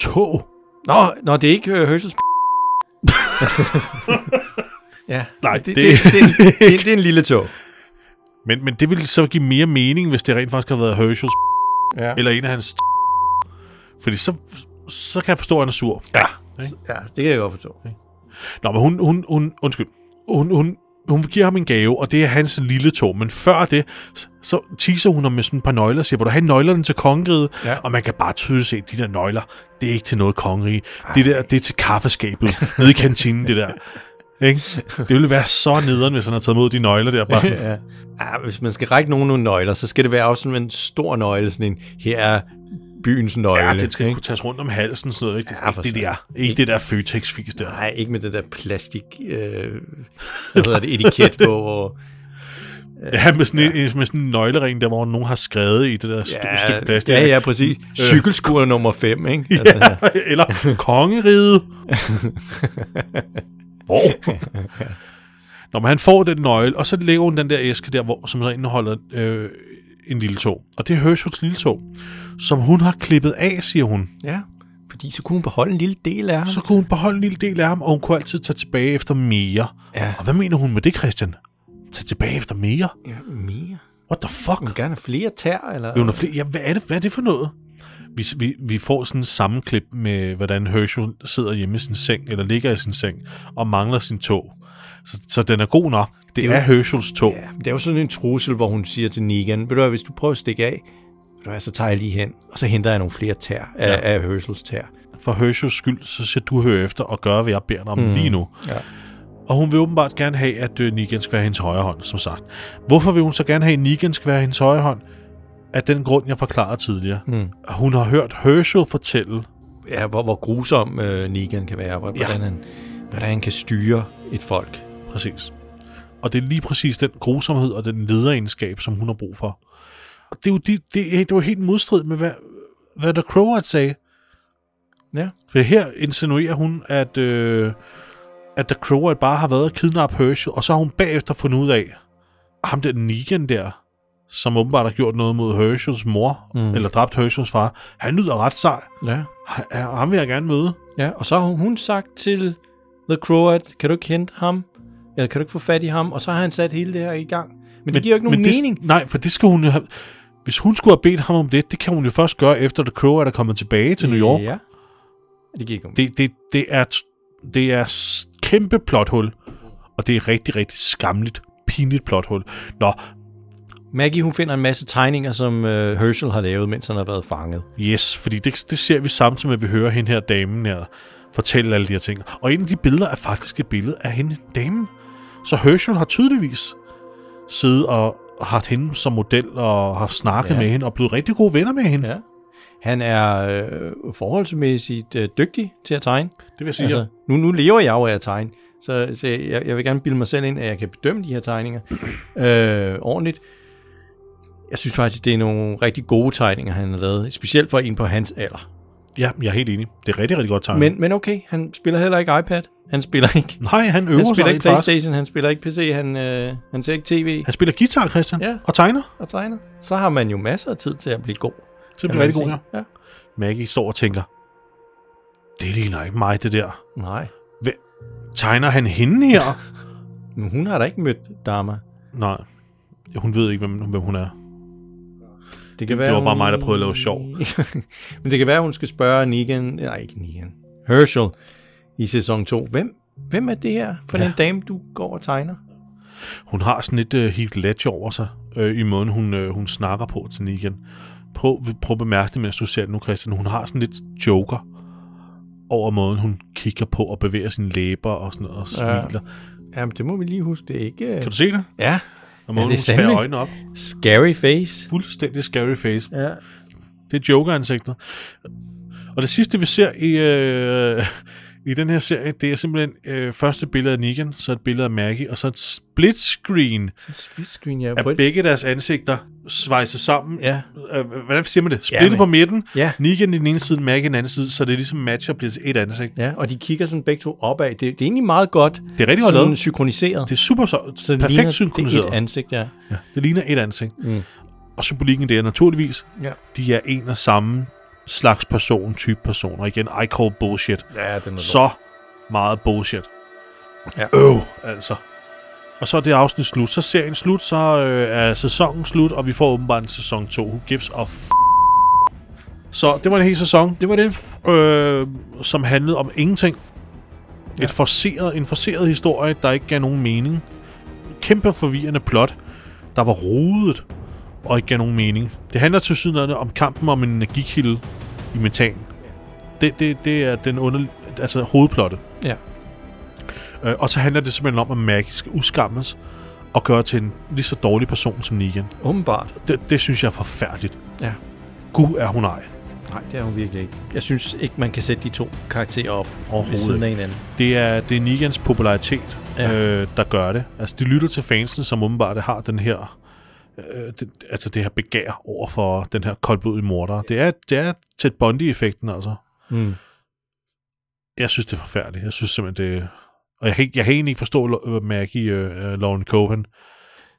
[SPEAKER 1] tog.
[SPEAKER 2] Nå, nå det er ikke øh, Herschels Ja,
[SPEAKER 1] *laughs* Nej,
[SPEAKER 2] det, det,
[SPEAKER 1] det-
[SPEAKER 2] det, det, det, det er en lille tog.
[SPEAKER 1] Men, men det ville så give mere mening, hvis det rent faktisk havde været Herschels
[SPEAKER 2] Ja.
[SPEAKER 1] eller en af hans Fordi så, så kan jeg forstå, at han er sur.
[SPEAKER 2] Ja.
[SPEAKER 1] Ikke?
[SPEAKER 2] ja, det kan jeg godt forstå.
[SPEAKER 1] Nå, men hun, hun, hun undskyld, hun, hun, hun giver ham en gave, og det er hans lille tog. Men før det, så- så teaser hun ham med sådan et par nøgler og siger, hvor du har nøglerne til kongeriget,
[SPEAKER 2] Ja.
[SPEAKER 1] og man kan bare tydeligt se, at de der nøgler, det er ikke til noget kongerige. Det der, det er til kaffeskabet nede i kantinen, det der. Ikke? Det ville være så nederen, hvis han havde taget mod de nøgler der. Bare. sådan,
[SPEAKER 2] *laughs* Ja. ja, hvis man skal række nogen nogle nøgler, så skal det være også sådan en stor nøgle, sådan en, her er byens nøgle.
[SPEAKER 1] Ja, det skal
[SPEAKER 2] ikke?
[SPEAKER 1] kunne tages rundt om halsen, sådan noget. Ikke? Det,
[SPEAKER 2] Ja,
[SPEAKER 1] ikke
[SPEAKER 2] for
[SPEAKER 1] det
[SPEAKER 2] søren.
[SPEAKER 1] der, ikke det der Føtex-fis der.
[SPEAKER 2] Nej, ikke med det der plastik, øh, hvad hedder det, etiket
[SPEAKER 1] *laughs*
[SPEAKER 2] på, hvor...
[SPEAKER 1] Ja, med sådan, ja. En, med sådan en nøglering, der hvor nogen har skrevet i det der st- ja, stykke plastik. Øh.
[SPEAKER 2] ja, ja, præcis. Cykelskur nummer 5, ikke? Altså,
[SPEAKER 1] *laughs* ja. Eller kongeriget. hvor? Når man han får den nøgle, og så lægger hun den der æske der, hvor, som så indeholder øh, en lille tog. Og det er Herschels lille tog, som hun har klippet af, siger hun.
[SPEAKER 2] ja, fordi så kunne hun beholde en lille del af ham.
[SPEAKER 1] Så kunne hun beholde en lille del af ham, og hun kunne altid tage tilbage efter mere.
[SPEAKER 2] Ja.
[SPEAKER 1] Og hvad mener hun med det, Christian? Tage tilbage efter mere?
[SPEAKER 2] Ja, mere.
[SPEAKER 1] What the fuck?
[SPEAKER 2] Hun vil gerne have flere tær, eller?
[SPEAKER 1] Vil hun have flere? Ja, hvad er det, hvad er det for noget? Vi, vi, vi får sådan en sammenklip med, hvordan Herschel sidder hjemme i sin seng, eller ligger i sin seng, og mangler sin tog. Så, så den er god nok. Det, det
[SPEAKER 2] er
[SPEAKER 1] er
[SPEAKER 2] jo-
[SPEAKER 1] Herschels tog.
[SPEAKER 2] Ja, men det er jo sådan en trussel, hvor hun siger til Negan, ved du hvad, hvis du prøver at stikke af, ved du hvad, så tager jeg lige hen, og så henter jeg nogle flere tær af, ja. af Herschels tær.
[SPEAKER 1] For Herschels skyld, så skal du høre efter og gøre, hvad jeg beder dig om mm. lige nu.
[SPEAKER 2] Ja.
[SPEAKER 1] Og hun vil åbenbart gerne have, at øh, Negan skal være hendes højre hånd, som sagt. Hvorfor vil hun så gerne have, at Negan skal være hendes højre hånd? Af den grund, jeg forklarede tidligere. Mm. Hun har hørt Herschel fortælle,
[SPEAKER 2] ja hvor, hvor grusom øh, Negan kan være, hvor, ja. hvordan, han, hvordan han kan styre et folk.
[SPEAKER 1] Præcis. Og det er lige præcis den grusomhed og den lederegenskab, som hun har brug for. Og det er jo, de, det, er- det var helt modstrid med, hvad, hvad The Croward sagde.
[SPEAKER 2] Ja.
[SPEAKER 1] For her insinuerer hun, at, øh, at The Croward bare har været at kidnappe Herschel, og så har hun bagefter fundet ud af, ham der Negan der, som åbenbart har gjort noget mod Herschels mor, mm. eller dræbt Herschels far, han lyder ret sej.
[SPEAKER 2] Ja.
[SPEAKER 1] Ha- ha- Ham vil jeg gerne møde.
[SPEAKER 2] ja. Og så har hun sagt til The Crow, at kan du ikke hente ham? Eller kan du ikke få fat i ham? Og så har han sat hele det her i gang. Men, men det giver jo ikke nogen
[SPEAKER 1] men
[SPEAKER 2] mening.
[SPEAKER 1] Det, nej, for det skal hun jo have... Hvis hun skulle have bedt ham om det, det kan hun jo først gøre, efter The Crow er der kommet tilbage til New York.
[SPEAKER 2] Ja. Det giver ikke nogen
[SPEAKER 1] Det, det, det er, t- det er s- kæmpe plothul, og det er rigtig, rigtig skamligt, pinligt plothul. Nå,
[SPEAKER 2] Maggie, hun finder en masse tegninger, som øh, Herschel har lavet, mens han har været fanget.
[SPEAKER 1] yes, fordi det, det ser vi samtidig med, at vi hører hende her damen her fortælle alle de her ting. Og en af de billeder er faktisk et billede af hende damen. Så Herschel har tydeligvis siddet og haft hende som model og har snakket
[SPEAKER 2] Ja.
[SPEAKER 1] ja. med hende og blevet rigtig gode venner med hende. Ja.
[SPEAKER 2] Ja. Han er øh, forholdsmæssigt øh, dygtig til at tegne.
[SPEAKER 1] Det vil sige,
[SPEAKER 2] Altså,
[SPEAKER 1] altså,
[SPEAKER 2] nu, nu lever jeg jo af at tegne, så, så jeg, jeg vil gerne bilde mig selv ind, at jeg kan bedømme de her
[SPEAKER 1] *clears throat*
[SPEAKER 2] tegninger øh, ordentligt. Jeg synes faktisk, det er nogle rigtig gode tegninger, han har lavet, specielt for en på hans alder.
[SPEAKER 1] ja, jeg er helt enig. Det er rigtig, rigtig godt tegnet.
[SPEAKER 2] Men, men okay, han spiller heller ikke iPad, han spiller ikke,
[SPEAKER 1] Nej, han øver
[SPEAKER 2] han spiller
[SPEAKER 1] sig
[SPEAKER 2] ikke
[SPEAKER 1] rent faktisk.
[SPEAKER 2] Playstation, han spiller ikke PC, han, øh, han ser ikke tv
[SPEAKER 1] Han spiller guitar, Christian,
[SPEAKER 2] Ja.
[SPEAKER 1] ja. og tegner.
[SPEAKER 2] og tegner. Så har man jo masser af tid til at blive god.
[SPEAKER 1] Så
[SPEAKER 2] kan
[SPEAKER 1] bliver
[SPEAKER 2] man
[SPEAKER 1] rigtig god, ja.
[SPEAKER 2] sige. ja.
[SPEAKER 1] Maggie står og tænker, det ligner ikke mig, det der.
[SPEAKER 2] Nej,
[SPEAKER 1] Tegner han hende
[SPEAKER 2] *laughs*
[SPEAKER 1] her?
[SPEAKER 2] men hun har da ikke mødt Dharma.
[SPEAKER 1] Nej, hun ved ikke, hvem, hvem hun er.
[SPEAKER 2] Det,
[SPEAKER 1] Det var bare mig, der prøvede at lave sjov.
[SPEAKER 2] *laughs* Men det kan være, hun skal spørge Negan, nej ikke Negan, Herschel i sæson 2. Hvem, hvem er det her for ja.
[SPEAKER 1] Ja.
[SPEAKER 2] den dame, du går og tegner?
[SPEAKER 1] Hun har sådan et uh, helt let over sig øh, i måden, hun, øh, hun snakker på til Negan. Prøv, prøv at bemærke det, mens du ser det nu, Christian. Hun har sådan lidt joker over måden, hun kigger på og bevæger sine læber og sådan noget og
[SPEAKER 2] Ja.
[SPEAKER 1] smiler.
[SPEAKER 2] Jamen, det må vi lige huske, det er ikke...
[SPEAKER 1] Kan du se det?
[SPEAKER 2] Ja,
[SPEAKER 1] Og
[SPEAKER 2] det
[SPEAKER 1] måden,
[SPEAKER 2] er
[SPEAKER 1] ja, hun spærer
[SPEAKER 2] sandelig.
[SPEAKER 1] øjnene op.
[SPEAKER 2] scary face.
[SPEAKER 1] Fuldstændig scary face.
[SPEAKER 2] Ja.
[SPEAKER 1] Det er Joker-ansigtet. Og det sidste, vi ser i, øh, i den her serie, det er simpelthen øh, første billede af Negan, så et billede af Maggie, og så et split screen
[SPEAKER 2] Split screen, ja.
[SPEAKER 1] af
[SPEAKER 2] På et,
[SPEAKER 1] begge deres ansigter svejset sammen.
[SPEAKER 2] ja.
[SPEAKER 1] Øh, hvordan siger man det?
[SPEAKER 2] Ja,
[SPEAKER 1] Splittet
[SPEAKER 2] men-
[SPEAKER 1] på midten.
[SPEAKER 2] Ja.
[SPEAKER 1] Negan i den ene side, Maggie i den anden side, så det ligesom matcher bliver til et ansigt.
[SPEAKER 2] ja, og de kigger sådan begge to opad. Det, det er egentlig meget godt
[SPEAKER 1] Det er rigtig godt
[SPEAKER 2] sådan
[SPEAKER 1] lavet.
[SPEAKER 2] synkroniseret.
[SPEAKER 1] Det er super så,
[SPEAKER 2] Så det ligner-
[SPEAKER 1] perfekt synkroniseret.
[SPEAKER 2] Det er et ansigt, ja.
[SPEAKER 1] ja, det ligner et ansigt.
[SPEAKER 2] Mm.
[SPEAKER 1] Og symbolikken det er naturligvis,
[SPEAKER 2] Ja,
[SPEAKER 1] de er en og samme slags person, type person. Og igen, I call bullshit.
[SPEAKER 2] ja det er noget
[SPEAKER 1] så meget bullshit.
[SPEAKER 2] Ja.
[SPEAKER 1] Øv, altså. Og så er det afsnit slut, så er serien slut, så øh, er sæsonen slut, og vi får åbenbart en sæson 2. Who gives a f- Så det var en hel sæson,
[SPEAKER 2] Det var det.
[SPEAKER 1] øh, som handlede om ingenting. Et forceret, en forceret historie, der ikke gav nogen mening. Kæmpe forvirrende plot, der var rodet og ikke gav nogen mening. Det handler til siden om kampen om en energikilde i metan. Det, det, det er den under, altså hovedplottet.
[SPEAKER 2] Ja.
[SPEAKER 1] Øh, og så handler det simpelthen om, at Maggie skal udskammes og gøre til en lige så dårlig person som Negan.
[SPEAKER 2] Åbenbart.
[SPEAKER 1] Det, det synes jeg er forfærdeligt.
[SPEAKER 2] Ja.
[SPEAKER 1] Gud er hun ej.
[SPEAKER 2] Nej, det er hun virkelig ikke. Jeg synes ikke, man kan sætte de to karakterer op ved
[SPEAKER 1] Overhovedet
[SPEAKER 2] siden af hinanden.
[SPEAKER 1] Det er, det er Negans popularitet,
[SPEAKER 2] Ja.
[SPEAKER 1] ja. øh, der gør det. Altså, de lytter til fansene, som åbenbart har den her... Øh, det, altså det her begær over for den her koldblodige morder. Det er, det er tæt Bondi-effekten, altså.
[SPEAKER 2] Mm.
[SPEAKER 1] Jeg synes, det er forfærdeligt. Jeg synes simpelthen, det... Og jeg, kan ikke- jeg kan egentlig ikke forstå, Lo- øh, Maggie øh, øh, Lauren Cohen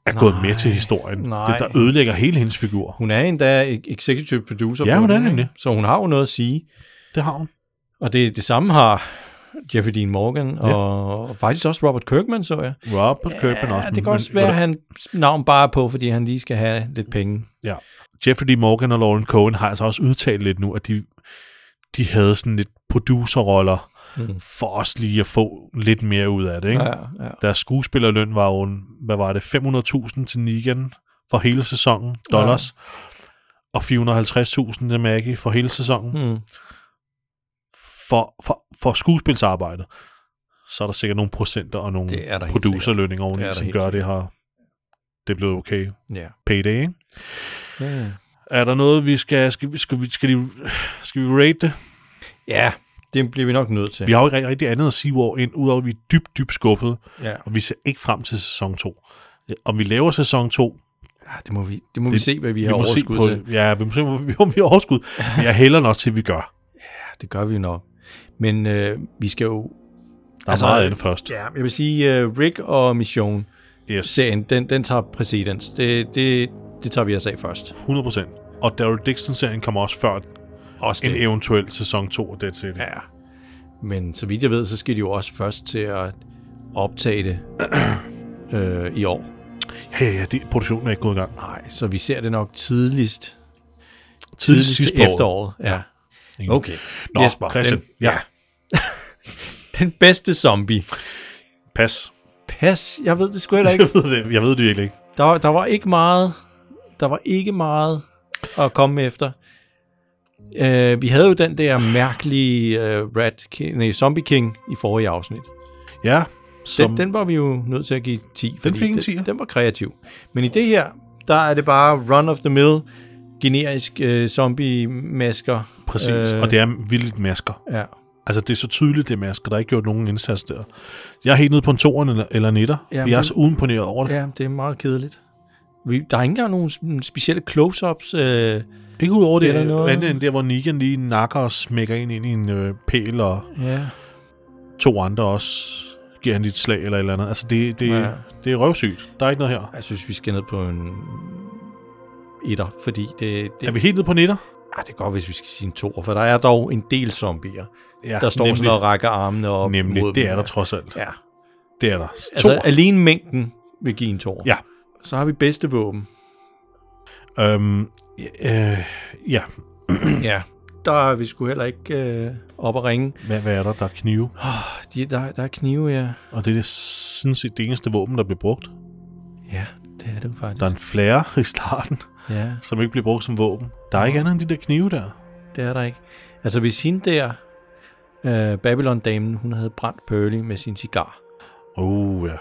[SPEAKER 1] er
[SPEAKER 2] Nej.
[SPEAKER 1] gået med til historien.
[SPEAKER 2] Nej.
[SPEAKER 1] Det, der ødelægger hele hendes figur.
[SPEAKER 2] Hun er endda e- executive producer.
[SPEAKER 1] Ja,
[SPEAKER 2] på
[SPEAKER 1] hun
[SPEAKER 2] den,
[SPEAKER 1] er
[SPEAKER 2] ikke?
[SPEAKER 1] nemlig.
[SPEAKER 2] Så hun har jo noget at sige.
[SPEAKER 1] Det har hun.
[SPEAKER 2] Og det, det samme har Jeffrey Dean Morgan, ja. og faktisk også Robert Kirkman, så jeg.
[SPEAKER 1] Robert ja, Kirkman også.
[SPEAKER 2] Ja, det
[SPEAKER 1] men-
[SPEAKER 2] kan også
[SPEAKER 1] men-
[SPEAKER 2] være, at han navn bare er på, fordi han lige skal have lidt penge.
[SPEAKER 1] Ja. Jeffrey D. Morgan og Lauren Cohen har altså også udtalt lidt nu, at de, de havde sådan lidt producerroller
[SPEAKER 2] Mm.
[SPEAKER 1] mm. for os lige at få lidt mere ud af det. Ikke? Ja.
[SPEAKER 2] ja.
[SPEAKER 1] Deres skuespillerløn var jo, en- hvad var det, 500.000 til Negan for hele sæsonen, dollars, ja. og 450.000 til Maggie for hele sæsonen. Mm.
[SPEAKER 2] Mm.
[SPEAKER 1] For, for, for skuespilsarbejdet, så er der sikkert nogle procenter og nogle
[SPEAKER 2] Det er der helt
[SPEAKER 1] producerlønninger oveni,
[SPEAKER 2] Det er der
[SPEAKER 1] som
[SPEAKER 2] helt
[SPEAKER 1] gør at det her. Det er blevet okay.
[SPEAKER 2] Ja.
[SPEAKER 1] Payday, ikke?
[SPEAKER 2] ja.
[SPEAKER 1] Er der noget, vi skal... Skal, vi- skal, vi, skal, de, skal vi rate det?
[SPEAKER 2] Ja, det bliver vi nok nødt til.
[SPEAKER 1] Vi har jo ikke rigtig- rigtig andet at sige, hvor end udover at vi er dybt, dybt skuffet,
[SPEAKER 2] Ja,
[SPEAKER 1] og vi ser ikke frem til sæson 2. Om vi laver sæson 2,
[SPEAKER 2] Ja, Ah, det må vi, det må det, vi
[SPEAKER 1] Det-
[SPEAKER 2] se, hvad vi,
[SPEAKER 1] vi
[SPEAKER 2] har
[SPEAKER 1] må se
[SPEAKER 2] overskud
[SPEAKER 1] på
[SPEAKER 2] til.
[SPEAKER 1] det. Ja, vi må se, om vi om *laughs* vi har overskud. Men jeg hælder nok til, at vi gør.
[SPEAKER 2] Ja, det gør vi jo nok. Men øh, vi skal
[SPEAKER 1] Der
[SPEAKER 2] jo
[SPEAKER 1] er
[SPEAKER 2] Altså,
[SPEAKER 1] altså, meget andet først.
[SPEAKER 2] Ja, jeg vil sige, uh, Rick øh, og Mission,
[SPEAKER 1] Yes.
[SPEAKER 2] serien, den, den tager præcedens. Det, det, det tager vi os af først.
[SPEAKER 1] 100%. Og Daryl Dixon-serien kommer også før
[SPEAKER 2] Også
[SPEAKER 1] en eventuel sæson 2 af Dead City.
[SPEAKER 2] Ja. Men så vidt jeg ved, så skal de jo også først til at optage det *clears throat* øh, i år.
[SPEAKER 1] Ja, ja, det, produktionen er ikke gået i gang.
[SPEAKER 2] Nej, så vi ser det nok tidligst,
[SPEAKER 1] Tidligst sidst på året.
[SPEAKER 2] efteråret. Ja.
[SPEAKER 1] Ingen-
[SPEAKER 2] Okay.
[SPEAKER 1] Nå,
[SPEAKER 2] Jesper,
[SPEAKER 1] Christian,
[SPEAKER 2] den,
[SPEAKER 1] ja.
[SPEAKER 2] den bedste zombie.
[SPEAKER 1] Pas.
[SPEAKER 2] Pas, jeg ved det sgu
[SPEAKER 1] *laughs*
[SPEAKER 2] heller
[SPEAKER 1] Jeg
[SPEAKER 2] ikke.
[SPEAKER 1] ved det, jeg ved det virkelig ikke.
[SPEAKER 2] Der, var- der var ikke meget, der var ikke meget at komme efter. Uh, vi havde jo den der mærkelige uh, Rat King, nej, Zombie King i forrige afsnit.
[SPEAKER 1] Ja, som,
[SPEAKER 2] Den, den var vi jo nødt til at give 10. fordi
[SPEAKER 1] fik en
[SPEAKER 2] den-
[SPEAKER 1] 10'er.
[SPEAKER 2] Den var kreativ. Men i det her, der er det bare run of the mill, generisk øh, zombie-masker.
[SPEAKER 1] præcis. Øh... Og det er vildt masker.
[SPEAKER 2] Ja.
[SPEAKER 1] Altså, det er så tydeligt, det er masker. Der er ikke gjort nogen indsats der. Jeg er helt nede på en toren eller, eller netter.
[SPEAKER 2] Ja,
[SPEAKER 1] Ja, jeg er
[SPEAKER 2] men-
[SPEAKER 1] så uimponeret over det. Ja.
[SPEAKER 2] ja, det er meget kedeligt. Vi, der er ikke engang nogen sådan specielle close-ups. Øh,
[SPEAKER 1] Ikke udover det,
[SPEAKER 2] Eller
[SPEAKER 1] det
[SPEAKER 2] noget.
[SPEAKER 1] andet end der, hvor Negan lige nakker og smækker ind, ind i en øh, pæl, og
[SPEAKER 2] ja.
[SPEAKER 1] to andre også giver han et slag eller et eller andet. Altså, det, det,
[SPEAKER 2] Ja.
[SPEAKER 1] ja. det er røvsygt. Der er ikke noget her.
[SPEAKER 2] Jeg synes, vi skal ned på en etter, fordi det, det,
[SPEAKER 1] Er vi helt nede på netter?
[SPEAKER 2] ah, det er godt, hvis vi skal sige en toer, for der er dog en del zombier,
[SPEAKER 1] Ja,
[SPEAKER 2] der står nemlig, sådan og rækker armene op
[SPEAKER 1] Nemlig,
[SPEAKER 2] mod
[SPEAKER 1] det
[SPEAKER 2] dem.
[SPEAKER 1] er der trods alt. Ja.
[SPEAKER 2] Ja.
[SPEAKER 1] Det er der.
[SPEAKER 2] Altså,
[SPEAKER 1] Altså,
[SPEAKER 2] alene mængden vil give en toer.
[SPEAKER 1] Ja.
[SPEAKER 2] Så har vi bedste våben.
[SPEAKER 1] to. Øhm, øh, *clears throat* ja,
[SPEAKER 2] Ja. Der er vi sgu heller ikke øh, op at ringe.
[SPEAKER 1] hvad, hvad er der? Der er knive.
[SPEAKER 2] De, der, der er knive, ja.
[SPEAKER 1] Og det er sådan set det eneste våben, der bliver brugt.
[SPEAKER 2] Ja, det er det jo faktisk.
[SPEAKER 1] Der er en flære i starten,
[SPEAKER 2] Ja,
[SPEAKER 1] som ikke bliver brugt som våben. Der er ikke andet end de der knive der.
[SPEAKER 2] det er der ikke. Altså, hvis hende der, øh, Babylon-damen, hun havde brændt Pearly med sin cigar,
[SPEAKER 1] Oh ja.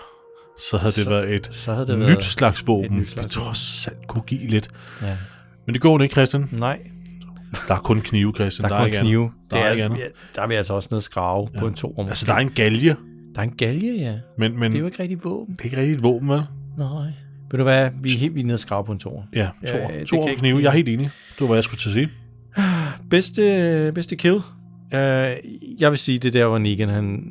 [SPEAKER 1] Så havde det
[SPEAKER 2] Så-
[SPEAKER 1] været et
[SPEAKER 2] så havde det
[SPEAKER 1] nyt
[SPEAKER 2] været...
[SPEAKER 1] slags våben,
[SPEAKER 2] et nyt
[SPEAKER 1] nyt
[SPEAKER 2] slags
[SPEAKER 1] vi trods alt kunne give lidt.
[SPEAKER 2] Ja.
[SPEAKER 1] Men det går ikke, Christian.
[SPEAKER 2] Nej,
[SPEAKER 1] Der er kun knive, Christian.
[SPEAKER 2] der, der er kun
[SPEAKER 1] ikke
[SPEAKER 2] knive.
[SPEAKER 1] Andet. Der er, ikke
[SPEAKER 2] altså,
[SPEAKER 1] andet.
[SPEAKER 2] ja, der er vi altså også nede og skrave ja. på en to
[SPEAKER 1] Altså, der er en galge,
[SPEAKER 2] der er en galge, ja.
[SPEAKER 1] men, men
[SPEAKER 2] Det er jo
[SPEAKER 1] det
[SPEAKER 2] ikke rigtig våben.
[SPEAKER 1] er ikke rigtigt et våben, vel?
[SPEAKER 2] Nej. Ved du hvad, vi er helt vildt nede og skrave på en to.
[SPEAKER 1] Ja, to,
[SPEAKER 2] Øh, det
[SPEAKER 1] to
[SPEAKER 2] kan
[SPEAKER 1] om
[SPEAKER 2] ikke
[SPEAKER 1] knive.
[SPEAKER 2] blive-
[SPEAKER 1] Jeg er helt enig. Det var, hvad jeg skulle til at sige.
[SPEAKER 2] Bedste, bedste kill? Uh, jeg vil sige, det er der, hvor Negan han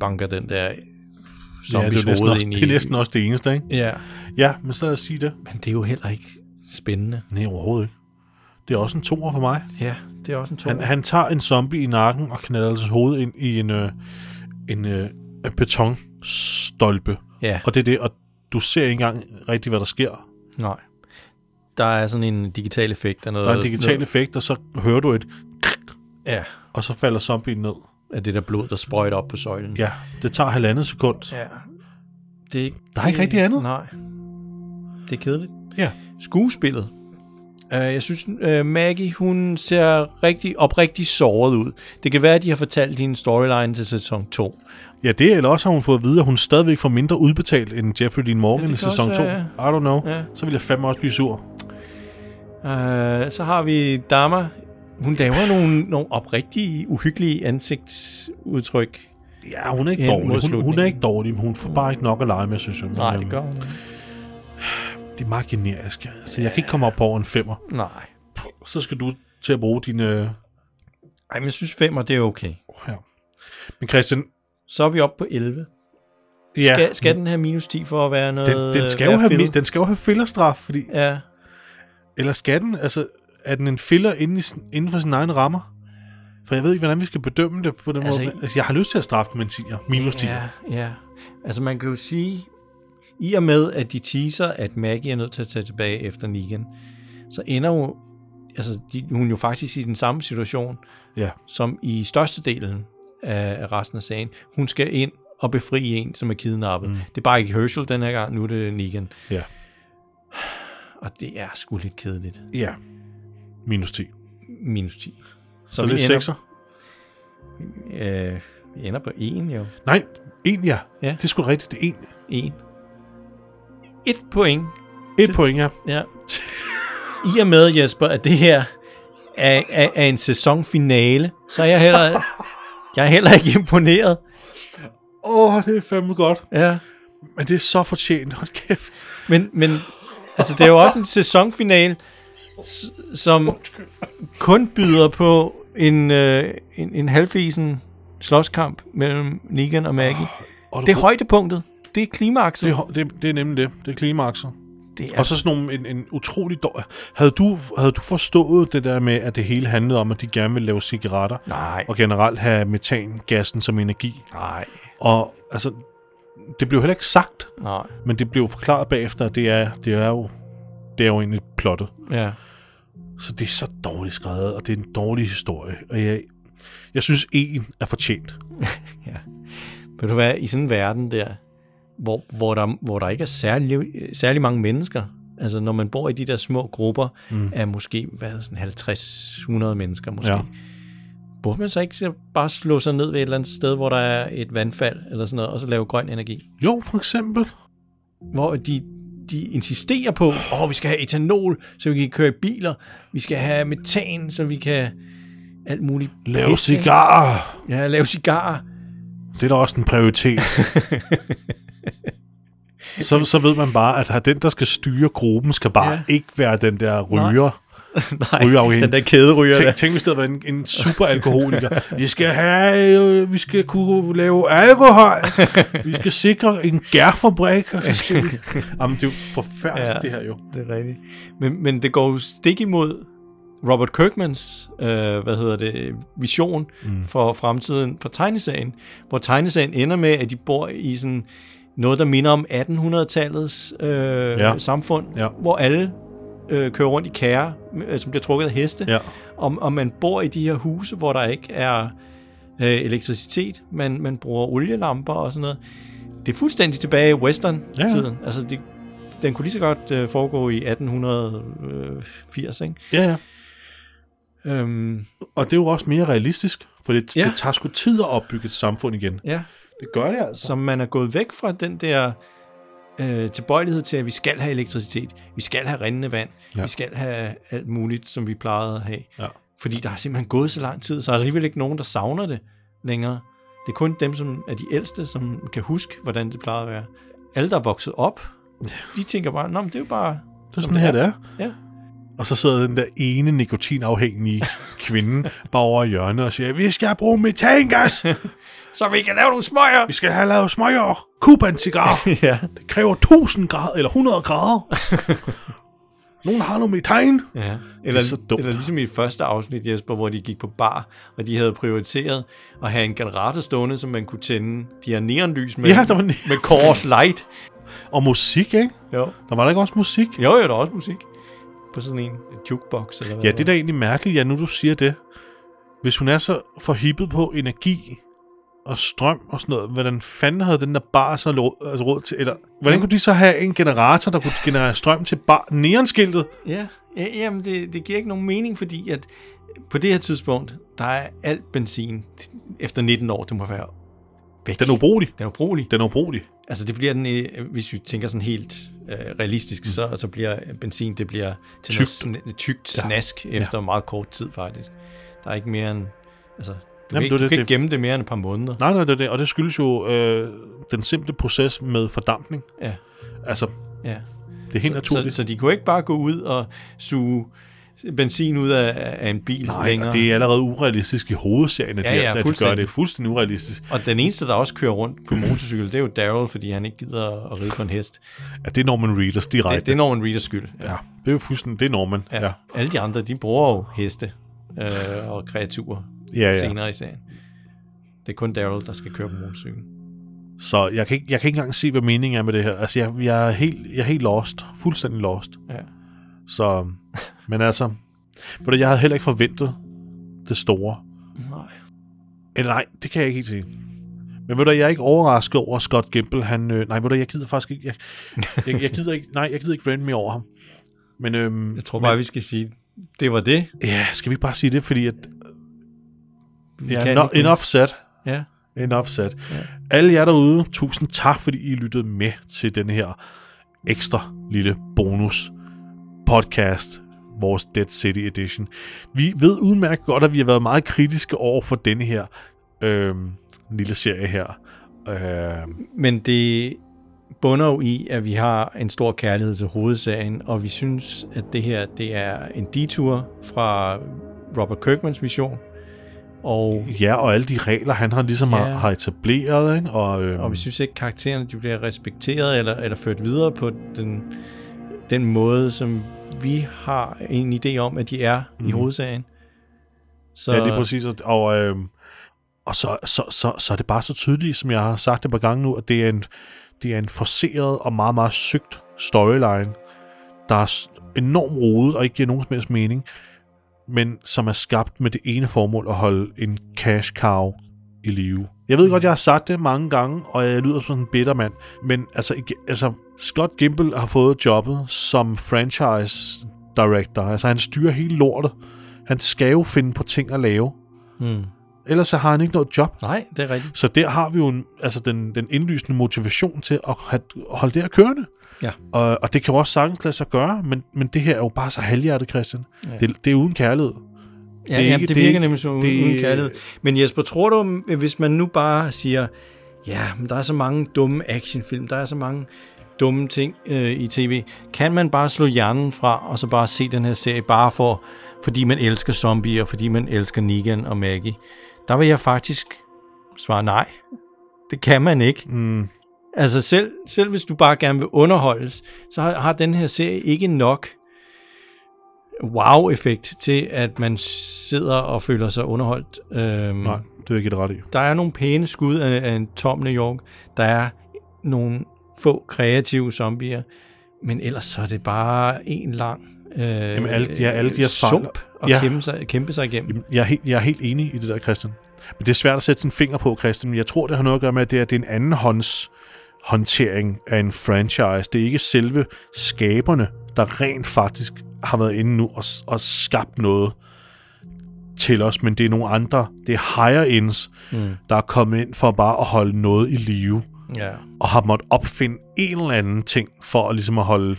[SPEAKER 2] banker den der
[SPEAKER 1] Ja, det,
[SPEAKER 2] zombies
[SPEAKER 1] er næsten
[SPEAKER 2] hoved
[SPEAKER 1] også,
[SPEAKER 2] ind i.
[SPEAKER 1] det er næsten også det eneste, ikke?
[SPEAKER 2] Ja,
[SPEAKER 1] Ja, men så lad os sige det.
[SPEAKER 2] men det er jo heller ikke spændende.
[SPEAKER 1] Nej, overhovedet ikke. Det er også en toer for mig.
[SPEAKER 2] Ja, det er også en to.
[SPEAKER 1] Han, han tager en zombie i nakken og knalder hans hoved ind i en, øh, en øh, betonstolpe.
[SPEAKER 2] Ja,
[SPEAKER 1] Og det er det, og du ser ikke engang rigtig, hvad der sker.
[SPEAKER 2] nej. Der er sådan en digital effekt. Af noget,
[SPEAKER 1] Der er en digital
[SPEAKER 2] noget,
[SPEAKER 1] effekt, og så hører du et,
[SPEAKER 2] Øh, Ja, Mm.
[SPEAKER 1] og så falder zombien ned.
[SPEAKER 2] af det der blod, der sprøjter op på søjlen.
[SPEAKER 1] Ja, det tager halvandet sekund.
[SPEAKER 2] ja. Det er ikke,
[SPEAKER 1] Der er ikke rigtig andet.
[SPEAKER 2] Nej. Det er kedeligt.
[SPEAKER 1] Ja.
[SPEAKER 2] skuespillet. Uh, jeg synes, uh, Maggie, hun ser rigtig oprigtig såret ud. Det kan være, at de har fortalt hende storyline til sæson 2.
[SPEAKER 1] Ja, det eller også har hun fået at vide, at hun stadigvæk får mindre udbetalt end Jeffrey Dean Morgan
[SPEAKER 2] Ja, det
[SPEAKER 1] i
[SPEAKER 2] kan
[SPEAKER 1] sæson 2.
[SPEAKER 2] også være,
[SPEAKER 1] I don't know.
[SPEAKER 2] Ja.
[SPEAKER 1] Så vil jeg fandme også blive sur.
[SPEAKER 2] Uh, så har vi Dama. Hun laver nogle, nogle oprigtige, uhyggelige ansigtsudtryk.
[SPEAKER 1] Ja, hun er ikke
[SPEAKER 2] Hen mod
[SPEAKER 1] dårlig. Hun, hun er
[SPEAKER 2] slutningen.
[SPEAKER 1] ikke dårlig, men hun får bare ikke nok at lege med, synes jeg. Men,
[SPEAKER 2] Nej,
[SPEAKER 1] øhm,
[SPEAKER 2] det gør hun. ikke.
[SPEAKER 1] Det er meget generisk. Altså, jeg kan ikke komme op over en femmer.
[SPEAKER 2] Nej.
[SPEAKER 1] så skal du til at bruge øh, dine...
[SPEAKER 2] Ej, men jeg synes 5, det er okay.
[SPEAKER 1] Ja. Men Christian,
[SPEAKER 2] Så er vi oppe på 11.
[SPEAKER 1] ja,
[SPEAKER 2] Skal, skal øh, den have minus 10 for at være noget...
[SPEAKER 1] den, den, skal
[SPEAKER 2] være
[SPEAKER 1] jo have,
[SPEAKER 2] fed?
[SPEAKER 1] mi- den skal jo have fillerstraf, fordi,
[SPEAKER 2] Ja.
[SPEAKER 1] eller skal den, altså, er den en filler inde, i, sin- inden for sine egne rammer? For jeg ved ikke, hvordan vi skal bedømme det på den
[SPEAKER 2] Altså,
[SPEAKER 1] altså, måde. Altså, jeg har lyst til at straffe dem med en 10'er, minus 10'er.
[SPEAKER 2] Ja, ja. Altså man kan jo sige, i og med at de teaser, at Maggie er nødt til at tage tilbage efter Negan, så ender jo, altså, de, hun er jo faktisk i den samme situation,
[SPEAKER 1] Ja.
[SPEAKER 2] som i størstedelen af, af resten af sagen. Hun skal ind og befri en, som er kidnappet. Mm. Det er bare ikke Herschel den her gang, nu er det Negan.
[SPEAKER 1] Ja.
[SPEAKER 2] Og det er sgu lidt kedeligt.
[SPEAKER 1] ja. Minus 10.
[SPEAKER 2] Minus 10.
[SPEAKER 1] Så, så det er 6'er.
[SPEAKER 2] ender, øh, vi ender på 1 jo.
[SPEAKER 1] Nej, 1 ja.
[SPEAKER 2] Ja.
[SPEAKER 1] Det er sgu da rigtigt, det er 1.
[SPEAKER 2] 1. Et point
[SPEAKER 1] Et point, ja.
[SPEAKER 2] Ja. *laughs* I og med, Jesper, at det her er, er, er en sæsonfinale, så er jeg *laughs* heller, jeg er heller ikke imponeret.
[SPEAKER 1] Åh, oh, det er fandme godt.
[SPEAKER 2] Ja.
[SPEAKER 1] Men det er så fortjent. Hold kæft.
[SPEAKER 2] Men, men altså, det er jo også en sæsonfinale, s- som kun byder på en, øh, en, en halvfisen slåskamp mellem Negan og Maggie.
[SPEAKER 1] Og du
[SPEAKER 2] Det er højdepunktet. det er klimakset.
[SPEAKER 1] Det, er ho- det, det er nemlig det. Det er klimakset.
[SPEAKER 2] det
[SPEAKER 1] Ja. Og så sådan nogle, en, en utrolig dårlig... Havde du, havde du forstået det der med, at det hele handlede om, at de gerne ville lave cigaretter?
[SPEAKER 2] Nej.
[SPEAKER 1] Og generelt have metangassen som energi?
[SPEAKER 2] Nej.
[SPEAKER 1] Og altså, det blev heller ikke sagt,
[SPEAKER 2] Nej.
[SPEAKER 1] men det blev forklaret bagefter, at det er, det er jo det er jo egentlig plottet.
[SPEAKER 2] Ja.
[SPEAKER 1] Så det er så dårligt skrevet, og det er en dårlig historie. Og jeg, jeg synes, en er fortjent.
[SPEAKER 2] ja. Ved du hvad, i sådan en verden der, hvor, hvor, der, hvor der ikke er særlig, øh, særlig mange mennesker, altså når man bor i de der små grupper mm. af måske hvad, sådan 50-100 mennesker måske,
[SPEAKER 1] Ja.
[SPEAKER 2] ja. burde man så ikke så bare slå sig ned ved et eller andet sted, hvor der er et vandfald eller sådan noget, og så lave grøn energi?
[SPEAKER 1] Jo, for eksempel.
[SPEAKER 2] hvor de, de insisterer på, at oh, vi skal have etanol, så vi kan køre i biler, vi skal have metan, så vi kan alt muligt.
[SPEAKER 1] Lave
[SPEAKER 2] pis, ikke?
[SPEAKER 1] cigarer.
[SPEAKER 2] Ja, lave cigarer.
[SPEAKER 1] *laughs* Det er da også en prioritet. så, så ved man bare, at den, der skal styre gruppen, skal bare ja.
[SPEAKER 2] Ja.
[SPEAKER 1] ikke være den der ryger.
[SPEAKER 2] Nej,
[SPEAKER 1] Rygeafhængig.
[SPEAKER 2] den der kæderyger der.
[SPEAKER 1] Tænk, tænk hvis det havde været en, en superalkoholiker. Vi skal have, øh, vi skal kunne lave alkohol. Vi skal sikre en gærfabrik. Og så skal vi... *laughs* Jamen, det er jo forfærdeligt, ja.
[SPEAKER 2] Ja.
[SPEAKER 1] det her jo.
[SPEAKER 2] Det er rigtigt. Men, men det går jo stik imod Robert Kirkmans, øh, hvad hedder det, vision mm. for fremtiden for tegneserien, hvor tegneserien ender med, at de bor i sådan noget, der minder om 1800-tallets øh,
[SPEAKER 1] Ja.
[SPEAKER 2] ja. samfund,
[SPEAKER 1] Ja.
[SPEAKER 2] hvor alle øh, kører rundt i kære, øh, som bliver trukket af heste,
[SPEAKER 1] Ja.
[SPEAKER 2] og, og man bor i de her huse, hvor der ikke er øh, elektricitet, man, man bruger olielamper og sådan noget. Det er fuldstændig tilbage i western-tiden. Ja. Altså, det, den kunne lige så godt øh, foregå i 1880, ikke?
[SPEAKER 1] Ja, ja.
[SPEAKER 2] Øhm,
[SPEAKER 1] Og det er jo også mere realistisk, for det, ja.
[SPEAKER 2] Ja.
[SPEAKER 1] det tager sgu tid at opbygge et samfund igen.
[SPEAKER 2] ja.
[SPEAKER 1] Det gør det altså.
[SPEAKER 2] Så man er gået væk fra den der øh, tilbøjelighed til, at vi skal have elektricitet, vi skal have rindende vand,
[SPEAKER 1] Ja.
[SPEAKER 2] ja. vi skal have alt muligt, som vi plejede at have.
[SPEAKER 1] Ja.
[SPEAKER 2] Fordi der har simpelthen gået så lang tid, så er der alligevel ikke nogen, der savner det længere. Det er kun dem, som er de ældste, som kan huske, hvordan det plejede at være. Alle, der er vokset op, de tænker bare, Nå, men det er jo bare...
[SPEAKER 1] Det er sådan her, det er.
[SPEAKER 2] Ja.
[SPEAKER 1] Og så sidder den der ene nikotinafhængige kvinde bare over i hjørnet og siger, vi skal bruge metangas,
[SPEAKER 2] Så vi kan lave nogle
[SPEAKER 1] *laughs*
[SPEAKER 2] smøger!
[SPEAKER 1] vi skal have lavet smøger, kubansigar.
[SPEAKER 2] ja.
[SPEAKER 1] Det kræver 1000 grader, eller 100 *laughs* grader. Nogen har noget metan.
[SPEAKER 2] Ja.
[SPEAKER 1] Det er
[SPEAKER 2] Eller,
[SPEAKER 1] så dumt.
[SPEAKER 2] eller ligesom i første afsnit, Jesper, hvor de gik på bar, og de havde prioriteret at have en generator stående, som man kunne tænde de her neonlys med,
[SPEAKER 1] Ja, der var ne-
[SPEAKER 2] med Coors Light.
[SPEAKER 1] Og musik, ikke?
[SPEAKER 2] Jo.
[SPEAKER 1] Der var der ikke også musik?
[SPEAKER 2] jo, jo, der er også musik på sådan en jukebox. Eller hvad
[SPEAKER 1] Ja,
[SPEAKER 2] var.
[SPEAKER 1] det er da egentlig mærkeligt, ja, nu du siger det. Hvis hun er så forhippet på energi og strøm og sådan noget, hvordan fanden havde den der bar så lo- altså råd til? Eller, hvordan kunne de så have en generator, der kunne generere strøm til bar neonskiltet?
[SPEAKER 2] Ja, ja jamen det, det giver ikke nogen mening, fordi at på det her tidspunkt, der er alt benzin efter 19 år, det må være væk.
[SPEAKER 1] Den er ubrugelig.
[SPEAKER 2] den er ubrugelig.
[SPEAKER 1] Den er ubrugelig.
[SPEAKER 2] Altså det bliver den, øh, hvis vi tænker sådan helt øh, realistisk, mm. så, så bliver benzin, det bliver til
[SPEAKER 1] Tykt.
[SPEAKER 2] tykt, sn- tykt snask efter meget kort tid faktisk. Der er ikke mere end, altså du
[SPEAKER 1] Jamen,
[SPEAKER 2] kan, ikke,
[SPEAKER 1] det er
[SPEAKER 2] du
[SPEAKER 1] det,
[SPEAKER 2] kan
[SPEAKER 1] det-
[SPEAKER 2] ikke gemme det mere end et par måneder.
[SPEAKER 1] Nej, nej, det er det. Og det skyldes jo øh, den simple proces med fordampning.
[SPEAKER 2] Ja,
[SPEAKER 1] Altså,
[SPEAKER 2] ja.
[SPEAKER 1] det er helt
[SPEAKER 2] Så, så,
[SPEAKER 1] naturligt.
[SPEAKER 2] så de kunne ikke bare gå ud og suge benzin ud af, af en bil
[SPEAKER 1] Nej,
[SPEAKER 2] længere.
[SPEAKER 1] og det er allerede urealistisk i hovedserien, at,
[SPEAKER 2] Ja,
[SPEAKER 1] de,
[SPEAKER 2] ja,
[SPEAKER 1] at de gør
[SPEAKER 2] fuldstændig.
[SPEAKER 1] det fuldstændig urealistisk.
[SPEAKER 2] Og den eneste, der også kører rundt på motorcykel, det er jo Daryl, fordi han ikke gider at ride på en hest.
[SPEAKER 1] At det er Norman Reedus direkte.
[SPEAKER 2] Det, det er Norman Reeders skyld.
[SPEAKER 1] ja, det er jo fuldstændig, det er Norman. Ja, ja,
[SPEAKER 2] Alle de andre, de bruger jo heste øh, og kreaturer
[SPEAKER 1] ja.
[SPEAKER 2] ja.
[SPEAKER 1] ja.
[SPEAKER 2] senere i serien. Det er kun Daryl, der skal køre på motorcykel.
[SPEAKER 1] Så jeg kan, ikke, jeg kan ikke engang se, hvad meningen er med det her. Altså, jeg, jeg, er, helt, jeg er helt lost. Fuldstændig lost.
[SPEAKER 2] Ja.
[SPEAKER 1] Så, men altså, ved du, jeg havde heller ikke forventet det store.
[SPEAKER 2] Nej.
[SPEAKER 1] Eller nej, det kan jeg ikke helt se. Men ved du, jeg er ikke overrasket over at Scott Gimple. Han, øh, nej, ved du, jeg gider faktisk ikke. Jeg, jeg, jeg gider ikke, nej, jeg gider ikke rente mere over ham. Men, øhm,
[SPEAKER 2] Jeg tror bare, vi skal sige, det var det.
[SPEAKER 1] Ja, skal vi ikke bare sige det, fordi at...
[SPEAKER 2] Vi
[SPEAKER 1] Ja,
[SPEAKER 2] kan
[SPEAKER 1] no,
[SPEAKER 2] ikke-
[SPEAKER 1] enough said.
[SPEAKER 2] Ja.
[SPEAKER 1] Enough said. Ja.
[SPEAKER 2] Ja.
[SPEAKER 1] Alle jer derude, tusind tak, fordi I lyttede med til den her ekstra lille bonus podcast, vores Dead City Edition. Vi ved udmærket godt, at vi har været meget kritiske over for denne her øh, lille serie her. Øh,
[SPEAKER 2] Men det bunder jo i, at vi har en stor kærlighed til hovedserien, og vi synes, at det her det er en detur fra Robert Kirkmans vision, Og,
[SPEAKER 1] Ja, og alle de regler, han har ligesom
[SPEAKER 2] Ja.
[SPEAKER 1] har, har etableret, ikke? Og, øhm,
[SPEAKER 2] og vi synes ikke, karaktererne de bliver respekteret eller, eller ført videre på den, den måde, som vi har en idé om, at de er mm. i hovedsagen. Så,
[SPEAKER 1] Ja, det er præcis. Og, og, øhm, og så, så, så, så er det bare så tydeligt, som jeg har sagt det et par gange nu, at det er en, det er en forceret og meget, meget sygt storyline, der er s- enormt rodet og ikke giver nogen som helst mening, men som er skabt med det ene formål at holde en cash cow i live. Jeg ved godt, jeg har sagt det mange gange, og jeg lyder som en bitter mand, men altså, ikke- altså Scott Gimple har fået jobbet som franchise director. Altså, han styrer hele lortet. Han skal jo finde på ting at lave.
[SPEAKER 2] Mm.
[SPEAKER 1] Ellers så har han ikke noget job.
[SPEAKER 2] Nej, det er rigtigt.
[SPEAKER 1] Så der har vi jo en, altså den, den indlysende motivation til at have, holde det her kørende.
[SPEAKER 2] Ja.
[SPEAKER 1] Og, og det kan jo også sagtens lade sig gøre, men, men det her er jo bare så halvhjertet, Christian. Ja. Det, det er uden kærlighed.
[SPEAKER 2] Ja,
[SPEAKER 1] er
[SPEAKER 2] det,
[SPEAKER 1] ikke-
[SPEAKER 2] jamen,
[SPEAKER 1] det
[SPEAKER 2] det, det
[SPEAKER 1] er
[SPEAKER 2] virker
[SPEAKER 1] ikke-
[SPEAKER 2] nemlig som
[SPEAKER 1] det-
[SPEAKER 2] uden kærlighed. Men Jesper, tror du, hvis man nu bare siger, ja, men der er så mange dumme actionfilm, der er så mange dumme ting øh, i tv, kan man bare slå hjernen fra, og så bare se den her serie, bare for, fordi man elsker zombier, fordi man elsker Negan og Maggie? Der vil jeg faktisk svare nej. Det kan man ikke.
[SPEAKER 1] Mm.
[SPEAKER 2] Altså selv, selv hvis du bare gerne vil underholdes, så har, har den her serie ikke nok wow-effekt til, at man sidder og føler sig underholdt. Øhm,
[SPEAKER 1] Nej, det er jeg ikke et ret i.
[SPEAKER 2] Der er nogle pæne skud af, af en tom New York. Der er nogle få kreative zombier. Men ellers så er det bare en lang øh, Jamen,
[SPEAKER 1] alle- ja, alle de her fejl-
[SPEAKER 2] sump at
[SPEAKER 1] Ja.
[SPEAKER 2] ja. kæmpe, sig, kæmpe sig igennem.
[SPEAKER 1] Jamen, Jeg er, helt, jeg er helt enig i det der, Christian. Men det er svært at sætte sin finger på, Christian. Men jeg tror, det har noget at gøre med, at det er, det er en andenhånds håndtering af en franchise. Det er ikke selve skaberne, der rent faktisk har været inde nu og, og skabt noget til os, men det er nogle andre, det er higher ends, mm. der er kommet ind for bare at holde noget i live,
[SPEAKER 2] Mm. Ja.
[SPEAKER 1] og har måttet opfinde en eller anden ting for at, ligesom at holde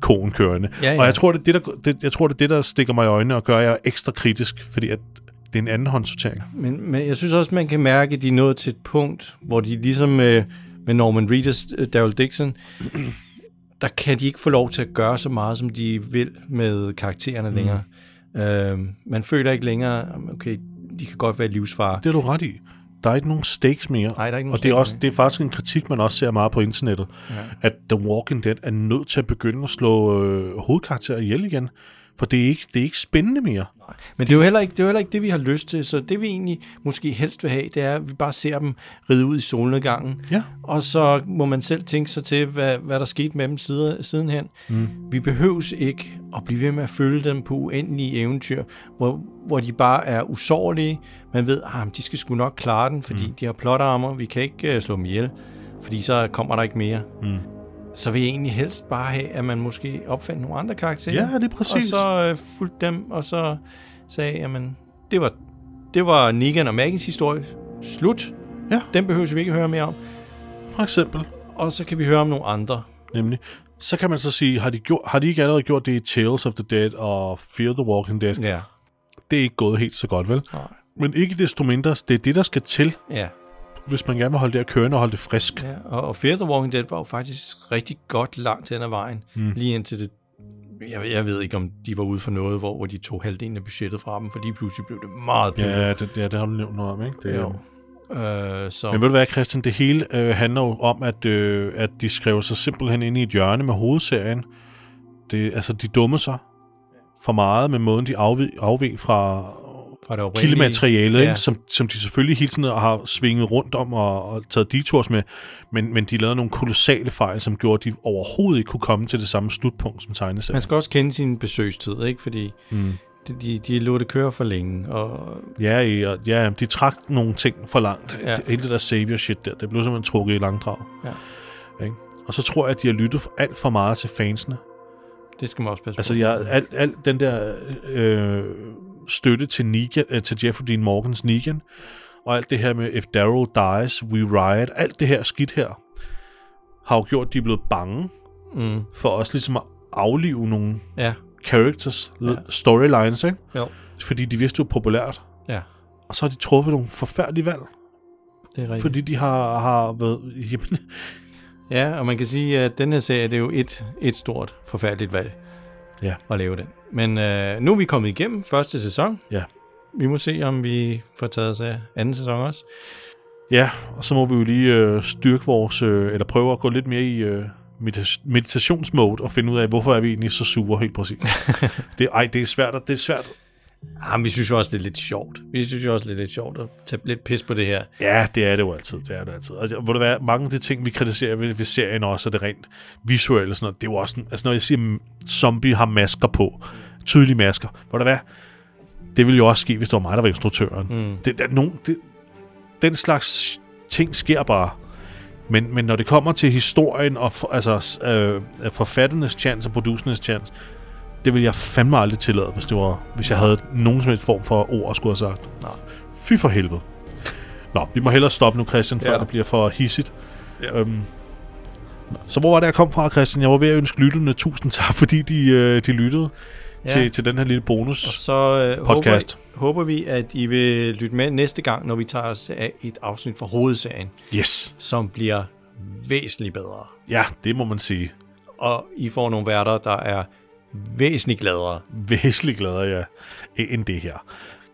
[SPEAKER 1] koen kørende.
[SPEAKER 2] Ja, ja.
[SPEAKER 1] Og jeg tror, det er det, der, det, jeg tror, det er det, der stikker mig i øjnene og gør, at jeg er ekstra kritisk, fordi at det er en anden håndsortering.
[SPEAKER 2] Men, men jeg synes også, man kan mærke, at de er nået til et punkt, hvor de ligesom øh, med Norman Reedus, øh, Daryl Dixon, *clears throat* der kan de ikke få lov til at gøre så meget, som de vil med karaktererne mm. længere. Øh, man føler ikke længere, okay, de kan godt være livsfare.
[SPEAKER 1] Det har du ret i. Der er ikke nogen stakes mere.
[SPEAKER 2] Nej, der er ikke nogen
[SPEAKER 1] og det er,
[SPEAKER 2] stakes
[SPEAKER 1] også,
[SPEAKER 2] mere.
[SPEAKER 1] det er faktisk en kritik, man også ser meget på internettet, ja. at The Walking Dead er nødt til at begynde at slå øh, hovedkarakterer ihjel igen, for det er ikke, det er ikke spændende mere.
[SPEAKER 2] Men det er, jo heller ikke, det er jo heller ikke det, vi har lyst til, så det vi egentlig måske helst vil have, det er, at vi bare ser dem ride ud i solnedgangen.
[SPEAKER 1] Ja.
[SPEAKER 2] Og så må man selv tænke sig til, hvad, hvad der skete med dem side, sidenhen. Mm. Vi behøves ikke at blive ved med at følge dem på uendelige eventyr, hvor, hvor de bare er usårlige. Man ved, at ah, de skal sgu nok klare den, fordi mm. de har plotarmer. Vi kan ikke uh, slå dem ihjel, fordi så kommer der ikke mere. Mm. Så vil jeg egentlig helst bare have, at man måske opfandt nogle andre karakterer.
[SPEAKER 1] Ja, det er præcis.
[SPEAKER 2] Og så øh, fulgte dem, og så sagde, jamen, det var, det var Negan og Maggies historie. Slut.
[SPEAKER 1] Ja.
[SPEAKER 2] Den behøver vi ikke høre mere om.
[SPEAKER 1] For eksempel,
[SPEAKER 2] Og så kan vi høre om nogle andre.
[SPEAKER 1] nemlig, så kan man så sige, har de, gjort, har de ikke allerede gjort det i Tales of the Dead og Fear the Walking Dead?
[SPEAKER 2] Ja.
[SPEAKER 1] Det er ikke gået helt så godt, vel?
[SPEAKER 2] Nej.
[SPEAKER 1] Men ikke desto mindre, det er det, der skal til,
[SPEAKER 2] Ja.
[SPEAKER 1] hvis man gerne vil holde det her kørende og holde det frisk.
[SPEAKER 2] ja. Og, og Fear the Walking Dead var jo faktisk rigtig godt langt hen ad vejen. Mm. Lige indtil det... Jeg, jeg ved ikke, om de var ude for noget, hvor, hvor de tog halvdelen af budgettet fra dem, for lige pludselig blev det meget billigt.
[SPEAKER 1] Ja, det, ja, det har du nævnt noget om, ikke? Det, er
[SPEAKER 2] Jo. Øh, så...
[SPEAKER 1] Men ved du hvad, Christian, det hele øh, handler jo om, at, øh, at de skrev sig simpelthen ind i et hjørne med hovedserien. Det, altså, de dumme sig for meget med måden, de afvig, afvig fra
[SPEAKER 2] fra det oprindelige-
[SPEAKER 1] kildematerialet,
[SPEAKER 2] Ja.
[SPEAKER 1] ja. som, som de selvfølgelig hele tiden har svinget rundt om og, og taget detours med, men, men de lavede nogle kolossale fejl, som gjorde, at de overhovedet ikke kunne komme til det samme slutpunkt som tegneserien.
[SPEAKER 2] Man skal også kende sin besøgstid, ikke? Fordi mm. de, de, de lå det køre for længe, og
[SPEAKER 1] Ja, i- og- ja, de trak nogle ting for langt.
[SPEAKER 2] Ja.
[SPEAKER 1] Ja. Hele det der savior shit der, det blev simpelthen trukket i langdrag.
[SPEAKER 2] Ja.
[SPEAKER 1] Ikke? Og så tror jeg, at de har lyttet for- alt for meget til fansene.
[SPEAKER 2] det skal man også passe
[SPEAKER 1] Altså,
[SPEAKER 2] på.
[SPEAKER 1] jeg, alt, alt den der øh, støtte til, Negan, øh, til Jeffrey Dean Morgans Negan, og alt det her med, if Daryl dies, we riot, alt det her skidt her, har jo gjort, at de er blevet bange
[SPEAKER 2] Mm.
[SPEAKER 1] for også ligesom at aflive nogle
[SPEAKER 2] Ja,
[SPEAKER 1] characters, ja. storylines, ikke?
[SPEAKER 2] jo.
[SPEAKER 1] Fordi de vidste, det var populært.
[SPEAKER 2] Ja,
[SPEAKER 1] Og så har de truffet nogle forfærdelige valg.
[SPEAKER 2] det er rigtigt.
[SPEAKER 1] Fordi de har, har været... Jamen,
[SPEAKER 2] Ja, og man kan sige, at den her serie, det er jo et, et stort, forfærdeligt valg
[SPEAKER 1] Ja.
[SPEAKER 2] at lave den. Men øh, nu er vi kommet igennem første sæson.
[SPEAKER 1] ja.
[SPEAKER 2] vi må se, om vi får taget os af anden sæson også.
[SPEAKER 1] Ja, og så må vi jo lige øh, styrke vores, øh, eller prøve at gå lidt mere i øh, medita- meditationsmode og finde ud af, hvorfor er vi egentlig så sure helt præcis. det, ej, det er svært, og det er svært.
[SPEAKER 2] Ah, men vi synes jo også, det er lidt sjovt. Vi synes jo også, det er lidt sjovt at tage lidt pis på det her.
[SPEAKER 1] Ja, det er det jo altid. Det er det altid. Og det- hvor det er, mange af de ting, vi kritiserer ved, ved serien også, er det rent visuelle. Sådan noget. Det er jo også sådan, altså når jeg siger, mm, zombie har masker på, tydelige masker, hvor det er, det ville jo også ske, hvis det var mig, der var instruktøren. Mm. Det, der, er nogen, det, den slags ting sker bare. Men, men når det kommer til historien og for, altså, s- øh, forfatternes chance og producernes chance, det ville jeg fandme aldrig tillade, hvis, det var, hvis jeg havde nogen som helst form for ord at skulle have sagt.
[SPEAKER 2] Nej.
[SPEAKER 1] Fy for helvede. Nå, vi må hellere stoppe nu, Christian, før
[SPEAKER 2] Ja.
[SPEAKER 1] ja. det bliver for hissigt. Ja. Øhm, så hvor var det, jeg kom fra, Christian? Jeg var ved at ønske lytterne tusind tak, fordi de, øh, de lyttede ja. til, til den her lille
[SPEAKER 2] Og
[SPEAKER 1] bonus.
[SPEAKER 2] så øh,
[SPEAKER 1] Podcast.
[SPEAKER 2] Håber, håber vi, at I vil lytte med næste gang, når vi tager os af et afsnit fra hovedserien,
[SPEAKER 1] Yes.
[SPEAKER 2] som bliver væsentligt bedre.
[SPEAKER 1] Ja, det må man sige.
[SPEAKER 2] Og I får nogle værter, der er væsentligt gladere.
[SPEAKER 1] væsentligt gladere jeg end det her.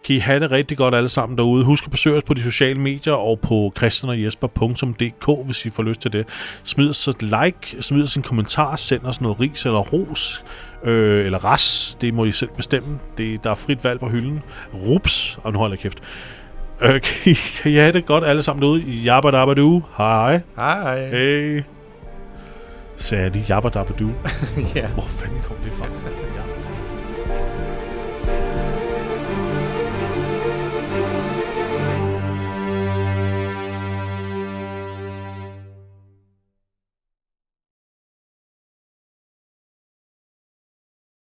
[SPEAKER 1] Kan I have det rigtig godt alle sammen derude. Husk at besøge os på de sociale medier og på christianogjesper.dk, hvis I får lyst til det. Smid os et like, smid os en kommentar, send os noget ris eller ros, øh, eller ras, det må I selv bestemme. Det, der er frit valg på hylden. Rups, og nu holder jeg kæft. Øh, kan, I, kan I have det godt alle sammen derude. Jabba dabba du. Hej.
[SPEAKER 2] Hej.
[SPEAKER 1] Hey. Sagde jeg lige jabba dabba du.
[SPEAKER 2] ja.
[SPEAKER 1] Hvor fanden kom det fra?